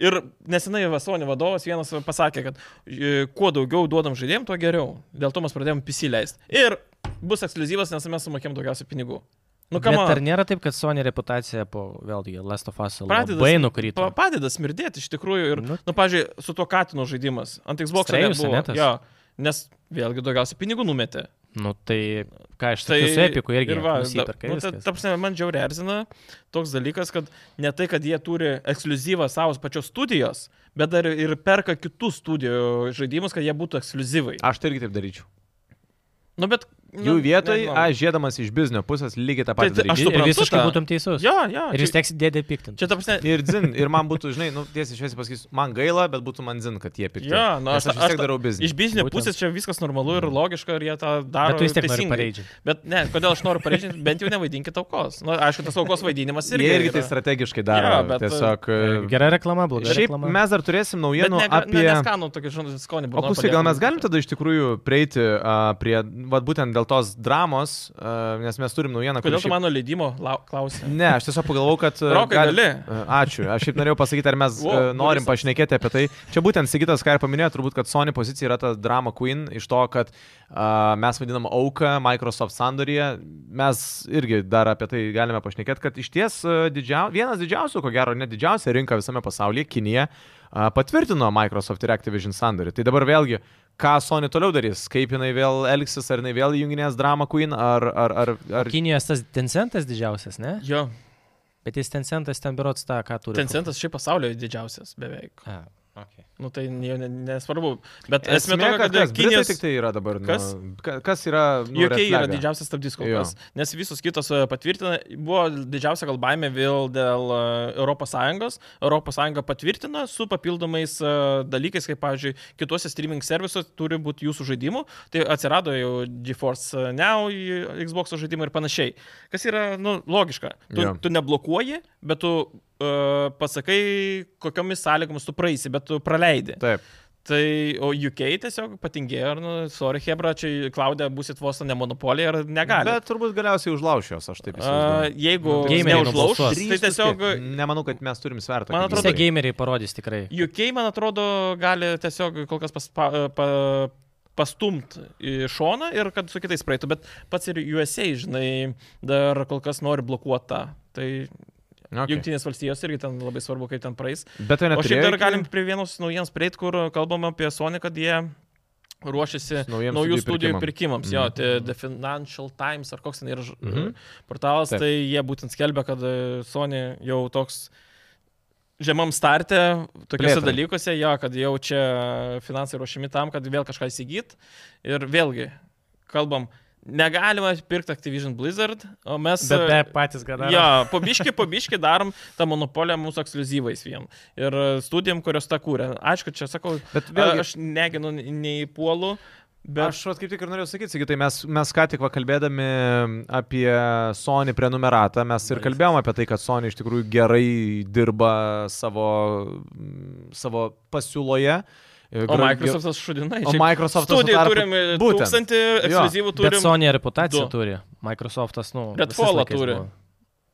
Speaker 2: Ir nesenai Vasonio vadovas vienas pasakė, kad e, kuo daugiau duodam žaidėjim, tuo geriau. Dėl to mes pradėjom PC leisti. Ir bus ekskluzyvas, nes mes sumokėm daugiausiai pinigų. Nu,
Speaker 3: Bet
Speaker 2: kam
Speaker 3: ar nėra taip, kad Sony reputacija po, vėlgi, Last of Us
Speaker 2: Pradeda
Speaker 3: labai
Speaker 2: sm-
Speaker 3: nukrito?
Speaker 2: Pa- Padeda smirdėti iš tikrųjų ir,
Speaker 3: Nu.
Speaker 2: nu, nu pažiūrėjau, su tuo Katino žaidimas ant Xbox
Speaker 3: Strejus, ane tas?
Speaker 2: Jo, nes vėlgi daugiausiai pinigų numetė.
Speaker 3: Nu tai, ką aš sakiau, su Epiku irgi
Speaker 2: ir
Speaker 3: ir va,
Speaker 2: da-
Speaker 3: nusiperka
Speaker 2: nu, ta,
Speaker 3: viskas.
Speaker 2: ta prasme, man džiaugiai erzina toks dalykas, kad ne tai, kad jie turi ekskluzyvą savo pačios studijos, bet dar ir perka kitų studijų žaidimus, kad jie būtų ekskluzyvai.
Speaker 1: Aš tai irgi taip daryčiau.
Speaker 2: Nu, bet, nu,
Speaker 1: Jų vietoj,
Speaker 2: nežinau.
Speaker 1: aš žiedamas iš biznio pusės lygiai tą
Speaker 2: Tai-
Speaker 1: patį
Speaker 2: tai aš
Speaker 1: daryčiau.
Speaker 2: suprantu
Speaker 3: Visiškai
Speaker 2: tą.
Speaker 3: būtum teisus.
Speaker 2: Jo, jo.
Speaker 3: Ir vis
Speaker 2: čia,
Speaker 3: tiek dėdė piktinti.
Speaker 2: čia ta prasme,
Speaker 1: Ir zin, ir man būtų, žinai, nu, tiesiai šviesiai pasakysiu, man gaila, bet būtų man zin, kad jie pirktų.
Speaker 2: Jo, nu,
Speaker 1: aš,
Speaker 2: aš-
Speaker 1: aš vis
Speaker 2: aš
Speaker 1: tiek
Speaker 2: tą-
Speaker 1: darau biznį.
Speaker 2: iš bizinio
Speaker 3: Būtent. Mm.
Speaker 2: pusės čia viskas normalu ir logiška ir jie tą daro.
Speaker 3: Bet tu vis tiek nori
Speaker 2: teisingai.
Speaker 3: pareidžiant.
Speaker 2: Bet ne, kodėl aš noriu pareiškinti, bent jau nevaidinkit aukos. Na, nu, aišku, tas aukos vaidinimas
Speaker 1: Irgi
Speaker 2: irgi.
Speaker 1: jie irgi
Speaker 2: yra.
Speaker 1: tai strategiškai daro.
Speaker 2: Jo, bet,
Speaker 1: tiesiog. e,
Speaker 3: Gera reklama, bloga
Speaker 1: Šiaip
Speaker 3: reklama.
Speaker 1: mes dar turėsim
Speaker 2: Bet
Speaker 1: naujienų
Speaker 2: ne, apie...
Speaker 1: apie...
Speaker 2: ne, neskanu tokį žodį skonį.
Speaker 1: O klausyk, gal mes galim tada iš tikrųjų prieiti uh, prie, vad būtent dėl tos dramos, uh, nes mes turim naujieną,
Speaker 2: Kodėl
Speaker 1: kuri
Speaker 2: tu
Speaker 1: šiaip-
Speaker 2: mano leidimo lau- klausi?
Speaker 1: Ne, aš tiesiog pagalvojau, kad... e,
Speaker 2: Rokai,
Speaker 1: gal-
Speaker 2: gali.
Speaker 1: E, Ačiū. Aš šiaip norėjau pasakyti, ar mes
Speaker 2: Wow,
Speaker 1: wow, norim
Speaker 2: visas.
Speaker 1: pašnekėti apie tai. Čia būtent Sigitas, ką ir paminėjo, turbūt, kad Sony pozicija yra ta drama queen iš to, kad uh, mes vadinam auką Microsoft sandoryje. Mes irgi dar apie tai galime pašnekėti, kad iš ties uh, didžia... vienas didžiausių, ko gero, net didžiausia rinka visame pasaulyje - Kinija. a, Patvirtino Microsoft ir Activision sandorį. Tai dabar vėlgi, ką Sony toliau darys, kaip jinai vėl elgsis, ar jinai vėl junginės Drama Queen, ar... ar, ar, ar...
Speaker 3: Kinijos tas Tencentas didžiausias, ne?
Speaker 2: Jo,
Speaker 3: Bet jis Tencentas ten biurots tą, ką turi.
Speaker 2: Tencentas šiaip pasaulio didžiausias beveik.
Speaker 3: A, okay.
Speaker 2: Nu tai jau ne- nesvarbu. Bet
Speaker 1: Esmė,
Speaker 2: esmė tokia,
Speaker 1: kad, kad
Speaker 2: kad Kinijos...
Speaker 1: tik tai yra dabar.
Speaker 2: Kas?
Speaker 1: Nu, ka- kas yra... Nu,
Speaker 2: Jokie
Speaker 1: red
Speaker 2: yra
Speaker 1: flaga?
Speaker 2: didžiausias stabdys kol
Speaker 1: Jo.
Speaker 2: kas, nes visos kitos e, patvirtina, buvo didžiausia gal baimė vėl dėl e, ES, ES patvirtina su papildomais e, dalykais, kaip, pavyzdžiui, kituose streaming servisuose turi būti jūsų žaidimų, tai atsirado jau GeForce Now, i- Xbox žaidimai ir panašiai, kas yra, nu, logiška. Tu,
Speaker 1: Jo.
Speaker 2: tu neblokuoji, bet tu e, pasakai, kokiomis sąlygomis tu praeisi, bet tu praleidi.
Speaker 1: Taip.
Speaker 2: Tai, o UK tiesiog patingėjo ir, nu, sorry, Hebra, čia Klaudė būsit vos ne monopolija ir negali.
Speaker 1: Bet turbūt galiausiai užlaušios, aš taip
Speaker 2: A,
Speaker 1: įsivaizduoju. Nu,
Speaker 2: jeigu
Speaker 3: Gameriai
Speaker 2: neužlauš,
Speaker 3: nubalsuos.
Speaker 2: tai tiesiog
Speaker 1: Nemanau, kad mes turim svertą. kaip
Speaker 2: Man atrodo-
Speaker 3: Visi
Speaker 1: jisai.
Speaker 3: gameriai parodys tikrai.
Speaker 2: UK, man atrodo, gali tiesiog kol kas paspa, pa, pastumti į šoną ir kad su kitais praeitų, bet pats ir USA, žinai, dar kol kas nori blokuotą. Tai okay.
Speaker 1: Okay.
Speaker 2: Junktinės valstijos irgi ten labai svarbu, kaip ten praeis.
Speaker 1: Bet tai
Speaker 2: O šiaip
Speaker 1: neturėjo.
Speaker 2: dar galim prie vienos naujienos prieit, kur kalbam apie Sony, kad jie ruošiasi
Speaker 1: Naujiems
Speaker 2: naujų
Speaker 1: studijų
Speaker 2: studijų
Speaker 1: pirkimam.
Speaker 2: pirkimams. Mm. Jo, tai The Financial Times ar koks ten yra
Speaker 1: Mhm.
Speaker 2: mm. portalas,
Speaker 1: Taip.
Speaker 2: Taip. tai jie būtent skelbia, kad e, Sony jau toks žemam startė tokiuose
Speaker 1: Plėtrai.
Speaker 2: dalykuose, jo, kad jau čia finansai ruošiami tam, kad vėl kažką įsigyt. Ir vėlgi, kalbam, negalima pirkti Activision Blizzard, o mes...
Speaker 3: Bet be
Speaker 2: e,
Speaker 3: patys gana.
Speaker 2: Ja, pabiški, pabiški darom tą monopoliją mūsų ekskluzyvais vien. Ir e, studijom, kurios tą kūrė. Aišku, čia sakau,
Speaker 1: Bet
Speaker 2: vėlgi,
Speaker 1: vėlgi,
Speaker 2: aš neginu nei puolu, bet
Speaker 1: Aš vat kaip tik ir norėjau sakyti, sakytai, mes, mes ką tik va kalbėdami apie Sony prenumeratą, mes ir kalbėjome apie tai, kad Sony iš tikrųjų gerai dirba savo, mm, savo pasiūloje.
Speaker 2: O Microsoftas šudinai.
Speaker 1: O Microsoft'as tuo
Speaker 2: Studijų
Speaker 1: tarpu-
Speaker 2: turim e,
Speaker 1: būtent.
Speaker 2: tūkstantį,
Speaker 1: Jo.
Speaker 2: ekskluzyvų
Speaker 3: Bet
Speaker 2: turim.
Speaker 3: Sony reputaciją
Speaker 2: du.
Speaker 3: turi. Microsoftas, nu.
Speaker 2: Bet
Speaker 3: visais
Speaker 2: Fallą
Speaker 3: laikais
Speaker 2: turi.
Speaker 3: buvo.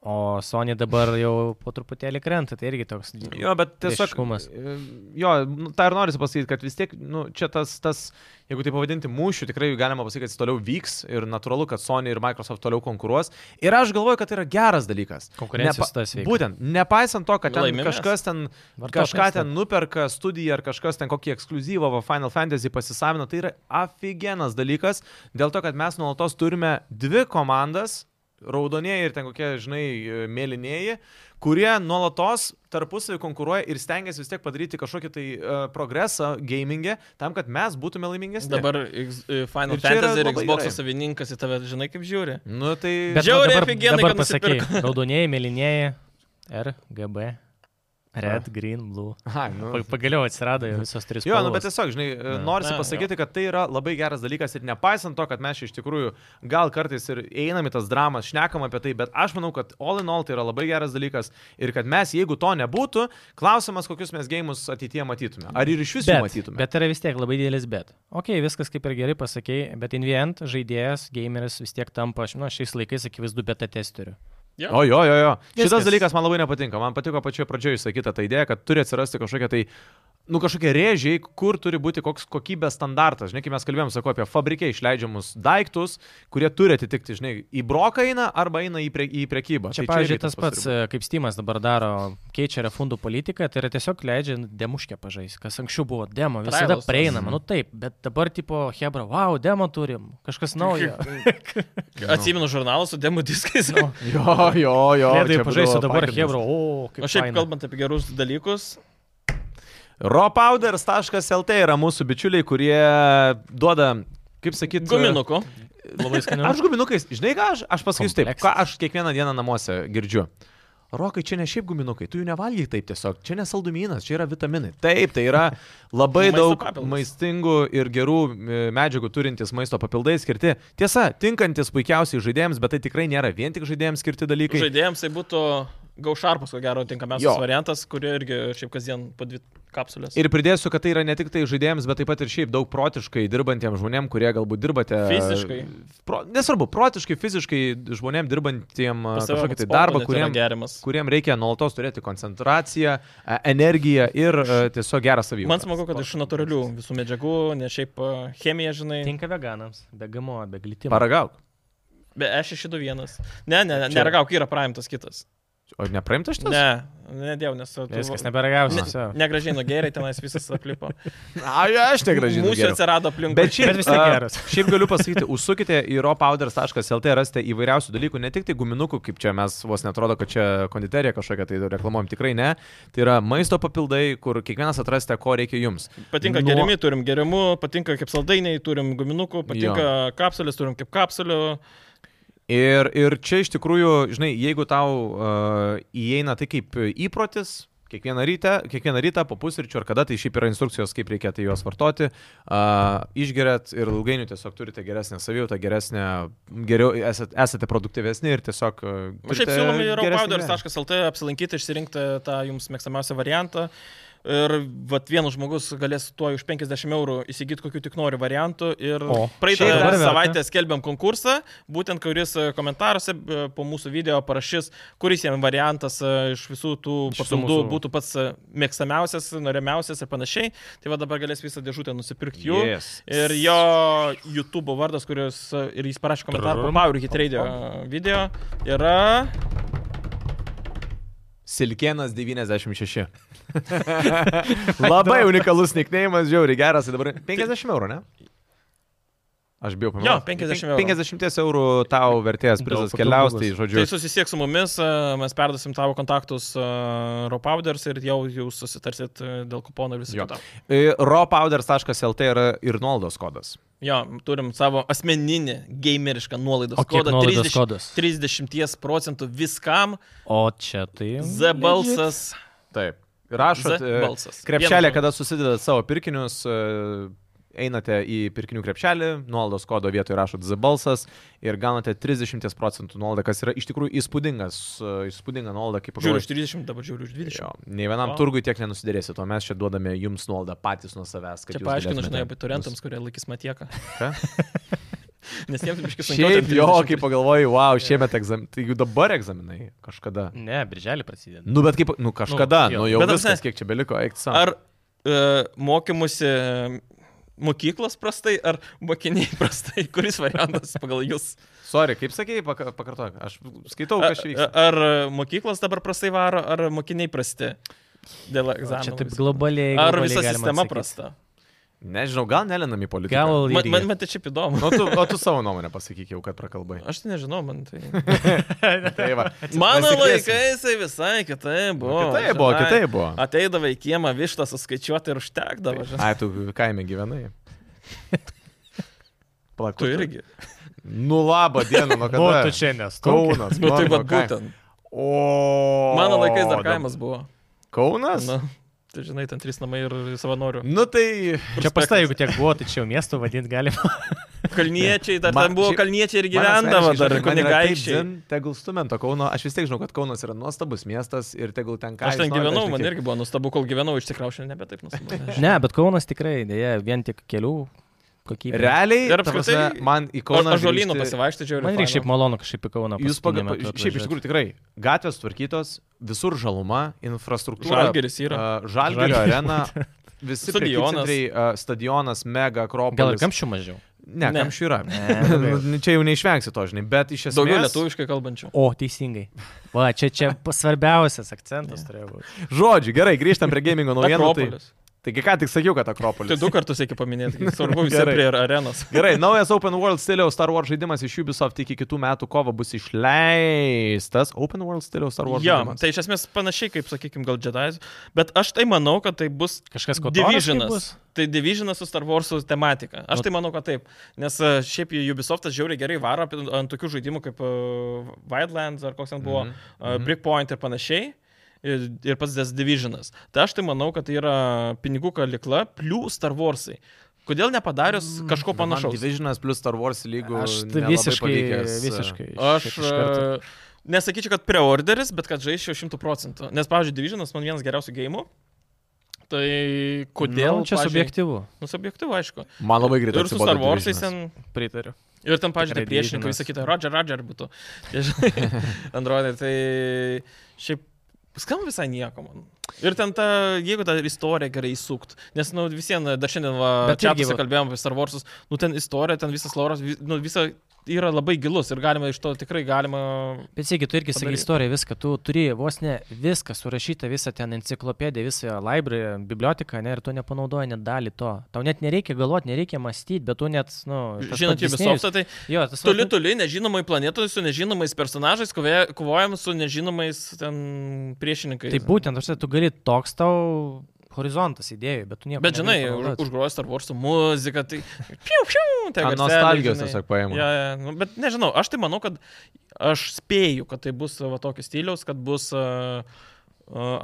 Speaker 3: O Sony dabar jau po truputėlį krenta, tai irgi toks.
Speaker 1: Jo, bet tiesiog.
Speaker 3: Priešiškumas.
Speaker 1: e, Jo, nu, tą ir noriu pasakyti, kad vis tiek, nu, čia tas, tas, jeigu tai pavadinti mūšiu, tikrai galima pasakyti, kad jis toliau vyks ir natūralu, kad Sony ir Microsoft toliau konkuruos. Ir aš galvoju, kad tai yra geras dalykas.
Speaker 3: Konkurencijos tas veikia.
Speaker 1: Būtent, nepaisant to, kad ten
Speaker 2: Laimim mes.
Speaker 1: kažkas ten,
Speaker 3: Vartotojas
Speaker 1: kažką
Speaker 3: ten.
Speaker 1: ten nuperka studiją ar kažkas ten kokį ekskluzyvą va, Final Fantasy pasisavino, tai yra aфиgenas dalykas, dėl to, kad mes nuolatos turime dvi komandas, raudonieji ir ten kokie, žinai, mėlynieji, kurie nuolatos tarpusavį konkuruoja ir stengiasi vis tiek padaryti kažkokį tai uh, progresą gamingę, tam, kad mes būtume laimingesni.
Speaker 2: Dabar X- e, Final
Speaker 1: Ir čia yra
Speaker 2: Fantasy ir
Speaker 1: labai
Speaker 2: Xbox
Speaker 1: gerai.
Speaker 2: savininkas į tave, žinai, kaip žiūri.
Speaker 1: Nu, tai...
Speaker 3: Bet va
Speaker 2: Žiauriai
Speaker 3: dabar,
Speaker 2: afigenai,
Speaker 3: dabar
Speaker 2: kad
Speaker 3: pasakai.
Speaker 2: nusipirko.
Speaker 3: Raudonieji, mėlynieji, R, GB, Red, Green, Blue.
Speaker 1: Ai, nu.
Speaker 3: Pa- Pagaliau atsirado jau visos trys.
Speaker 1: Jo, nu,
Speaker 3: spalvos.
Speaker 1: bet tiesiog, žinai, e, norisi
Speaker 2: Na, jo.
Speaker 1: pasakyti, kad tai yra labai geras dalykas ir nepaisant to, kad mes čia iš tikrųjų gal kartais ir einam į tas dramas, šnekam apie tai, bet aš manau, kad all in all tai yra labai geras dalykas ir kad mes, jeigu to nebūtų, klausimas, kokius mes gėjimus ateityje matytume. Ar ir iš viso
Speaker 3: bet,
Speaker 1: matytume?
Speaker 3: bet yra vis tiek labai didelis bet. Ok, viskas kaip ir gerai pasakėjai, bet invient žaidėjas, gameris vis tiek tampa, aš, nu, šiais laikais akivaizdu beta testeriu.
Speaker 1: O jo, jo, jo. Šitas
Speaker 3: Viskas.
Speaker 1: dalykas man labai nepatinka. Man patiko pačioje pradžioje išsakyta ta idėja, kad turi atsirasti kažkokia tai nu, kažkokie rėžiai, kur turi būti koks kokybės standartas. Žinai, kai mes kalbėjom, sakau, apie fabrike išleidžiamus daiktus, kurie turi atitikti, žinai, į broką eina arba eina į, pre, į prekybą.
Speaker 3: Čia,
Speaker 1: Tai
Speaker 3: pavyzdžiui,
Speaker 1: irgi
Speaker 3: tas pats,
Speaker 1: turi būt.
Speaker 3: e, kaip Steamas dabar daro, keičia refundų politiką, tai yra tiesiog leidžia demuškę pažaisti, kas anksčiau buvo demo, visada
Speaker 2: Trials tas.
Speaker 3: prieinama, nu taip, bet dabar tipo Hebra, wow, demo turim,
Speaker 2: [LAUGHS]
Speaker 3: kažkas naujo.
Speaker 1: nu.
Speaker 2: Atsimenu žurnalą su demo diskais.
Speaker 3: Nu,
Speaker 1: Jo, jo, jo.
Speaker 3: Lėdai
Speaker 1: čia
Speaker 3: pažaisiu
Speaker 1: būdavo
Speaker 3: dabar
Speaker 1: pagrindas.
Speaker 3: Hebra, o,
Speaker 2: [LAUGHS]
Speaker 3: kaip
Speaker 2: O šiaip
Speaker 3: faina.
Speaker 2: kalbant apie gerus dalykus,
Speaker 1: Ropowders.lt yra mūsų bičiuliai, kurie duoda, kaip sakyt,
Speaker 2: guminuku.
Speaker 3: labai
Speaker 2: Nu.
Speaker 3: skanu.
Speaker 1: Aš guminukais, žinai ką aš, aš pasakysiu taip, ką
Speaker 3: Kompleksas.
Speaker 1: aš kiekvieną dieną namuose girdžiu. Rokai, čia ne šiaip guminukai, tu jų nevalgyk taip tiesiog, čia nesaldomynas, čia yra vitaminai. Taip, tai
Speaker 2: [LAUGHS]
Speaker 1: yra labai
Speaker 2: Maisto
Speaker 1: daug
Speaker 2: papildas.
Speaker 1: maistingų ir gerų e, medžiagų turintys maisto papildai skirti. Tiesa, tinkantis puikiausiai žaidėjams, bet tai tikrai nėra vien tik žaidėjams skirti dalykai.
Speaker 2: Žaidėjams tai būtų gaušarpas, ko gero,
Speaker 1: Jo.
Speaker 2: tinkamiausias variantas, kurie irgi šiaip kasdien po dvi kapsulės.
Speaker 1: Ir pridėsiu, kad tai yra ne tik tai žaidėjams, bet taip pat ir šiaip daug protiškai dirbantiems žmonėms, kurie galbūt dirbate. e,
Speaker 2: Fiziškai.
Speaker 1: Pro, nesvarbu, protiškai, fiziškai žmonėms dirbantiems
Speaker 2: Pas tave
Speaker 1: kažkokį tai
Speaker 2: ant
Speaker 1: darbą,
Speaker 2: sporto net yra
Speaker 1: kuriem,
Speaker 2: gerimas.
Speaker 1: kuriem reikia nuolatos turėti koncentraciją, e, energiją ir e, tiesiog gerą savyje.
Speaker 2: Man smagu, kad iš natūralių visų medžiagų, ne šiaip a, chemija, žinai.
Speaker 3: Tinka veganams, be gamo, be glitimo.
Speaker 1: Paragauk.
Speaker 2: Be E E621. Ne, ne, ne,
Speaker 1: Čia-
Speaker 2: neragauk, yra praimtas kitas.
Speaker 1: O nepraimtas šitas?
Speaker 2: Ne, ne, diev, nes tu...
Speaker 3: Viskas, neberagausiu. visą.
Speaker 2: Negražiai nugeriai, tenais visas
Speaker 1: [LAUGHS]
Speaker 2: aplipo.
Speaker 1: A, jo, aš negražinu.
Speaker 2: Mūsų atsirado aplinkui.
Speaker 1: Bet šiaip,
Speaker 3: Bet vis tiek
Speaker 1: a,
Speaker 3: geras.
Speaker 1: [LAUGHS] šiaip galiu pasakyti, užsukite į ropauders.lt, rasite įvairiausių dalykų, ne tik tai guminukų, kaip čia mes vos netrodo, kad čia konditerija kažkokia, tai reklamuojam tikrai ne. Tai yra maisto papildai, kur kiekvienas atrasite, ko reikia jums.
Speaker 2: Patinka
Speaker 1: Nuo-
Speaker 2: nuo... gerimi, turim gerimų, patinka kaip saldainiai, turim guminukų, patinka jo. kapsulės, turim kaip kapsulių.
Speaker 1: Ir, ir čia iš tikrųjų, žinai, jeigu tau uh, įeina tai kaip įprotis, kiekvieną rytą, kiekvieną rytą po pusryčių ar kada, tai šiaip yra instrukcijos, kaip reikia tai juos vartoti, uh, išgeriat ir ilgainiui tiesiog turite geresnę savijautą, geresnę, geriau esate, esate produktyvesni ir tiesiog... Uh,
Speaker 2: Aš Nu, šiaip siūlom į raupowders.lt apsilankyti, išsirinkti tą jums mėgstamiausią variantą. Ir vat vienas žmogus galės tuo už 50 eurų įsigyti kokiu tik nori variantu. Ir
Speaker 3: O,
Speaker 2: praeitą
Speaker 3: šiaip dabar
Speaker 2: savaitę skelbėm konkursą, būtent kuris e, komentaruose e, po mūsų video parašys, kuris jam variantas e, iš visų tų
Speaker 3: Iš visų
Speaker 2: papildų
Speaker 3: mūsų-
Speaker 2: būtų pats e, mėgstamiausias, norimiausias ir panašiai. Tai va dabar galės visą dėžutę nusipirkti jų.
Speaker 1: Yes.
Speaker 2: Ir jo YouTube vardas, kuris e, ir jis parašė komentarą po
Speaker 3: Trum.
Speaker 2: Power Hit Radio video, yra Tai
Speaker 1: Silkienas 96.
Speaker 2: [LAUGHS]
Speaker 1: Labai unikalus nicknėjimas, žiauri geras, tai dabar 50 eurų, ne? Aš bijau pamiršti.
Speaker 2: Jo, 50 eurų.
Speaker 1: 50 eurų tau vertės prizas
Speaker 3: Daug
Speaker 1: keliaus, tai
Speaker 3: papildomas.
Speaker 1: žodžiu.
Speaker 2: Tai susisieks su mumis, e, mes perduosim tavo kontaktus Ropauders ir jau jūs susitarsit e, dėl kupono ir viso
Speaker 1: Jo.
Speaker 2: kito.
Speaker 1: E, Ropowders.lt yra ir nuolaidos kodas.
Speaker 2: Jo, turim savo asmeninį gamerišką nuolaidos
Speaker 3: O kiek
Speaker 2: kodą.
Speaker 3: nuolaidos kodas?
Speaker 2: 30 procentų viskam.
Speaker 3: O čia tai.
Speaker 2: Z balsas.
Speaker 1: Taip. Rašot
Speaker 2: Z
Speaker 1: e,
Speaker 2: balsas.
Speaker 1: krepšelį,
Speaker 2: Vienas
Speaker 1: kada susidedat savo pirkinius, e, einate į pirkinių krepšelį, nuolaidos kodo vietoje rašot Z balsas ir gaunate 30 procentų nuolaidą, kas yra iš tikrųjų įspūdingas, e, įspūdinga nuolaida, kaip
Speaker 2: Žiūriu iš 30, dabar žiūriu iš 20.
Speaker 1: Jo, nei vienam
Speaker 2: Vau.
Speaker 1: turgui tiek nenusidėrėsit, o mes čia duodame jums nuolaidą patys nuo savęs. kad
Speaker 2: Čia
Speaker 1: jūs
Speaker 2: paaiškinu, žinai,
Speaker 1: galėtumėte
Speaker 2: abiturientams, kurie laikys matieką.
Speaker 1: Ką?
Speaker 2: [LAUGHS] Nes jiems biškis
Speaker 1: nus-
Speaker 2: sunkiau.
Speaker 1: Šiaip
Speaker 2: ten
Speaker 1: jo,
Speaker 2: 30.
Speaker 1: kai pagalvoju, wow, šiemet egzaminai, tai jų dabar egzaminai kažkada.
Speaker 3: Ne, birželį prasideda.
Speaker 1: Nu, bet kaip, nu kažkada, nu,
Speaker 3: jo.
Speaker 1: nu jau
Speaker 2: Bet ta
Speaker 1: viskas,
Speaker 2: prasme-
Speaker 1: kiek čia beliko, eik savo.
Speaker 2: Ar e, mokymusi e, mokyklos prastai, ar mokiniai [LAUGHS] prastai, kuris variantas pagal jūs?
Speaker 1: Sorry, kaip sakėjai, paka- pakartok, aš skaitau,
Speaker 2: A- e,
Speaker 1: kas čia vyksta.
Speaker 2: Ar mokyklos dabar prastai varo, ar mokiniai prasti dėl egzamino?
Speaker 3: Čia taip
Speaker 2: viso?
Speaker 3: globaliai.
Speaker 2: Ar
Speaker 3: globaliai
Speaker 2: visa
Speaker 3: galima
Speaker 2: sistema
Speaker 3: atsakyt.
Speaker 2: prasta?
Speaker 1: Nežinau, gal nelinam į politiką.
Speaker 3: Gal
Speaker 2: Man,
Speaker 3: ir
Speaker 2: man, man tai čia įdomu.
Speaker 1: O tu, o tu savo nuomonę pasakyk jau, kad prakalbai.
Speaker 2: Aš tai nežinau, man tai. [LAUGHS]
Speaker 3: [LAUGHS]
Speaker 1: Tai va.
Speaker 2: Mano
Speaker 1: Pasikviesim.
Speaker 2: laikais tai visai kitai buvo.
Speaker 1: Kitai buvo,
Speaker 2: žinai.
Speaker 1: kitai buvo.
Speaker 2: Ateidavo į kiemą vištą suskaičiuoti ir užtekdavo. žinai.
Speaker 1: Ai, tu kaime
Speaker 2: [LAUGHS]
Speaker 1: gyvenai. Plak,
Speaker 2: Tu [LAUGHS] irgi.
Speaker 1: Nu, labą dieną,
Speaker 3: [LAUGHS]
Speaker 1: nuo
Speaker 3: O,
Speaker 1: kada.
Speaker 3: Nu, tu čia nes.
Speaker 1: [LAUGHS] Kaunas.
Speaker 2: Nu tai
Speaker 1: mano
Speaker 2: va
Speaker 1: kaim-
Speaker 2: būtent.
Speaker 1: O.
Speaker 2: Mano laikais dar
Speaker 1: dab-
Speaker 2: kaimas buvo.
Speaker 1: Kaunas?
Speaker 2: Na, tai žinai, ten trys namai ir savanorių.
Speaker 1: Nu tai.
Speaker 3: Čia pastai, jeigu tiek buvo, tai čia jau miestų vadinti galima.
Speaker 2: Kalniečiai, dar
Speaker 1: Man-
Speaker 2: ten buvo
Speaker 1: šiaip-
Speaker 2: kalniečiai ir
Speaker 1: man
Speaker 2: gyvendavo
Speaker 1: asmeniškai,
Speaker 2: dar
Speaker 1: žinai, man yra taip
Speaker 2: kunigaičiai.
Speaker 1: dzin, Tegul stumento Kauno, aš vis tiek žinau, kad Kaunas yra nuostabus miestas ir tegul ten ką.
Speaker 2: Aš
Speaker 1: jis
Speaker 2: ten
Speaker 1: nori,
Speaker 2: gyvenau,
Speaker 1: žinai,
Speaker 2: man
Speaker 1: kiek-
Speaker 2: irgi buvo nustabu, kol gyvenau, išsikraušinė, nebe taip nustabu.
Speaker 3: Ne, bet Kaunas tikrai, dėja, vien tik kelių kokybė.
Speaker 1: Realiai,
Speaker 2: Ir
Speaker 1: ta prasme,
Speaker 2: apskritai-
Speaker 1: man į Kauną.
Speaker 2: Aš žolynų
Speaker 1: grįžti-
Speaker 2: pasivaikščiojau.
Speaker 3: Man reikia šiaip malonu kažkaip į Kauną.
Speaker 1: Jūs
Speaker 3: paskutiniu
Speaker 1: pagal...
Speaker 3: metu
Speaker 1: Šiaip iš
Speaker 3: atvažiuot.
Speaker 1: tikrųjų tikrai, gatvės tvarkytos, visur žaluma, infrastruktūra.
Speaker 2: Žalgiris yra.
Speaker 1: Žalgerio
Speaker 2: [LAUGHS]
Speaker 3: Žalgirio
Speaker 1: arena. visi
Speaker 2: Stadionas.
Speaker 1: stadionas. Uh, stadionas, mega, akropolis.
Speaker 3: Gal ir kamščių mažiau.
Speaker 1: Ne,
Speaker 2: Ne.
Speaker 1: ne. kamščių yra. [LAUGHS]
Speaker 3: Ne,
Speaker 1: Nu, čia jau neišvengsi to, žinai, bet iš esmės...
Speaker 2: Daugiau lietuviškai kalbančių.
Speaker 3: O, teisingai. Va, čia [LAUGHS] čia svarbiausias akcentas turėjo būti.
Speaker 1: Žodžiu, gerai, grįžtam prie
Speaker 2: [LAUGHS]
Speaker 1: gamingo naujienų. Tai,
Speaker 2: Akropolis.
Speaker 1: taigi ką tik sakiau, kad Akropolis.
Speaker 2: Tai du kartus reikia paminėti, kaip svarbu visi
Speaker 1: Gerai.
Speaker 2: prie arenos.
Speaker 1: Gerai, naujas Open World stiliaus Star Wars žaidimas iš Ubisoft iki kitų metų kovo bus išleistas. Open World stiliaus Star Wars
Speaker 2: Jo,
Speaker 1: žaidimas.
Speaker 2: tai iš esmės panašiai kaip, sakykime, gal Jedi's, bet aš tai manau, kad tai bus
Speaker 3: Kažkas
Speaker 2: Divisionas.
Speaker 3: kotoriškas.
Speaker 2: Tai Divisionas su Star Wars tematika. Aš
Speaker 3: Nu-
Speaker 2: tai manau, kad taip. Nes e, šiaip Ubisoftas žiauriai gerai varo apie- ant tokių žaidimų kaip uh, Wildlands ar koks ten buvo, mm
Speaker 1: Mhm,
Speaker 2: -hmm. uh,
Speaker 1: mhm.
Speaker 2: Brickpoint ir panašiai. Ir, ir pats tas Divisionas. Tai aš tai manau, kad tai yra pinigų kalikla plus Star Warsai. Kodėl nepadarius mm, kažko panašaus?
Speaker 1: Divisionas plus Star Wars lygų.
Speaker 3: Aš tai
Speaker 1: nelabai
Speaker 3: visiškai,
Speaker 1: pavykęs, e,
Speaker 3: visiškai.
Speaker 2: Aš
Speaker 3: taip iš karto.
Speaker 2: e, nesakyčiau, kad preorderis, bet kad žaisčiau šimtų procentų. Nes, pavyzdžiui, Divisionas man vienas geriausių gėjimų. Tai kodėl...
Speaker 3: Nu, čia
Speaker 2: pavyzdžiui-
Speaker 3: subjektyvu.
Speaker 2: Nu, subjektyvu, aišku.
Speaker 1: Man labai greitai.
Speaker 2: Ir su Star Warsais
Speaker 1: ten.
Speaker 2: ten.
Speaker 3: Pritariu.
Speaker 2: Ir ten, pažiūrėjau,
Speaker 3: Tikrai
Speaker 2: priešininkai
Speaker 3: Divisionas.
Speaker 2: visą kitą. Roger, Roger
Speaker 3: [LAUGHS]
Speaker 2: būtų. Tie, žinai, Androidai. Tai šiaip skamba visai nieko man. Ir ten ta, jeigu tą istoriją gerai įsukt, nes, nu, visiems, dar šiandien va,
Speaker 3: Bet
Speaker 2: čia
Speaker 3: irgi va-
Speaker 2: kalbėjom apie Star Warsus, nu, ten istorija, ten visas loras, vi- nu, visa yra labai gilus ir galima iš to tikrai galima
Speaker 3: Bet sėki, tu irgi sakai
Speaker 2: Padaryt.
Speaker 3: istoriją, viską, tu turi vos ne viską surašyta, visą ten enciklopediją, visą library, biblioteką, ne, ir tu nepanaudoji net dalį to. Tau net nereikia galvoti, nereikia mąstyti, bet tu net, na, nu, tas
Speaker 2: Žinot,
Speaker 3: pats Disnėjus-
Speaker 2: Ubisoftą, tai
Speaker 3: Jo, tas
Speaker 2: toli,
Speaker 3: vat-
Speaker 2: toli, nežinomai planetoje su nežinomais personažais kovoja- kovojam su nežinomais ten priešininkais.
Speaker 3: Tai būtent, aš tu gali toks tau horizontas idėjų, bet tu nieko.
Speaker 2: Bet žinai,
Speaker 3: negali panaudot.
Speaker 2: užgroja Star Wars muziką, tai... Piu, piu, tai garselį,
Speaker 1: Nostalgijos
Speaker 2: žinai.
Speaker 1: tiesiog paėmė.
Speaker 2: Ja, ja. Nu, bet nežinau, aš tai manau, kad aš spėju, kad tai bus va tokio stiliaus, kad bus uh,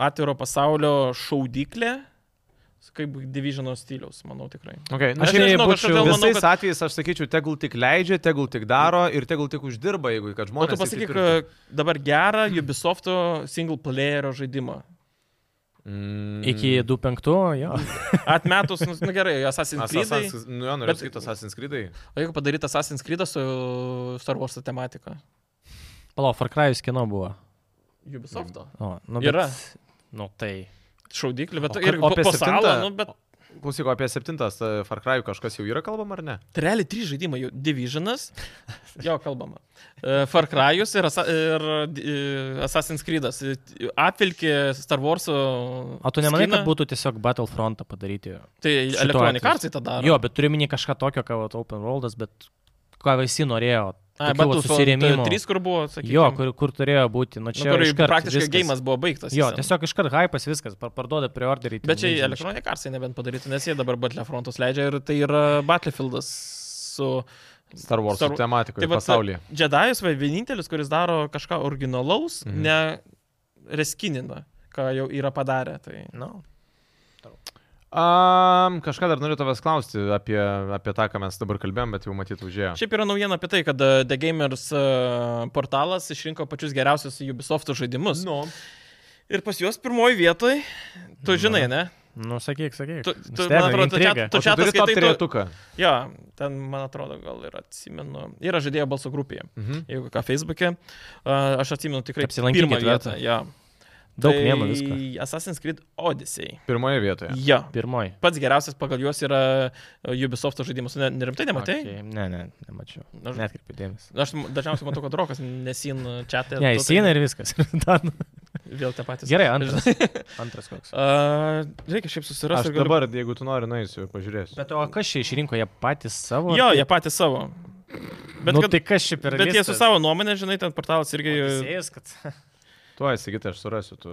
Speaker 2: atviro pasaulio šaudyklė, kaip Divisiono stiliaus, manau tikrai.
Speaker 1: Okay. Na,
Speaker 2: Aš
Speaker 1: nu, šiaip,
Speaker 2: nežinau,
Speaker 1: būčiau,
Speaker 2: kažkodėl
Speaker 1: manau,
Speaker 2: manau,
Speaker 1: visais kad... atvejais aš sakyčiau, tegul tik leidžia, tegul tik daro ir tegul tik uždirba, jeigu kad
Speaker 2: O
Speaker 1: žmonės. tai
Speaker 2: tu pasakyk
Speaker 1: įsipirktų.
Speaker 2: uh, dabar gerą Ubisofto single playerio žaidimą.
Speaker 1: Mm.
Speaker 3: Iki 2.5, jo.
Speaker 2: Atmetus, nu, nu gerai, Assassin's Creed.
Speaker 1: Assassin's, nu, jo, noriu
Speaker 2: Bet-
Speaker 1: sakyti, Assassin's Creed'ai.
Speaker 2: O jeigu padarytas Assassin's Creed su Star Wars tematika?
Speaker 3: Palauk, Far Cry'us kino buvo.
Speaker 2: Ubisofto.
Speaker 3: O, nu,
Speaker 2: Yra.
Speaker 3: Nu tai.
Speaker 2: Šaudyklė, bet
Speaker 1: O
Speaker 2: ir
Speaker 1: ka- o apie
Speaker 2: pasaulio,
Speaker 1: septintą?
Speaker 2: nu, bet
Speaker 1: Klausyk, o apie septintas e, Far Cry kažkas jau yra kalbama ar ne?
Speaker 2: Tai realiai trys žaidimai jau.
Speaker 3: [LAUGHS]
Speaker 2: Divisionas, jo kalbama. E, Far Cry'us ir, Assa- ir e, Assassin's Creed'as. E, Apvilkė Star Wars. e,
Speaker 3: O tu nemanai, kad būtų tiesiog Battlefrontą padaryti?
Speaker 2: Tai
Speaker 3: šituo
Speaker 2: Electronic
Speaker 3: atveju?
Speaker 2: Arts tai tą daro.
Speaker 3: Jo, bet turiu minį kažką tokio, ką vat Open Worldas, bet ką visi norėjo.
Speaker 2: Ai,
Speaker 3: tokių vat
Speaker 2: Battlefront
Speaker 3: susirėmimų.
Speaker 2: Trys, kur buvo, sakykime.
Speaker 3: Jo, kur, kur turėjo būti. Nu,
Speaker 2: nu,
Speaker 3: čia
Speaker 2: kur
Speaker 3: nu, iškart,
Speaker 2: praktiškai
Speaker 3: viskas.
Speaker 2: gėjimas buvo baigtas.
Speaker 3: Jo,
Speaker 2: jis ten.
Speaker 3: tiesiog iškart hypas viskas, par- parduoda preorderį. ten
Speaker 2: Bet čia
Speaker 3: milžinišką.
Speaker 2: Electronic Arts nebent padarytų, nes jie dabar Battlefrontus leidžia ir tai yra Battlefieldas su...
Speaker 1: Star Wars
Speaker 2: Star- tai
Speaker 1: Star... tematikoje
Speaker 2: vat,
Speaker 1: pasaulyje.
Speaker 2: Jedajus va, vienintelis, kuris daro kažką originalaus,
Speaker 1: Mhm.
Speaker 2: ne reskinina, ką jau yra padarę. Tai...
Speaker 3: Nu,
Speaker 2: uh,
Speaker 1: Um, kažką dar noriu tavęs klausti apie, apie tą, ką mes dabar kalbėjom, bet jau matyt užėjo.
Speaker 2: Šiaip yra naujiena apie tai, kad e, The Gamers e, portalas išrinko pačius geriausius Ubisoft žaidimus.
Speaker 1: Nu.
Speaker 2: Ir pas juos pirmoji vietoj, tu žinai, ne?
Speaker 3: nu sakyk, sakyk.
Speaker 2: Tu- tu,
Speaker 3: Stebi,
Speaker 2: man atrodo, tu
Speaker 3: intriga.
Speaker 2: Tu
Speaker 1: Tu
Speaker 2: čia
Speaker 1: čia turi
Speaker 2: ataskaitai,
Speaker 1: tą
Speaker 2: tu-
Speaker 1: turėtuką.
Speaker 2: Jo, ten, man atrodo, gal ir atsimenu. Yra žaidėjo balso grupėje.
Speaker 1: Mhm.
Speaker 2: Jeigu ką, Facebook'e. E, Aš atsimenu tikrai
Speaker 3: Apsilankykit
Speaker 2: pirmą vietą.
Speaker 3: verta.
Speaker 2: Ja.
Speaker 3: Daug
Speaker 2: tai-
Speaker 3: mėmų visko.
Speaker 2: Assassin's Creed Odyssey.
Speaker 1: Pirmoje vietoje.
Speaker 2: Ja.
Speaker 3: Pirmoji.
Speaker 2: Pats geriausias pagal juos yra e, Ubisoft žaidimas. Ne- Nerimtai nematai?
Speaker 3: Okay. Ne, ne, nemačiau.
Speaker 2: Aš,
Speaker 3: Netkirpiu dėmesį.
Speaker 2: aš dažniausiai matau, kad Rokas nesin čia tai.
Speaker 3: Ne, įsina ir viskas. [LAUGHS] Dan.
Speaker 2: Vėl tie patys.
Speaker 3: Gerai,
Speaker 2: [LAUGHS]
Speaker 3: antras. antras koks.
Speaker 2: A, reikia šiaip susirasti.
Speaker 1: Aš
Speaker 2: galiu-
Speaker 1: dabar, jeigu tu nori, nueisiu ir pažiūrėsiu.
Speaker 3: Bet o kas čia išrinko, jie patys savo?
Speaker 2: Jo, jie patys savo. Bet,
Speaker 3: Bet, nu,
Speaker 2: kad,
Speaker 3: tai kas čia per...
Speaker 2: bet jie su savo nuomonė, žinai, ten portalas irgi...
Speaker 3: Teisėjas, kad... [LAUGHS]
Speaker 1: Tu įsigyti, aš surasiu. Tu...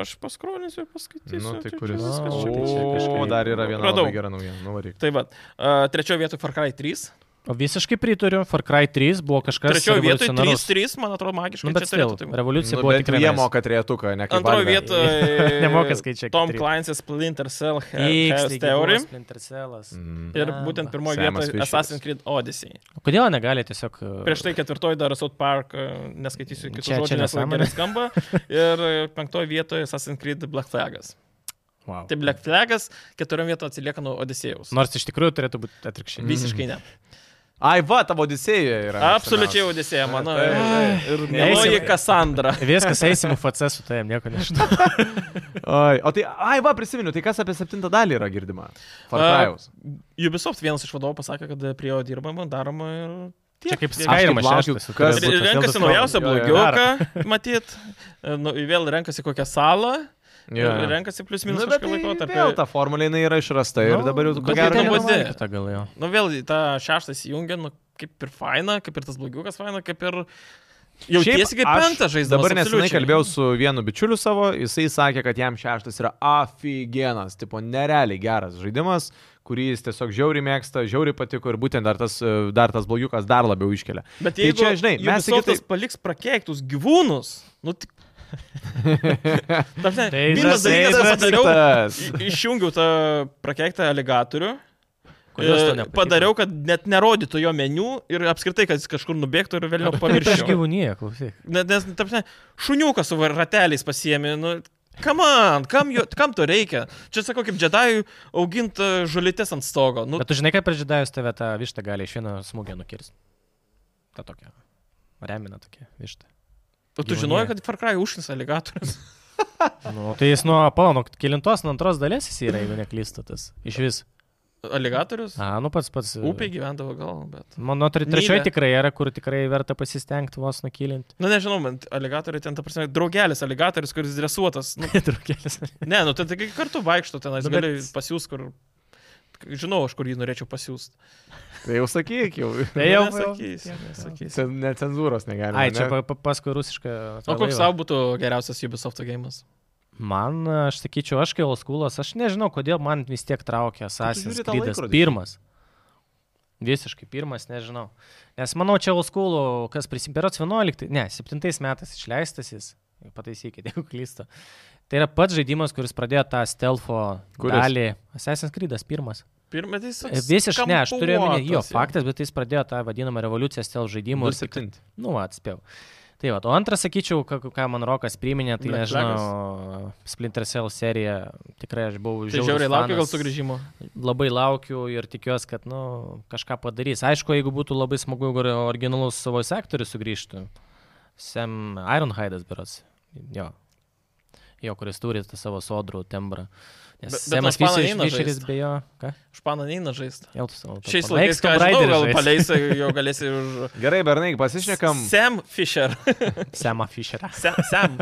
Speaker 2: Aš paskrolinsiu ir paskaitysiu.
Speaker 1: Nu, tai
Speaker 2: čia- čia
Speaker 1: kuris.
Speaker 2: viskas
Speaker 3: Vau.
Speaker 2: čia
Speaker 3: O.
Speaker 2: bus.
Speaker 1: O,
Speaker 3: kažkaip-
Speaker 1: dar yra viena
Speaker 2: Radau.
Speaker 1: labai gera naujiena. Nu, varyk.
Speaker 2: Tai va. A, Trečioje vietoje Far Cry 3.
Speaker 3: O visiškai pritariu, Far Cry 3 buvo kažkas...
Speaker 2: Trečioje vietoje
Speaker 3: revoliucionarus.
Speaker 2: 3-3, man atrodo, magiškai.
Speaker 3: Nu, bet
Speaker 2: čia turėtų
Speaker 3: vėl,
Speaker 2: taip būt.
Speaker 3: revoliucija
Speaker 1: Nu,
Speaker 3: buvo
Speaker 1: bet
Speaker 3: tikrai...
Speaker 1: Jie
Speaker 3: nice.
Speaker 1: moka turėtuką, ne kaip
Speaker 2: Antroje
Speaker 1: Valve.
Speaker 2: vietoje
Speaker 3: Nemoka skaičiuoti
Speaker 2: Tom
Speaker 3: trijų.
Speaker 2: Clancy's Splinter Cell He-
Speaker 3: X,
Speaker 2: Hell's
Speaker 3: taigi
Speaker 2: Theory.
Speaker 3: buvo Splinter Cellas.
Speaker 1: Mm.
Speaker 2: Ir
Speaker 3: Blemba.
Speaker 2: būtent pirmoje
Speaker 1: Semas
Speaker 2: vietoje
Speaker 1: Fisheris.
Speaker 2: Assassin's Creed Odyssey.
Speaker 3: O Kodėl negali tiesiog... uh,
Speaker 2: Prieš tai ketvirtoje dar South Park, e, neskaitysiu kitų
Speaker 3: Čia- čia
Speaker 2: žodžių, nes labai
Speaker 3: nesąmonė.
Speaker 2: gerai
Speaker 3: [LAUGHS]
Speaker 2: skamba. Ir e, penktoje vietoje Assassin's Creed Black Flagas.
Speaker 3: Wow.
Speaker 2: Tai
Speaker 3: Nu.
Speaker 2: Black Flagas keturiom vietom atsilieka nuo Odisėjaus.
Speaker 3: Nors iš tikrųjų turėtų būti atvirkščiai.
Speaker 2: Visiškai ne.
Speaker 1: Ai, va, tavo Odisėjoje yra.
Speaker 2: Absoliučiai Odisėja, mano.
Speaker 1: Taip, taip.
Speaker 2: Ir
Speaker 3: Eisim-
Speaker 2: Meloji Kassandra.
Speaker 3: [LAUGHS] Viskas eisim UFC su tavim, nieko nežinau.
Speaker 1: Ai, o tai, ai, va, prisimenu, tai kas apie septintą dalį yra girdima? Far Cry'aus.
Speaker 2: Ubisoft vienas iš vadovų pasakė, kad prie jo dirbama, daroma ir...
Speaker 3: Čia kaip
Speaker 1: Aš kaip
Speaker 3: Skyrim
Speaker 1: laukiu,
Speaker 3: šeštas.
Speaker 1: kas-
Speaker 3: turėjo
Speaker 2: Ir
Speaker 3: būt,
Speaker 2: renkasi
Speaker 3: Zelda
Speaker 2: naujausią
Speaker 1: Jo, jo,
Speaker 2: blogiuką, matyt. Nu, vėl renkasi kokią salą.
Speaker 1: Jo.
Speaker 2: Ir renkasi plius minus
Speaker 1: Nu,
Speaker 2: nu,
Speaker 1: bet
Speaker 2: kažkokį
Speaker 1: tai
Speaker 2: laikotarpį.
Speaker 1: Vėl ta formulė jinai yra išrasta ir
Speaker 3: Nu,
Speaker 1: dabar jau
Speaker 3: bet
Speaker 1: ko
Speaker 2: tai
Speaker 1: gero
Speaker 2: ten
Speaker 3: Storm.
Speaker 1: nebus.
Speaker 2: nebus-
Speaker 3: Nelabai kitą gal jo.
Speaker 2: Nu vėl į tą šeštą įjungia, nu kaip ir faina, kaip ir tas blogiukas faina, kaip ir... Jau tiesi kaip
Speaker 1: aš
Speaker 2: penktą žaidimą.
Speaker 1: Dabar nesenai kalbėjau su vienu bičiuliu savo, jisai sakė, kad jam šeštas yra aфиgenas, tipo nerealiai geras žaidimas, kurį jis tiesiog žiauriai mėgsta, žiauriai patiko ir būtent dar tas, e, dar tas blogiukas dar labiau iškelia.
Speaker 3: [LAUGHS]
Speaker 2: Bet
Speaker 1: Tai
Speaker 2: jeigu
Speaker 1: čia, žinai, mes
Speaker 2: Ubisoftas
Speaker 1: iki tai-
Speaker 2: paliks prakeiktus gyvūnus, nu tik... Dažnai,
Speaker 3: Tai
Speaker 1: [LAUGHS]
Speaker 2: vienas
Speaker 3: žasai
Speaker 2: dalykas, aš padariau,
Speaker 1: atliktas.
Speaker 2: i- išjungiau tą prakeiktą aligatorių,
Speaker 3: Kodėl tau
Speaker 2: e,
Speaker 3: nepatiko?
Speaker 2: padariau, kad net nerodytų jo meniu ir apskritai, kad jis kažkur nubėgtų ir
Speaker 3: [LAUGHS]
Speaker 2: vėliau
Speaker 3: Prieš
Speaker 2: pamirštų.
Speaker 3: gyvūniją, klausyk.
Speaker 2: Nes, ta prasme, šuniuką su va- rateliais pasiemi, nu, come on, kam, jo, kam to reikia? Čia sakau, kaip džedajų auginti žulytės ant stogo. Nu,
Speaker 3: Bet tu žinai, kad pridžidajus tave tą vištą gali iš vieno smūgio nukirsti. Ta tokia. Remina tokia višta.
Speaker 2: tu, tu
Speaker 3: gyvūnija.
Speaker 2: žinojai, kad Far Cry užsins
Speaker 3: [LAUGHS]
Speaker 2: aligatorius.
Speaker 3: Nu, tai jis nuo, palauk, nuo kilintos, nuo antros dalies jis yra, jeigu neklystu tas. Iš vis.
Speaker 2: Aligatorius?
Speaker 3: A, nu pats pats.
Speaker 2: Upė gyvendavo gal, bet.
Speaker 3: Mano tre, trečioji
Speaker 2: Nylė.
Speaker 3: tikrai yra, kur tikrai verta pasistengti vos nukilinti. [LAUGHS]
Speaker 2: Na Nu, nežinau, man aligatoriai ten, ta prasme, draugelis aligatorius, kuris dresuotas. Nu,
Speaker 3: Trukėlis.
Speaker 2: ne, nu ten tik kartu vaikšto ten, aš
Speaker 3: Nu, bet-
Speaker 2: galiu pasiūs, kur... Žinau, aš kur jį norėčiau Nu, pasiūsti.
Speaker 1: Tai jau sakyk, jau.
Speaker 3: Tai jau
Speaker 2: nesakysiu. nesakysiu.
Speaker 1: Cen- Net cenzūros negalima.
Speaker 3: Ai, čia
Speaker 1: ne?
Speaker 3: pa, pa, paskui rusišką.
Speaker 2: O
Speaker 3: tą
Speaker 2: koks
Speaker 3: laivą.
Speaker 2: savo būtų geriausias Ubisoft gėjimas?
Speaker 3: Man, aš sakyčiau, aš kai Olskulas, aš nežinau, kodėl man vis tiek traukia Assassin's
Speaker 1: žiūri tą
Speaker 3: Creed.
Speaker 1: laikrodį.
Speaker 3: Pirmas. Visiškai pirmas, nežinau. Nes manau, čia Olskulų, kas prisimperots 11, ne, 7 metais išleistas jis, pataisykite, [LAUGHS] jeigu klystu. Tai yra pats žaidimas, kuris pradėjo tą stealtho
Speaker 1: Kuris?
Speaker 3: dalį. Assassin's Creed pirmas.
Speaker 2: Pirmas, tai jis
Speaker 3: Visiškai ne, aš turėjau minėti, jo, faktas, bet jis pradėjo tą vadinamą revoliuciją stealth žaidimų. ir tik-
Speaker 1: 07.
Speaker 3: Nu, va, atspėjau. Tai va, o antras, sakyčiau, ką, ką man Rokas priminė, tai
Speaker 2: Black
Speaker 3: nežinau, Splinter Cell serija, tikrai aš buvau
Speaker 2: Tai
Speaker 3: žiaurus
Speaker 2: žiauriai laukiu gal
Speaker 3: fanas.
Speaker 2: sugrįžimo.
Speaker 3: Labai laukiu ir tikiuosi, kad, nu, kažką padarys. Aišku, jeigu būtų labai smagu, jeigu originalus savo sektorius sugrįžtų. Sam Ironhide'as, berots. Jo. Jo, kuris turi tą savo sodrų tembrą. Nes
Speaker 2: Bet- bet
Speaker 3: Semas
Speaker 2: Lašpaną
Speaker 3: Fisheris-
Speaker 2: eina
Speaker 3: Fisheris
Speaker 2: žaist.
Speaker 3: be jo. Ką?
Speaker 2: Špana neina žaisti.
Speaker 3: Jau tu savo. tą
Speaker 2: Šiais
Speaker 3: paleik
Speaker 2: laikais, ką
Speaker 3: Tomb
Speaker 2: žinau,
Speaker 3: Raiderį
Speaker 2: gal
Speaker 3: žaist.
Speaker 2: paleis, jo galėsi už...
Speaker 1: Gerai, Bernai, pasišnekam,
Speaker 2: Sam Fisher.
Speaker 3: [LAUGHS] Semą Fisherą.
Speaker 2: Sam. [LAUGHS] Sam.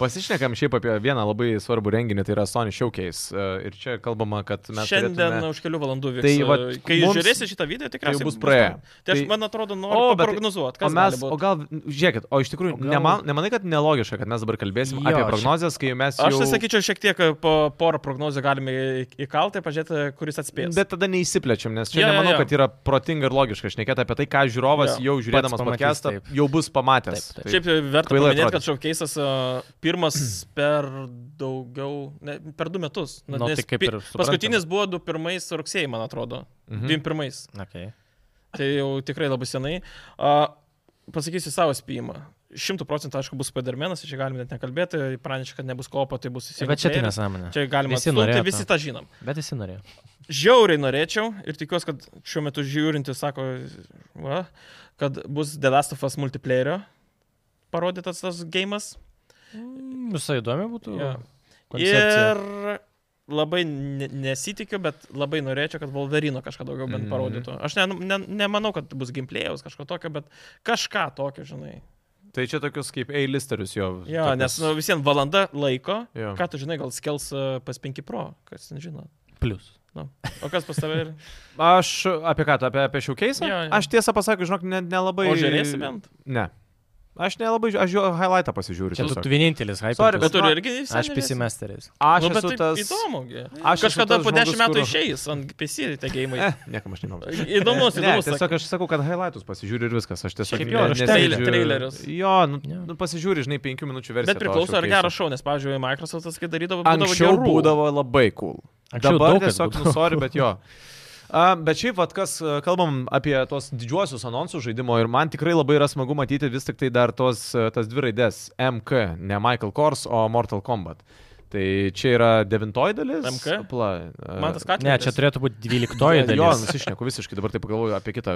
Speaker 1: pasišnekam šiaip apie vieną labai svarbų renginį, tai yra Sony Showcase. E, Ir čia kalbama, kad mes...
Speaker 2: Šiandien
Speaker 1: turėtume-
Speaker 2: už kelių valandų vyks. e,
Speaker 1: Tai vat
Speaker 2: kai
Speaker 1: mums-
Speaker 2: mums... žiūrėsi šitą video, tikriausiai
Speaker 1: jau bus praėję.
Speaker 2: Tai aš,
Speaker 1: Tai-
Speaker 2: man atrodo,
Speaker 1: O, bet
Speaker 2: noriu
Speaker 1: tai-
Speaker 2: prognozuoti,
Speaker 1: O,
Speaker 2: kas
Speaker 1: mes,
Speaker 2: mes...
Speaker 1: o gal, žiūrėkit, o iš tikrųjų,
Speaker 3: O gal-
Speaker 1: nema, nemanai, kad nelogiška, kad mes dabar kalbėsim
Speaker 3: Jo,
Speaker 1: apie
Speaker 3: čia-
Speaker 1: prognozes, kai mes... Jau...
Speaker 2: Aš tai sakyčiau, šiek tiek po porą prognozių galime į- įkalti, pažiūrėti, kuris atspės.
Speaker 1: Bet tada neįsiplečiam, nes čia
Speaker 2: Jo,
Speaker 1: ja,
Speaker 2: jo,
Speaker 1: nemanau, ja,
Speaker 2: jo.
Speaker 1: ja. kad yra protinga ir logiška šnekėti apie tai, ką žiūrovas ja.
Speaker 2: Jo.
Speaker 1: jau žiūrėdamas
Speaker 3: pamatys,
Speaker 1: podcastą
Speaker 3: taip.
Speaker 1: jau bus pamatęs.
Speaker 3: Taip, taip.
Speaker 2: Šiaip e, verta
Speaker 1: Kvailai
Speaker 2: paminėti,
Speaker 1: atrodys.
Speaker 2: kad šaukėjas pirmas
Speaker 1: [CLEARS THROAT]
Speaker 2: per daugiau, ne, per du metus. Na,
Speaker 3: Nu,
Speaker 2: nes
Speaker 3: tai kaip
Speaker 2: pi-
Speaker 3: ir suprantam.
Speaker 2: paskutinis buvo 21 rugsėjai, man atrodo.
Speaker 1: Mhm.
Speaker 2: 21.
Speaker 3: Okay.
Speaker 2: Tai jau tikrai labai senai. A, pasakysiu savo spėjimą. Šimtų procentų, aišku, bus Spidermanas, čia galime net nekalbėti, pranešė, kad nebus kopo, tai bus
Speaker 3: Bet čia tai
Speaker 2: singleplayers.
Speaker 3: nesąmonė.
Speaker 2: Čia galima
Speaker 3: Visi
Speaker 2: visi,
Speaker 3: norėjo to.
Speaker 2: visi tą žinom.
Speaker 3: Bet visi norėjo.
Speaker 2: Žiauriai norėčiau ir tikiuosi, kad šiuo metu žiūrinti sako, va, kad bus The Last of Us multiplayerio parodytas tas gėjimas.
Speaker 3: Visai įdomi būtų.
Speaker 2: Mm, Jo.
Speaker 3: koncepcija.
Speaker 2: Ir labai ne- nesitikiu, bet labai norėčiau, kad Wolverino kažką daugiau bent
Speaker 1: Mhm.
Speaker 2: parodytų. Aš ne, ne, nemanau, kad bus gimplėjaus kažko tokio, bet kažką tokio, žinai.
Speaker 1: Tai čia tokius kaip A-listerius jo.
Speaker 2: Jo,
Speaker 1: tokius-
Speaker 2: nes nu, visiems valanda laiko.
Speaker 1: Jo.
Speaker 2: Ką tu žinai, gal skels e, pas 5 Pro, kas ten žino.
Speaker 3: Plius.
Speaker 2: Nu. O kas pas tave ir...
Speaker 1: [LAUGHS] Aš apie ką, tu apie, apie šiaukeisą?
Speaker 2: Jo, jo.
Speaker 1: Aš tiesą pasakiau, žinok, ne- nelabai...
Speaker 2: O žiūrėsi bent?
Speaker 1: Ne. Aš nelabai, žiū- aš jo highlightą pasižiūriu.
Speaker 3: Čia tu,
Speaker 1: tiesiog.
Speaker 3: tu vienintelis, hype.
Speaker 1: Sorry,
Speaker 2: Bet
Speaker 1: bet
Speaker 2: turi
Speaker 1: man-
Speaker 2: irgi visą.
Speaker 3: Aš pisimesteris.
Speaker 1: Aš
Speaker 2: nu, bet
Speaker 1: esu
Speaker 2: tai
Speaker 1: tas...
Speaker 2: Įdomu. gi.
Speaker 1: Aš esu
Speaker 2: Kažkada
Speaker 1: tas
Speaker 2: po 10
Speaker 1: žmogus,
Speaker 2: metų
Speaker 1: kur-
Speaker 2: išeis ant PC tie
Speaker 1: [LAUGHS]
Speaker 2: gėjimai.
Speaker 1: Eh, niekam aš nemanau.
Speaker 2: Įdomus,
Speaker 1: Ne,
Speaker 2: įdomus.
Speaker 1: tiesiog aš sakau, kad highlightus pasižiūriu ir viskas. Aš tiesiog...
Speaker 2: Šiaip jo,
Speaker 1: ne-
Speaker 2: aš tai
Speaker 1: nesėdžiu-
Speaker 2: traile- trailerius.
Speaker 1: Jo, nu,
Speaker 3: Jo.
Speaker 1: nu pasižiūri, žinai, penkių minučių versiją.
Speaker 2: Bet
Speaker 1: to
Speaker 2: priklauso, ar
Speaker 1: showcase'o.
Speaker 2: geras šau, nes, pavyzdžiui, Microsoftas, kai darydavo, būdavo
Speaker 1: Anksčiau
Speaker 2: gerų.
Speaker 1: būdavo labai cool.
Speaker 3: Anksčiau
Speaker 1: Dabar
Speaker 3: daug kas
Speaker 1: tiesiog
Speaker 3: būdavo.
Speaker 1: nusori, bet [LAUGHS] jo. A, Bet šiaip, vat, kas a, kalbam apie tos didžiuosius anonsus žaidimo ir man tikrai labai yra smagu matyti vis tik tai dar tos, a, tas dvi raidės MK, ne Michael Kors, o Mortal Kombat. Tai čia yra devintoji dalis.
Speaker 2: MK?
Speaker 1: Pla,
Speaker 2: Man tas katlikas.
Speaker 3: Ne, čia turėtų būti
Speaker 2: [LAUGHS]
Speaker 3: dvyliktoji
Speaker 1: Jo,
Speaker 3: dalis.
Speaker 1: nusišneku visiškai, dabar tai pagalvoju apie kitą.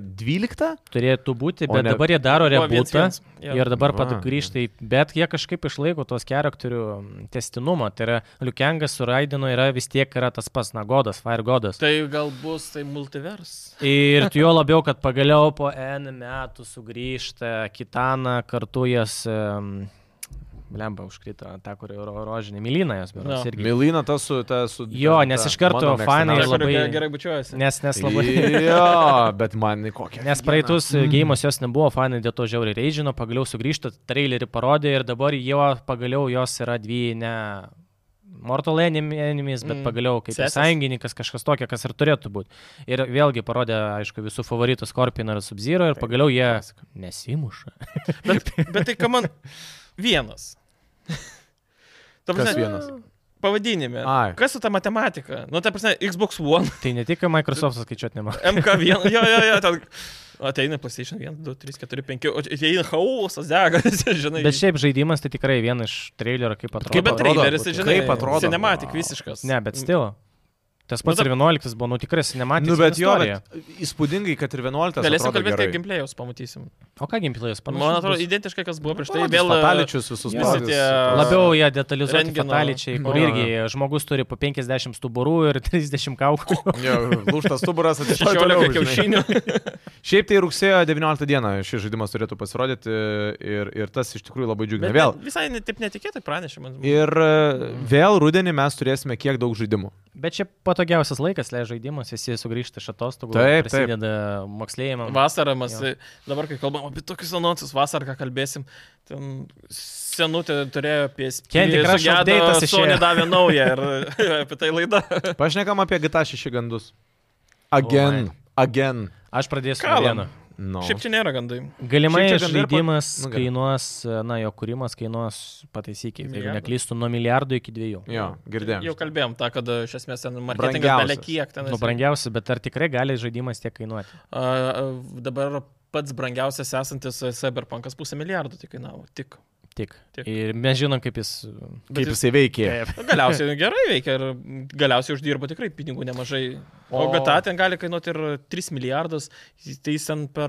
Speaker 1: Dvylikta?
Speaker 3: Turėtų būti,
Speaker 1: O
Speaker 3: bet
Speaker 1: ne-
Speaker 3: dabar jie daro
Speaker 2: Buvo viens,
Speaker 3: rebūtą.
Speaker 2: viens. Jo.
Speaker 3: Ir dabar pat
Speaker 1: Va.
Speaker 3: grįžta į... Bet jie kažkaip išlaiko tos charakterių mm, testinumą. Tai yra Liukengas su Raidinu yra vis tiek yra tas pats Nagodas, Fire Godas.
Speaker 2: Tai gal bus tai multivers.
Speaker 3: Ir tu jo labiau, kad pagaliau po N metų sugrįžta Kitana, kartu jas... Um, Lemba užkrito, tą, kur ro- rožinė Milina jos
Speaker 2: Jo.
Speaker 3: beros irgi.
Speaker 1: Milina ta su... Ta, su
Speaker 3: Jo,
Speaker 1: ta-
Speaker 3: nes
Speaker 1: ta
Speaker 3: iš karto
Speaker 1: mano
Speaker 3: fanai
Speaker 1: mėgstamiausia.
Speaker 2: Aš
Speaker 3: labai-
Speaker 2: labai gerai bučiuojasi.
Speaker 3: Nes, nes labai...
Speaker 1: Tai- Jo, bet man į kokią.
Speaker 3: Nes praeitus mm. gėjimus jos nebuvo, fanai dėl to žiauriai reidžino, pagaliau sugrįžta, trailerį parodė ir dabar jo, pagaliau jos yra dvi, ne Mortal Enemy- Enemies, bet
Speaker 2: Mm.
Speaker 3: mm. pagaliau kaip ir
Speaker 2: Sesės.
Speaker 3: sąjungininkas kažkas tokia, kas ir turėtų būti. Ir vėlgi parodė, aišku, visų favoritų Scorpion ir Subzero
Speaker 2: Tai
Speaker 3: ir pagaliau jie nesimuša.
Speaker 2: Bet, bet tai, ką man. Vienas. Ta
Speaker 1: Kas
Speaker 2: prasme, nu,
Speaker 1: vienas?
Speaker 2: Pavadinime.
Speaker 1: Ai.
Speaker 2: Kas su ta matematika? Nu, ta prasme, Xbox One,
Speaker 3: tai ne tik kad Microsoft'as skaičiuoti nemokė.
Speaker 2: MK1, jo, jo, jo, ten. Ateina PlayStation 1, 2, 3, 4, 5, o ateina chaosas, degas, [LAUGHS] žinai.
Speaker 3: Bet šiaip žaidimas tai tikrai viena iš trailerio, kaip atrodo.
Speaker 2: Kaip bet
Speaker 1: atrodo,
Speaker 2: traileris, tai
Speaker 1: kaip
Speaker 2: žinai,
Speaker 1: atrodo?
Speaker 2: Cinematic visiškas.
Speaker 3: Ne, bet stilo. Tas
Speaker 2: Nu,
Speaker 3: pats
Speaker 2: ta-
Speaker 3: ir 11 buvo, nu tikrai sinematinis.
Speaker 1: Nu, bet jo, bet įspūdingai, kad ir 11.
Speaker 2: Galėsim
Speaker 1: atrodo
Speaker 2: kalbėti,
Speaker 1: gerai.
Speaker 2: kaip gimplėjus pamatysim.
Speaker 3: O ką gimplėjus panašus?
Speaker 2: Man atrodo,
Speaker 3: bus?
Speaker 2: identiškai, kas buvo prieš tai.
Speaker 1: Parodys
Speaker 2: Vėl
Speaker 1: fataličius Nu, visus
Speaker 2: visi
Speaker 1: parodys,
Speaker 2: tie-
Speaker 1: tas-
Speaker 3: Labiau jie detalizuoti
Speaker 2: Rentgeno-
Speaker 3: fataličiai,
Speaker 1: Jo,
Speaker 3: kur
Speaker 1: jo.
Speaker 3: irgi žmogus turi po 50 stuburų ir [LAUGHS] 30 kaukų.
Speaker 1: Jo, lūštas stuburas atsistoja toliau,
Speaker 2: 16
Speaker 1: žinai.
Speaker 2: kiaušinių.
Speaker 1: Šiaip tai rugsėjo 19 dieną šis žaidimas turėtų pasirodyti ir, ir tas iš tikrųjų labai džiugina.
Speaker 2: Bet
Speaker 1: Vėl.
Speaker 2: ne- Visai ne- taip netikėtai pranešė man.
Speaker 1: Ir e, vėl rudenį mes turėsime kiek daug žaidimų.
Speaker 3: Bet čia patogiausias laikas, leidžia žaidimas, visi sugrįžta iš atostogų,
Speaker 1: Taip, taip.
Speaker 3: prasideda moksleiviam.
Speaker 2: Vasarą mes,
Speaker 3: Jo.
Speaker 2: dabar kai kalbam apie tokius anonsus, vasarą ką kalbėsim, ten senutė turėjo apie
Speaker 3: Candy Crush update'as
Speaker 2: Šio
Speaker 3: išėjo.
Speaker 2: nedavė naują ir
Speaker 3: [LAUGHS]
Speaker 2: apie tai laida.
Speaker 1: Pašnekam apie GTA 6 gandus. Again.
Speaker 3: Oh
Speaker 1: Again.
Speaker 3: Aš pradėsiu nuo
Speaker 2: Kalam.
Speaker 3: vieno.
Speaker 1: No.
Speaker 2: Šiaip čia nėra gandai.
Speaker 3: Galimai
Speaker 1: Šiaip čia gandai ir pat-
Speaker 3: žaidimas
Speaker 1: Nu, gerai.
Speaker 3: kainuos, na, jo kūrimas kainuos, pataisykiai, jeigu
Speaker 2: Milijardą.
Speaker 3: neklystu, nuo milijardo iki dviejų.
Speaker 1: Jo, girdėjom.
Speaker 2: Jau kalbėjom tą, kad iš esmės ten marketingas
Speaker 1: Brangiausias.
Speaker 2: belia kiek ten.
Speaker 3: Nu, brangiausia, bet ar tikrai gali žaidimas tiek kainuoti?
Speaker 2: A, a, dabar pats brangiausias esantis Cyberpunkas pusę milijardo tik kainavo. Tik.
Speaker 3: Tik.
Speaker 2: Tik.
Speaker 3: Ir mes žinom, kaip jis...
Speaker 2: Bet
Speaker 1: Kaip
Speaker 2: jis
Speaker 1: jisai veikia.
Speaker 2: galiausiai nu, gerai veikia ir galiausiai uždirba tikrai pinigų nemažai. O
Speaker 1: O-
Speaker 2: GTA ten gali kainuoti ir 3 milijardus, tai jis ten per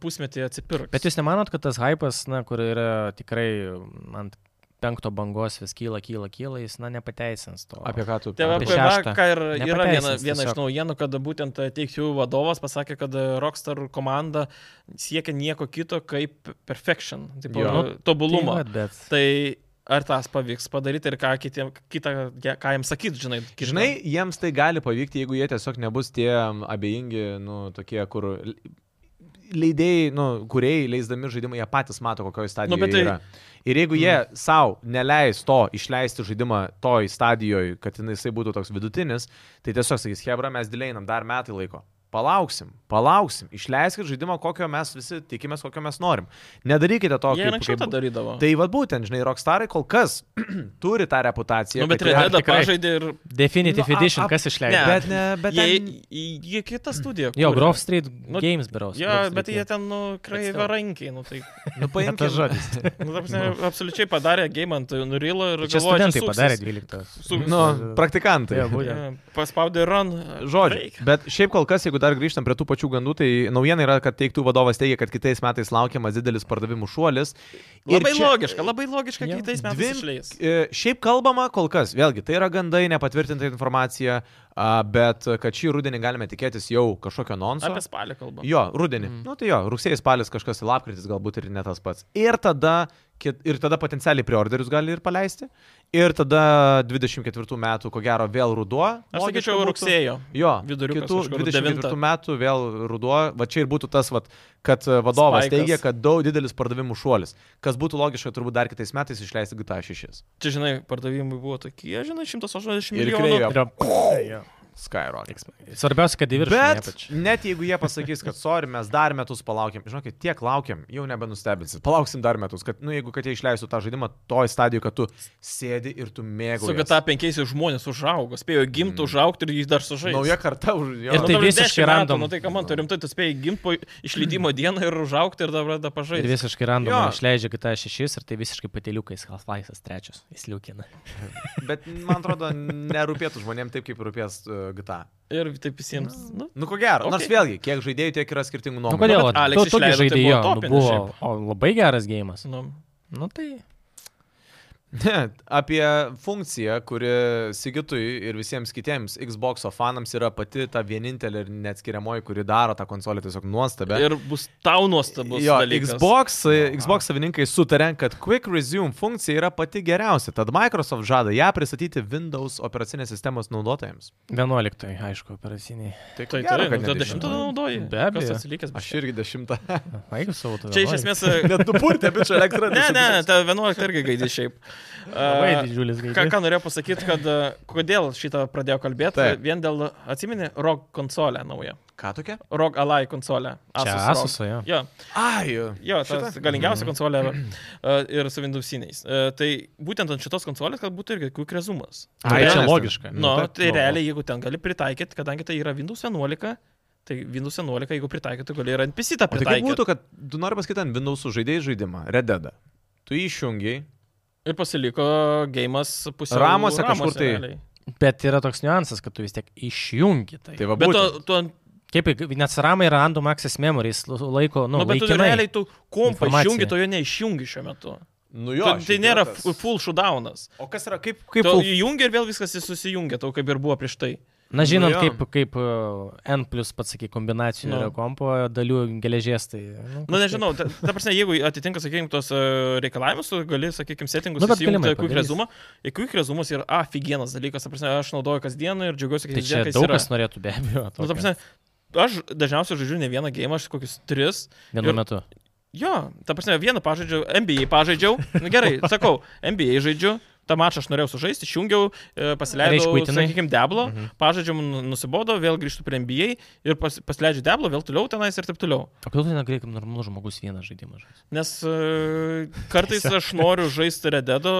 Speaker 2: pusmetį atsipirks.
Speaker 3: Bet jūs nemanot, kad tas hypas, na, kur yra tikrai mm, ant penkto bangos vis kyla, kyla, kyla, jis, na, nepateisins to. Tai
Speaker 1: Apie ką tu?
Speaker 2: TV
Speaker 3: Apie šeštą.
Speaker 2: ką ir yra viena,
Speaker 3: Nepateisins
Speaker 2: viena iš
Speaker 3: tiesiog.
Speaker 2: naujienų, kad būtent Teikiu vadovas pasakė, kad e, Rockstar komanda siekia nieko kito kaip perfection, taip,
Speaker 1: Jo.
Speaker 2: e, tobulumą.
Speaker 3: Tai, vat, bet...
Speaker 2: Tai ar tas pavyks padaryti ir ką, kitiem, kitą, ge- ką jam sakyt, žinai, kitą.
Speaker 1: Žinai, jiems tai gali pavykti, jeigu jie tiesiog nebus tie abejingi, nu, tokie, kur l- leidėjai, nu, kuriejai leisdami žaidimą, jie patys mato, kokioje stadijoje
Speaker 2: bet
Speaker 1: nu, tai...
Speaker 2: tai-
Speaker 1: yra. Ir jeigu jie mm. savo neleis to išleisti žaidimą toj stadijoje, kad jinai- jisai būtų toks vidutinis, tai tiesiog sakys, Hebra, mes dileinam dar metai laiko. Palauksim, palauksim, išleiskit žaidimą, kokio mes visi tikimės, kokio mes norim. Nedarykite to,
Speaker 2: jie ir anksčiau tą darydavo.
Speaker 1: Tai vad būtent, žinai, Rockstarai kol kas [CLEARS THROAT] turi tą reputaciją.
Speaker 2: nu, bet
Speaker 1: kad jie-
Speaker 2: Red Dead
Speaker 3: tikrai-
Speaker 2: pažaidė ir...
Speaker 3: Definitive
Speaker 1: Nu,
Speaker 3: nu,
Speaker 1: a-
Speaker 3: Edition,
Speaker 1: a-
Speaker 3: a, kas išleido?
Speaker 2: ne.
Speaker 3: Ne.
Speaker 1: Bet, ne, bet
Speaker 2: Jie,
Speaker 1: ten-
Speaker 2: jie kita studija.
Speaker 3: Jo,
Speaker 2: kuria.
Speaker 3: Grove Street
Speaker 2: Nu,
Speaker 3: nu, Games beros.
Speaker 2: Jo,
Speaker 3: Grove Street
Speaker 2: bet jie
Speaker 3: Games.
Speaker 2: ten, nu, kraivė
Speaker 3: still.
Speaker 2: rankiai, nu, tai,
Speaker 3: [LAUGHS]
Speaker 1: Nu,
Speaker 3: Ne tas
Speaker 1: paimkime.
Speaker 3: žodis.
Speaker 2: nu, ta prasme, absoliučiai padarė game ant Nurilo ir
Speaker 3: Čia
Speaker 2: galvoja,
Speaker 3: studentai
Speaker 2: suksis.
Speaker 3: padarė 12.
Speaker 2: Su-
Speaker 1: Nu, praktikantai.
Speaker 3: Jo, būtent.
Speaker 2: Jo, Paspaudė run.
Speaker 1: Žodžiu.
Speaker 2: Veik.
Speaker 1: Bet šiaip kol kas, jeigu dar grįžtam prie tų pačių gandų, tai naujiena yra, kad teiktų vadovas teigia, kad kitais metais laukiamas didelis pardavimų šuolis. Ir
Speaker 2: Labai
Speaker 1: čia-
Speaker 2: logiška, labai logiška,
Speaker 3: Jo.
Speaker 2: kai kitais metais
Speaker 1: Dvim-
Speaker 2: išleis.
Speaker 1: E, Šiaip kalbama kol kas, vėlgi, tai yra gandai, nepatvirtinta informacija, a, bet e, kad šį rudenį galime tikėtis jau kažkokio nonso.
Speaker 2: Apie spalį kalbam.
Speaker 1: nu, Jo, rudenį.
Speaker 2: Mhm.
Speaker 1: Mm. Nu tai jo, rugsėjais, spalis kažkas, lapkritis galbūt ir ne tas pats. Ir tada, kit- ir tada potencialiai preorderius gali ir paleisti. Ir tada 24 metų, ko gero, vėl ruduo.
Speaker 2: Aš
Speaker 1: Logiška
Speaker 2: sakyčiau,
Speaker 1: būtų.
Speaker 2: rugsėjo.
Speaker 1: Jo,
Speaker 2: viduriukas
Speaker 1: kitų
Speaker 2: kažkur,
Speaker 1: 24
Speaker 2: devintą.
Speaker 1: metų vėl ruduo, va čia ir būtų tas, va, kad e, vadovas
Speaker 2: Spaikas.
Speaker 1: teigia, kad daug didelis pardavimų šuolis, kas būtų logiška turbūt dar kitais metais išleisti GTA 6.
Speaker 2: Čia, žinai, pardavimai buvo tokie, žinai, 180
Speaker 1: Ir
Speaker 2: milijonų.
Speaker 1: kreivė.
Speaker 3: Yra- Jo.
Speaker 1: Skyrocket.
Speaker 3: Svarbiausia, kad į viršų.
Speaker 1: Bet net jeigu jie pasakys, kad sorry, mes dar metus palaukiam, žinokit, tiek laukiam, jau nebenustebinsit. Palauksim dar metus, kad, nu, jeigu kad jie išleistų tą žaidimą toj stadijoje, kad tu sėdi ir tu mėgaujies.
Speaker 2: Su GTA 5 žmonės užaugo, spėjo gimti, mm. užaugti ir jis dar sužaidė.
Speaker 1: Nauja karta už jo.
Speaker 3: Ir
Speaker 2: Nu,
Speaker 3: tai
Speaker 2: dabar
Speaker 3: visiškai
Speaker 2: 10 metų,
Speaker 3: random.
Speaker 2: Nu tai ką man, tu rimtai, tu spėjai gimti po išleidimo dieną ir užaugti ir dabar dar
Speaker 3: Ir
Speaker 2: pažaisti.
Speaker 3: visiškai randomai
Speaker 1: Jo.
Speaker 3: išleidžia GTA 6 ir tai visiškai pateliukais Half-Life'as 3 įsliukina.
Speaker 1: Bet man atrodo, nerūpėtų žmonėm taip, kaip rūpės uh, GTA.
Speaker 2: Ir taip visiems. Nu,
Speaker 1: Nu, ko gero. Okay. Nors
Speaker 2: Okay.
Speaker 1: vėlgi, kiek žaidėjų, tiek yra skirtingų
Speaker 3: Nu
Speaker 1: nuomonių.
Speaker 3: kodėl?
Speaker 2: bet
Speaker 3: vat,
Speaker 2: Alex
Speaker 3: Tu tu gi
Speaker 2: išleido, tai
Speaker 3: žaidėjai
Speaker 2: buvo
Speaker 3: jo, nu,
Speaker 2: topinis
Speaker 3: buvo
Speaker 2: šiaip.
Speaker 3: o, labai geras gėjimas.
Speaker 2: nu,
Speaker 3: Nu tai.
Speaker 1: Ne, [LAUGHS] apie funkciją, kuri Sigitui ir visiems kitiems Xbox fanams yra pati ta vienintelė ir neatskiriamoji, kuri daro tą konsolę tiesiog nuostabę.
Speaker 2: ir bus tau nuostabus.
Speaker 1: Jo,
Speaker 2: dalykas.
Speaker 1: Xbox, Xbox savininkai sutarė, kad Quick Resume funkcija yra pati geriausia, tad Microsoft žada ją pristatyti Windows operacinės sistemos naudotojams.
Speaker 3: 11, aišku, operaciniai.
Speaker 1: Tai
Speaker 2: Tai
Speaker 1: gero, kad
Speaker 2: turi, kad tu
Speaker 1: nedainuoja.
Speaker 2: dešimtą naudoji.
Speaker 3: Be abejo.
Speaker 2: Kas atsilikęs?
Speaker 1: Aš irgi dešimtą. [LAUGHS]
Speaker 3: Na, jeigu savo tu.
Speaker 2: Čia iš
Speaker 3: 11.
Speaker 2: esmės.
Speaker 1: Net nupurtė, bičiu, elektrą.
Speaker 2: Ne, ne, ta 11 irgi gaidė šiaip.
Speaker 3: labai
Speaker 2: A,
Speaker 3: didžiulis
Speaker 2: Ką,
Speaker 3: gėjimas.
Speaker 2: ką norėjau pasakyti, kad a, kodėl šitą pradėjau kalbėti,
Speaker 1: Taip.
Speaker 2: vien dėl, atsimeni, ROG konsolę naują.
Speaker 1: Ką tokia?
Speaker 2: ROG Ally konsolę.
Speaker 3: Čia
Speaker 2: ROG.
Speaker 3: Asuso, jo.
Speaker 2: Jo,
Speaker 1: Ai,
Speaker 2: jo tas galingiausia konsolė e, ir su Windowsiniais. E, Tai būtent ant šitos konsolės, kad būtų irgi quick resumas.
Speaker 3: Ai,
Speaker 2: Todėl-
Speaker 3: čia
Speaker 1: nes-
Speaker 3: logiška.
Speaker 2: Nu, nu,
Speaker 1: taip,
Speaker 2: tai
Speaker 1: nu,
Speaker 2: realiai, jeigu ten gali pritaikyti, kadangi tai yra Windows 11, tai Windows 11, jeigu pritaikytų, tu gali ir ant PC
Speaker 1: O tai
Speaker 2: tą
Speaker 1: kaip
Speaker 2: pritaikyti.
Speaker 1: būtų, kad tu nori pasakyti ant Windows žaidėjai žaidimą, Red Dead. Tu jį išjungi,
Speaker 2: Ir pasiliko geimas pusė.
Speaker 1: Ramose kažkur tai.
Speaker 3: Bet yra toks niuansas, kad tu vis tiek išjungi tai.
Speaker 1: tai va
Speaker 2: Bet tu,
Speaker 1: būtent.
Speaker 2: tu, ant-
Speaker 3: Kaip, nes ramai yra random access memory, jis laiko, nu,
Speaker 2: nu,
Speaker 3: nu
Speaker 2: bet tu realiai tu kompą
Speaker 3: Informacija.
Speaker 2: išjungi, to jo neišjungi šiuo metu.
Speaker 1: Nu
Speaker 2: Jo,
Speaker 1: jo.
Speaker 2: tu, tai
Speaker 1: šiaip yra
Speaker 2: nėra
Speaker 1: tas.
Speaker 2: f- full shootdownas.
Speaker 1: O kas yra, kaip,
Speaker 2: Kaip
Speaker 1: kaip
Speaker 2: tu
Speaker 1: full-
Speaker 2: įjungi ir vėl viskas susijungia, tau kaip ir buvo prieš tai.
Speaker 3: Na, žinant,
Speaker 1: jo.
Speaker 3: nu, kaip, kaip uh, N plus pats, sakai, kombinacijų
Speaker 2: Nu.
Speaker 3: nu. kompo dalių geležies, tai... Nu,
Speaker 2: Na, nu, nežinau, ta, ta prasme, jeigu atitinka, sakykime, tos e, reikalavimus, tu gali, sakykime, settingus
Speaker 3: Nu, bet
Speaker 2: įsijungti
Speaker 3: galimai
Speaker 2: quick
Speaker 3: padarys.
Speaker 2: resumą. Ir quick resumas yra aфиgenas dalykas, ta prasme, aš naudoju kasdieną ir džiaugiuosi, kad
Speaker 3: Tai
Speaker 2: jis
Speaker 3: čia daug kas norėtų be abejo.
Speaker 2: Nu, ta
Speaker 3: tokio.
Speaker 2: prasme, aš dažniausiai žaidžiu ne vieną gėjimą, aš kokius tris.
Speaker 3: Vienu
Speaker 2: ir-
Speaker 3: metu.
Speaker 2: Jo, ta prasme, vieną pažaidžiau, NBA pažaidžiau. Nu,
Speaker 3: [LAUGHS]
Speaker 2: gerai, sakau, NBA žaidžiu. Ta mačą aš norėjau sužaisti, išjungiau, e, pasileidau,
Speaker 3: Reiškuitinai.
Speaker 2: sakykime, Deblo, mhm. pažaidžiam nusibodo, vėl grįžtu prie NBA ir pas, pasileidžiu Deblo, vėl toliau tenais ir taip toliau.
Speaker 3: O kodėl tu negali kaip normalus žmogus vieną žaidimą žaisti?
Speaker 2: Nes e, kartais aš noriu žaisti Rededo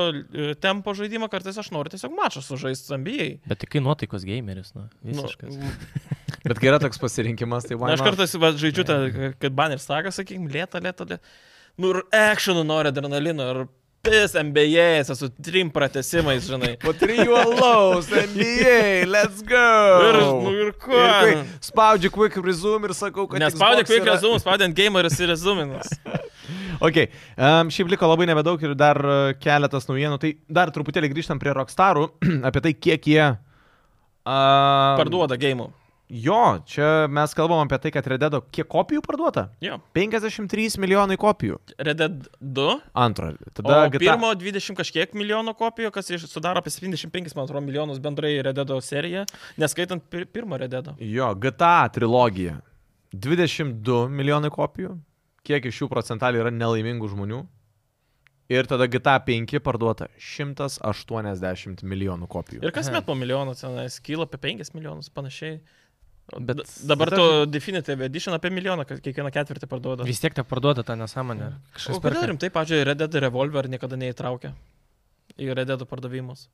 Speaker 2: tempo žaidimą, kartais aš noriu tiesiog mačą sužaisti NBA.
Speaker 3: Bet tik kai nuotaikos gameris, nu, visiškas. Nu,
Speaker 2: Nu,
Speaker 1: Bet kai yra toks pasirinkimas, tai
Speaker 2: Na,
Speaker 1: man.
Speaker 2: aš kartais va, žaidžiu, tą, e, kad banner sakas, sakykime, lėta, lėta, lėta. Nu ir actionų nori adrenalino, ir pis MBA, su trim pratesimais, žinai.
Speaker 1: Po trijų alaus, NBA, let's go.
Speaker 2: Ir, nu ir ko?
Speaker 1: Ir kai Spaudžiu quick resume ir sakau, kad...
Speaker 2: Nespaudė
Speaker 1: Xbox
Speaker 2: quick
Speaker 1: yra-
Speaker 2: resume, spaudė ant gamer ir resuminas.
Speaker 1: Ok, um, šiaip liko labai nebedaug ir dar uh, keletas naujienų. Tai dar truputėlį grįžtam prie Rockstarų, [CLEARS THROAT] apie tai, kiek jie... Um,
Speaker 2: Parduoda game'ų.
Speaker 1: Jo, čia mes kalbam apie tai, kad Rededo kiek kopijų parduota?
Speaker 2: Jo.
Speaker 1: 53 milijonai kopijų.
Speaker 2: Red Dead 2.
Speaker 1: Antro. Tada
Speaker 2: O
Speaker 1: GTA.
Speaker 2: pirmo 20 kažkiek milijonų kopijų, kas iš- sudaro apie 75, man atrodo, milijonus bendrai Red Dead serija, neskaitant pir pirmo Red Dead.
Speaker 1: Jo, GTA trilogija. 22 milijonai kopijų. Kiek iš jų procentaliai yra nelaimingų žmonių? Ir tada GTA 5 parduota 180 milijonų kopijų.
Speaker 2: Ir kasmet po milijoną tenais kyla apie 5 milijonus panašiai.
Speaker 3: Bet-
Speaker 2: Da- dabar
Speaker 1: bet
Speaker 2: tu Definitive Edition apie milijoną kad kiekvieną ketvirtį
Speaker 1: nu.
Speaker 2: parduoda.
Speaker 3: Vis tiek ta parduota ta nesąmonė.
Speaker 1: Mhm.
Speaker 2: O
Speaker 3: Kažkas
Speaker 2: kodėl rimtai, pažiūrėjau, Red Dead Revolver niekada neįtraukia į Red Dead pardavimus?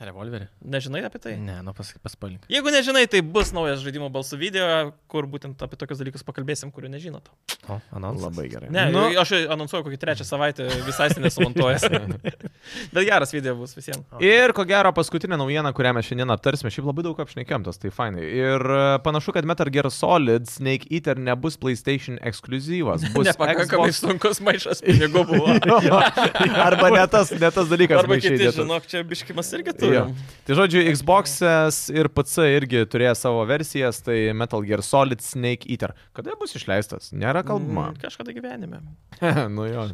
Speaker 3: Revolverį?
Speaker 2: Nežinai apie tai?
Speaker 3: Ne, nu pasakyk paspalink.
Speaker 2: Jeigu nežinai, tai bus naujas žaidimo balsų video, kur būtent apie tokius dalykus pakalbėsim, kurių nežinot.
Speaker 3: O, anonsas.
Speaker 1: Labai gerai.
Speaker 2: Ne,
Speaker 1: nu,
Speaker 2: nu, aš anonsuoju kokį trečią savaitę, visai nesumontuojęs. [LAUGHS] Bet geras video bus visiems.
Speaker 1: Ir ko gero paskutinė naujiena, kurią mes šiandien aptarsime, šiaip labai daug apšnekėm tas, tai fainai. Ir e, panašu, kad Metal Gear Solid Snake Eater nebus PlayStation ekskluzyvas.
Speaker 2: [LAUGHS]
Speaker 1: Bus
Speaker 2: Nepakankamai sunkus maišas pinigų buvo.
Speaker 1: Jo, [LAUGHS] Arba ne tas, ne tas dalykas.
Speaker 2: Arba
Speaker 1: maišai
Speaker 2: kiti,
Speaker 1: dėtas.
Speaker 2: žinok, čia biškimas irgi turi.
Speaker 1: Jo. Tai žodžiu, Xbox'as ir PC irgi turėjo savo versijas, tai Metal Gear Solid Snake Eater. Kada bus išleistas? Nėra kalbama.
Speaker 2: Mm, Kažkada gyvenime. Mm.
Speaker 1: [LAUGHS] nu jo.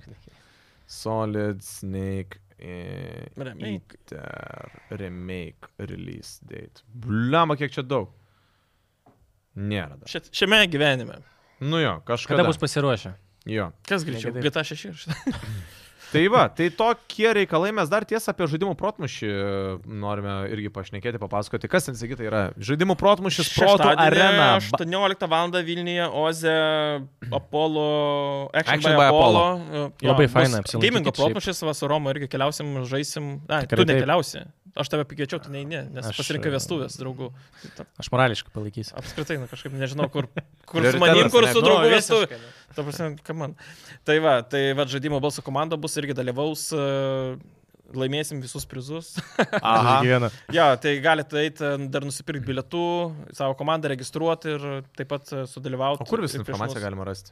Speaker 1: Solid Snake e,
Speaker 2: Remake.
Speaker 1: Eater remake release date. Bliama, kiek čia daug. Nėra dar.
Speaker 2: Šia, šiame gyvenime.
Speaker 1: Nu jo, kažkada.
Speaker 3: Kada bus pasiruošę?
Speaker 1: Jo.
Speaker 2: Kas greičiau?
Speaker 3: Negadai.
Speaker 2: GTA 6 ir šitą.
Speaker 1: Tai va, tai tokie reikalai mes dar tiesą apie žaidimų protmušį norime irgi pašnekėti, papasakoti, kas ten sakyta yra. Žaidimų protmušis, proto
Speaker 2: Šeštadienį
Speaker 1: arena. Ba-
Speaker 2: 18 val. Vilniuje Oze Apollo. Action,
Speaker 1: Action
Speaker 2: Action
Speaker 1: by
Speaker 2: by Apollo. Jo,
Speaker 3: Labai
Speaker 2: bus
Speaker 3: faina apsilankykit
Speaker 2: Gamingo
Speaker 3: šiaip.
Speaker 2: protmušis, va, su Romu irgi keliausim, žaisim. Na,
Speaker 3: Tikrai
Speaker 2: tu
Speaker 3: taip.
Speaker 2: nekeliausi. Aš tave pakviečiau, tu neini, nes
Speaker 3: Aš,
Speaker 2: aš pasirinkai
Speaker 3: e,
Speaker 2: vestuvės draugų.
Speaker 3: Aš morališkai palaikysiu.
Speaker 2: Apskritai, na, kažkaip nežinau, kur, kur su
Speaker 1: Prioritetas,
Speaker 2: manim, kur
Speaker 1: ne?
Speaker 2: su
Speaker 1: Nu,
Speaker 2: draugu
Speaker 3: visiškai,
Speaker 2: vestuvės. Ta prasme, kam man. Tai va, tai va, žaidimo balsų komanda bus irgi dalyvaus. e, Laimėsim visus prizus.
Speaker 1: Aha.
Speaker 3: Kiekvieną.
Speaker 2: Jo, tai galite eiti dar nusipirkti bilietų, savo komandą registruoti ir taip pat e, sudalyvauti.
Speaker 1: O kur visą
Speaker 2: ir prieš
Speaker 1: informaciją
Speaker 2: mus.
Speaker 1: galima rasti?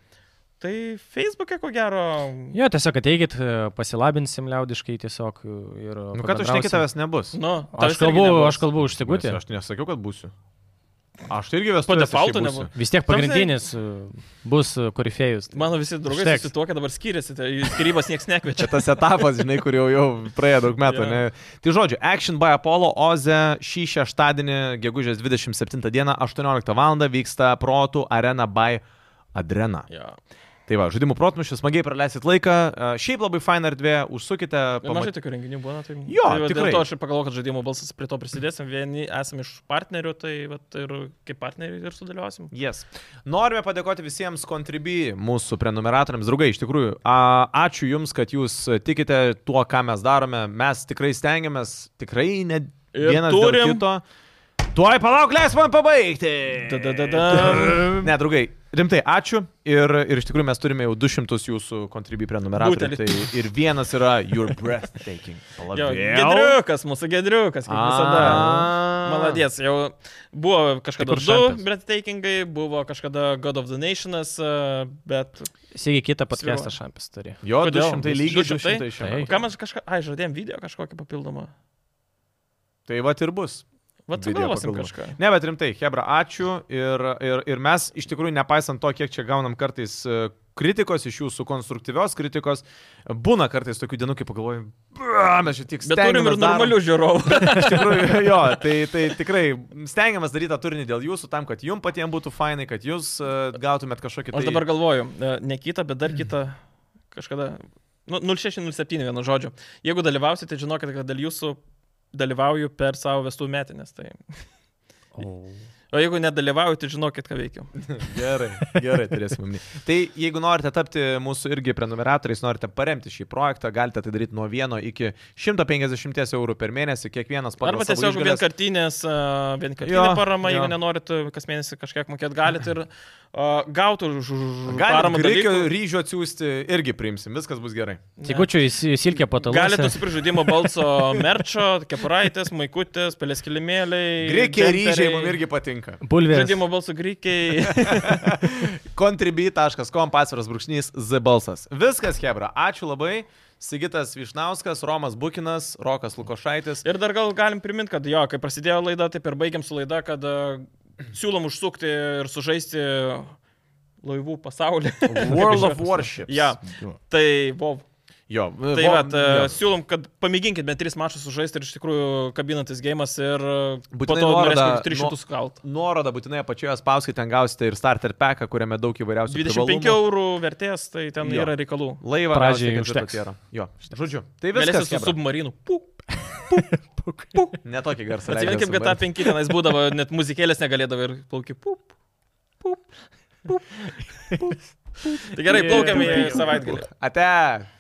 Speaker 2: Tai Facebook'e ko gero.
Speaker 3: Jo, tiesiog ateikit, e, pasilabinsim liaudiškai tiesiog ir...
Speaker 1: Nu, kad tu šneki,
Speaker 3: pabendrausim.
Speaker 1: tavęs nebus.
Speaker 2: Nu,
Speaker 3: Aš kalbu, aš kalbu už Sigutį.
Speaker 1: Nes Aš nesakiau, kad būsiu. Aš tai irgi vestuvėse.
Speaker 2: defaultu
Speaker 1: šiaip
Speaker 2: nebu-
Speaker 1: būsiu.
Speaker 3: Vis tiek pagrindinis e, bus e, korifėjus.
Speaker 2: Mano visi draugai
Speaker 3: Užteks.
Speaker 2: susituokia, dabar skiriasi, tai į skirybas niekas nekviečia.
Speaker 3: [LAUGHS]
Speaker 1: Čia tas etapas, žinai, kur jau, jau praėjo daug metų.
Speaker 2: Jo.
Speaker 1: Ne? Tai žodžiu, Action by Apollo Oze šį šeštadienį, gegužės 27 dieną, 18 val. vyksta Protų Arena by Adrena.
Speaker 2: Jo.
Speaker 1: Tai va, žaidimų protmušis, smagiai praleisit laiką, e, šiaip labai faina erdvė, užsukite,
Speaker 2: Pamažai
Speaker 1: pamatykite.
Speaker 2: tokių renginių būna, tai...
Speaker 1: Jo,
Speaker 2: tai va,
Speaker 1: tikrai.
Speaker 2: Dėl to aš ir pagalvoju, kad žaidimo balsas prie to prisidėsim, vieni esame iš partnerių, tai va, ir kaip partneriai ir sudėliosim.
Speaker 1: Yes. Norime padėkoti visiems Contribui, mūsų prenumeratoriams, draugai, iš tikrųjų, a, ačiū Jums, kad Jūs tikite tuo, ką mes darome, mes tikrai stengiamės, tikrai ne
Speaker 2: Ir
Speaker 1: vienas dėl
Speaker 2: turim-
Speaker 1: kito. Tuoj palauk, leisk man pabaigti.
Speaker 2: Da-da-da-dam.
Speaker 1: Ne, draugai, rimtai, ačiū. Ir, ir iš tikrųjų mes turime jau 200 jūsų kontribį prenumeratorių.
Speaker 2: Butelį.
Speaker 1: Tai ir vienas yra Your Breathtaking.
Speaker 2: Jo,
Speaker 1: Palauk.
Speaker 2: gedriukas, mūsų gedriukas, kaip
Speaker 1: A.
Speaker 2: visada. Maladės, jau buvo kažkada
Speaker 3: Tik kur
Speaker 2: du
Speaker 3: šampės.
Speaker 2: breathtakingai, buvo kažkada God of the Nations, e, bet...
Speaker 3: Sėgi kitą podcastą šampis turi.
Speaker 1: Jo,
Speaker 2: Kodėl?
Speaker 1: 200 lygiai
Speaker 2: 200?
Speaker 1: 200
Speaker 3: Tai.
Speaker 1: išėjo.
Speaker 2: Ką mes kažką... Ai, žadėjom video kažkokį papildomą.
Speaker 1: Tai va ir bus.
Speaker 2: Vat
Speaker 1: Video
Speaker 2: sugalvosim
Speaker 1: papildomą.
Speaker 2: kažką.
Speaker 1: Ne, bet rimtai, Hebra, ačiū. Ir, ir, ir mes iš tikrųjų, nepaisant to, kiek čia gaunam kartais e, kritikos iš jūsų, konstruktyvios kritikos, būna kartais tokių dienų, kai pagalvojam, "Bra, mes čia tik
Speaker 2: Bet turim ir normalių žiūrovų.
Speaker 1: Iš tikrųjų, [LAUGHS] jo, tai, tai tikrai stengiamės daryti tą turinį dėl jūsų, tam, kad jums patiems būtų fainai, kad jūs e, gautumėt kažkokį tai...
Speaker 2: Aš dabar galvoju, e, ne kitą, bet dar kitą kažkada. Nu, 0607 vienu žodžiu. Jeigu dalyvausite, tai žinokit, kad dėl jūsų dalyvauju per savo vestų metinės. Tai. O jeigu nedalyvauju, tai žinokit, ką veikiu.
Speaker 1: Gerai, gerai, turėsim omeny. Tai jeigu norite tapti mūsų irgi prenumeratoriais, norite paremti šį projektą, galite tai daryti nuo 1 iki 150 eurų per mėnesį, kiekvienas pagal
Speaker 2: Arba
Speaker 1: savo
Speaker 2: tiesiog
Speaker 1: išgales.
Speaker 2: vienkartinės, a, vienkartinė
Speaker 1: Jo,
Speaker 2: parama,
Speaker 1: jo.
Speaker 2: jeigu nenorit a, kas mėnesį kažkiek mokėti, galite ir a, gauti už už- už
Speaker 1: Galima
Speaker 2: paramą.
Speaker 1: reikia
Speaker 2: dalykų.
Speaker 1: ryžio atsiųsti, irgi priimsim, viskas bus gerai.
Speaker 2: Ne.
Speaker 3: Sigučiu įsilkė patalpą.
Speaker 2: Galite nusipirkti žaidimo balso [LAUGHS] merčio, kepuraitės, maikutės, pelės kilimėliai.
Speaker 1: Greikiai ryžiai
Speaker 2: džemperiai.
Speaker 1: mums irgi patinka.
Speaker 3: Bulvės.
Speaker 2: Žaidimo balso greikiai.
Speaker 1: [LAUGHS] Contribui.com pasviras brūkšnys Z balsas. Viskas, Hebra. Ačiū labai. Sigitas Višnauskas, Romas Bukinas, Rokas Lukošaitis.
Speaker 2: [LAUGHS] Ir dar gal galim priminti, kad jo, kai prasidėjo laida, taip ir baigiam su laida, kad uh, siūlom užsukti ir sužaisti laivų pasaulį. [LAUGHS]
Speaker 1: World of Warships.
Speaker 2: Ja. tai, wow.
Speaker 1: Jo,
Speaker 2: tai
Speaker 1: vo-
Speaker 2: va,
Speaker 1: jo.
Speaker 2: siūlom, kad pamėginkit bent tris mačius sužaisti ir iš tikrųjų kabinantis gėjimas ir uh, po
Speaker 1: Būtinai
Speaker 2: to
Speaker 1: nuorodą
Speaker 2: norės kokius
Speaker 1: nuo-
Speaker 2: 300 sukalt.
Speaker 1: Nuorodą būtinai apačioje spauskite, ten gausite ir starter packą, kuriame daug įvairiausių
Speaker 2: 25
Speaker 1: privalumų.
Speaker 2: eurų vertės, tai ten
Speaker 1: Jo.
Speaker 2: jo. yra reikalų.
Speaker 1: Laivą
Speaker 3: Pradžiai
Speaker 1: gausite ketvirtą
Speaker 3: užteks.
Speaker 1: tierą. Jo, žodžiu. Tai
Speaker 2: Vėlėsi
Speaker 1: viskas.
Speaker 2: su
Speaker 1: Hebra.
Speaker 2: submarinu. Pup.
Speaker 1: Netokį garsą.
Speaker 2: Atsiminkim, kad ta 5 tenais būdavo, net muzikėlės negalėdavo ir plauki. Pup. Pup.
Speaker 1: [LAUGHS]
Speaker 2: Pup. Pup. Tai gerai, plaukiam į savaitgalį.
Speaker 1: Ate.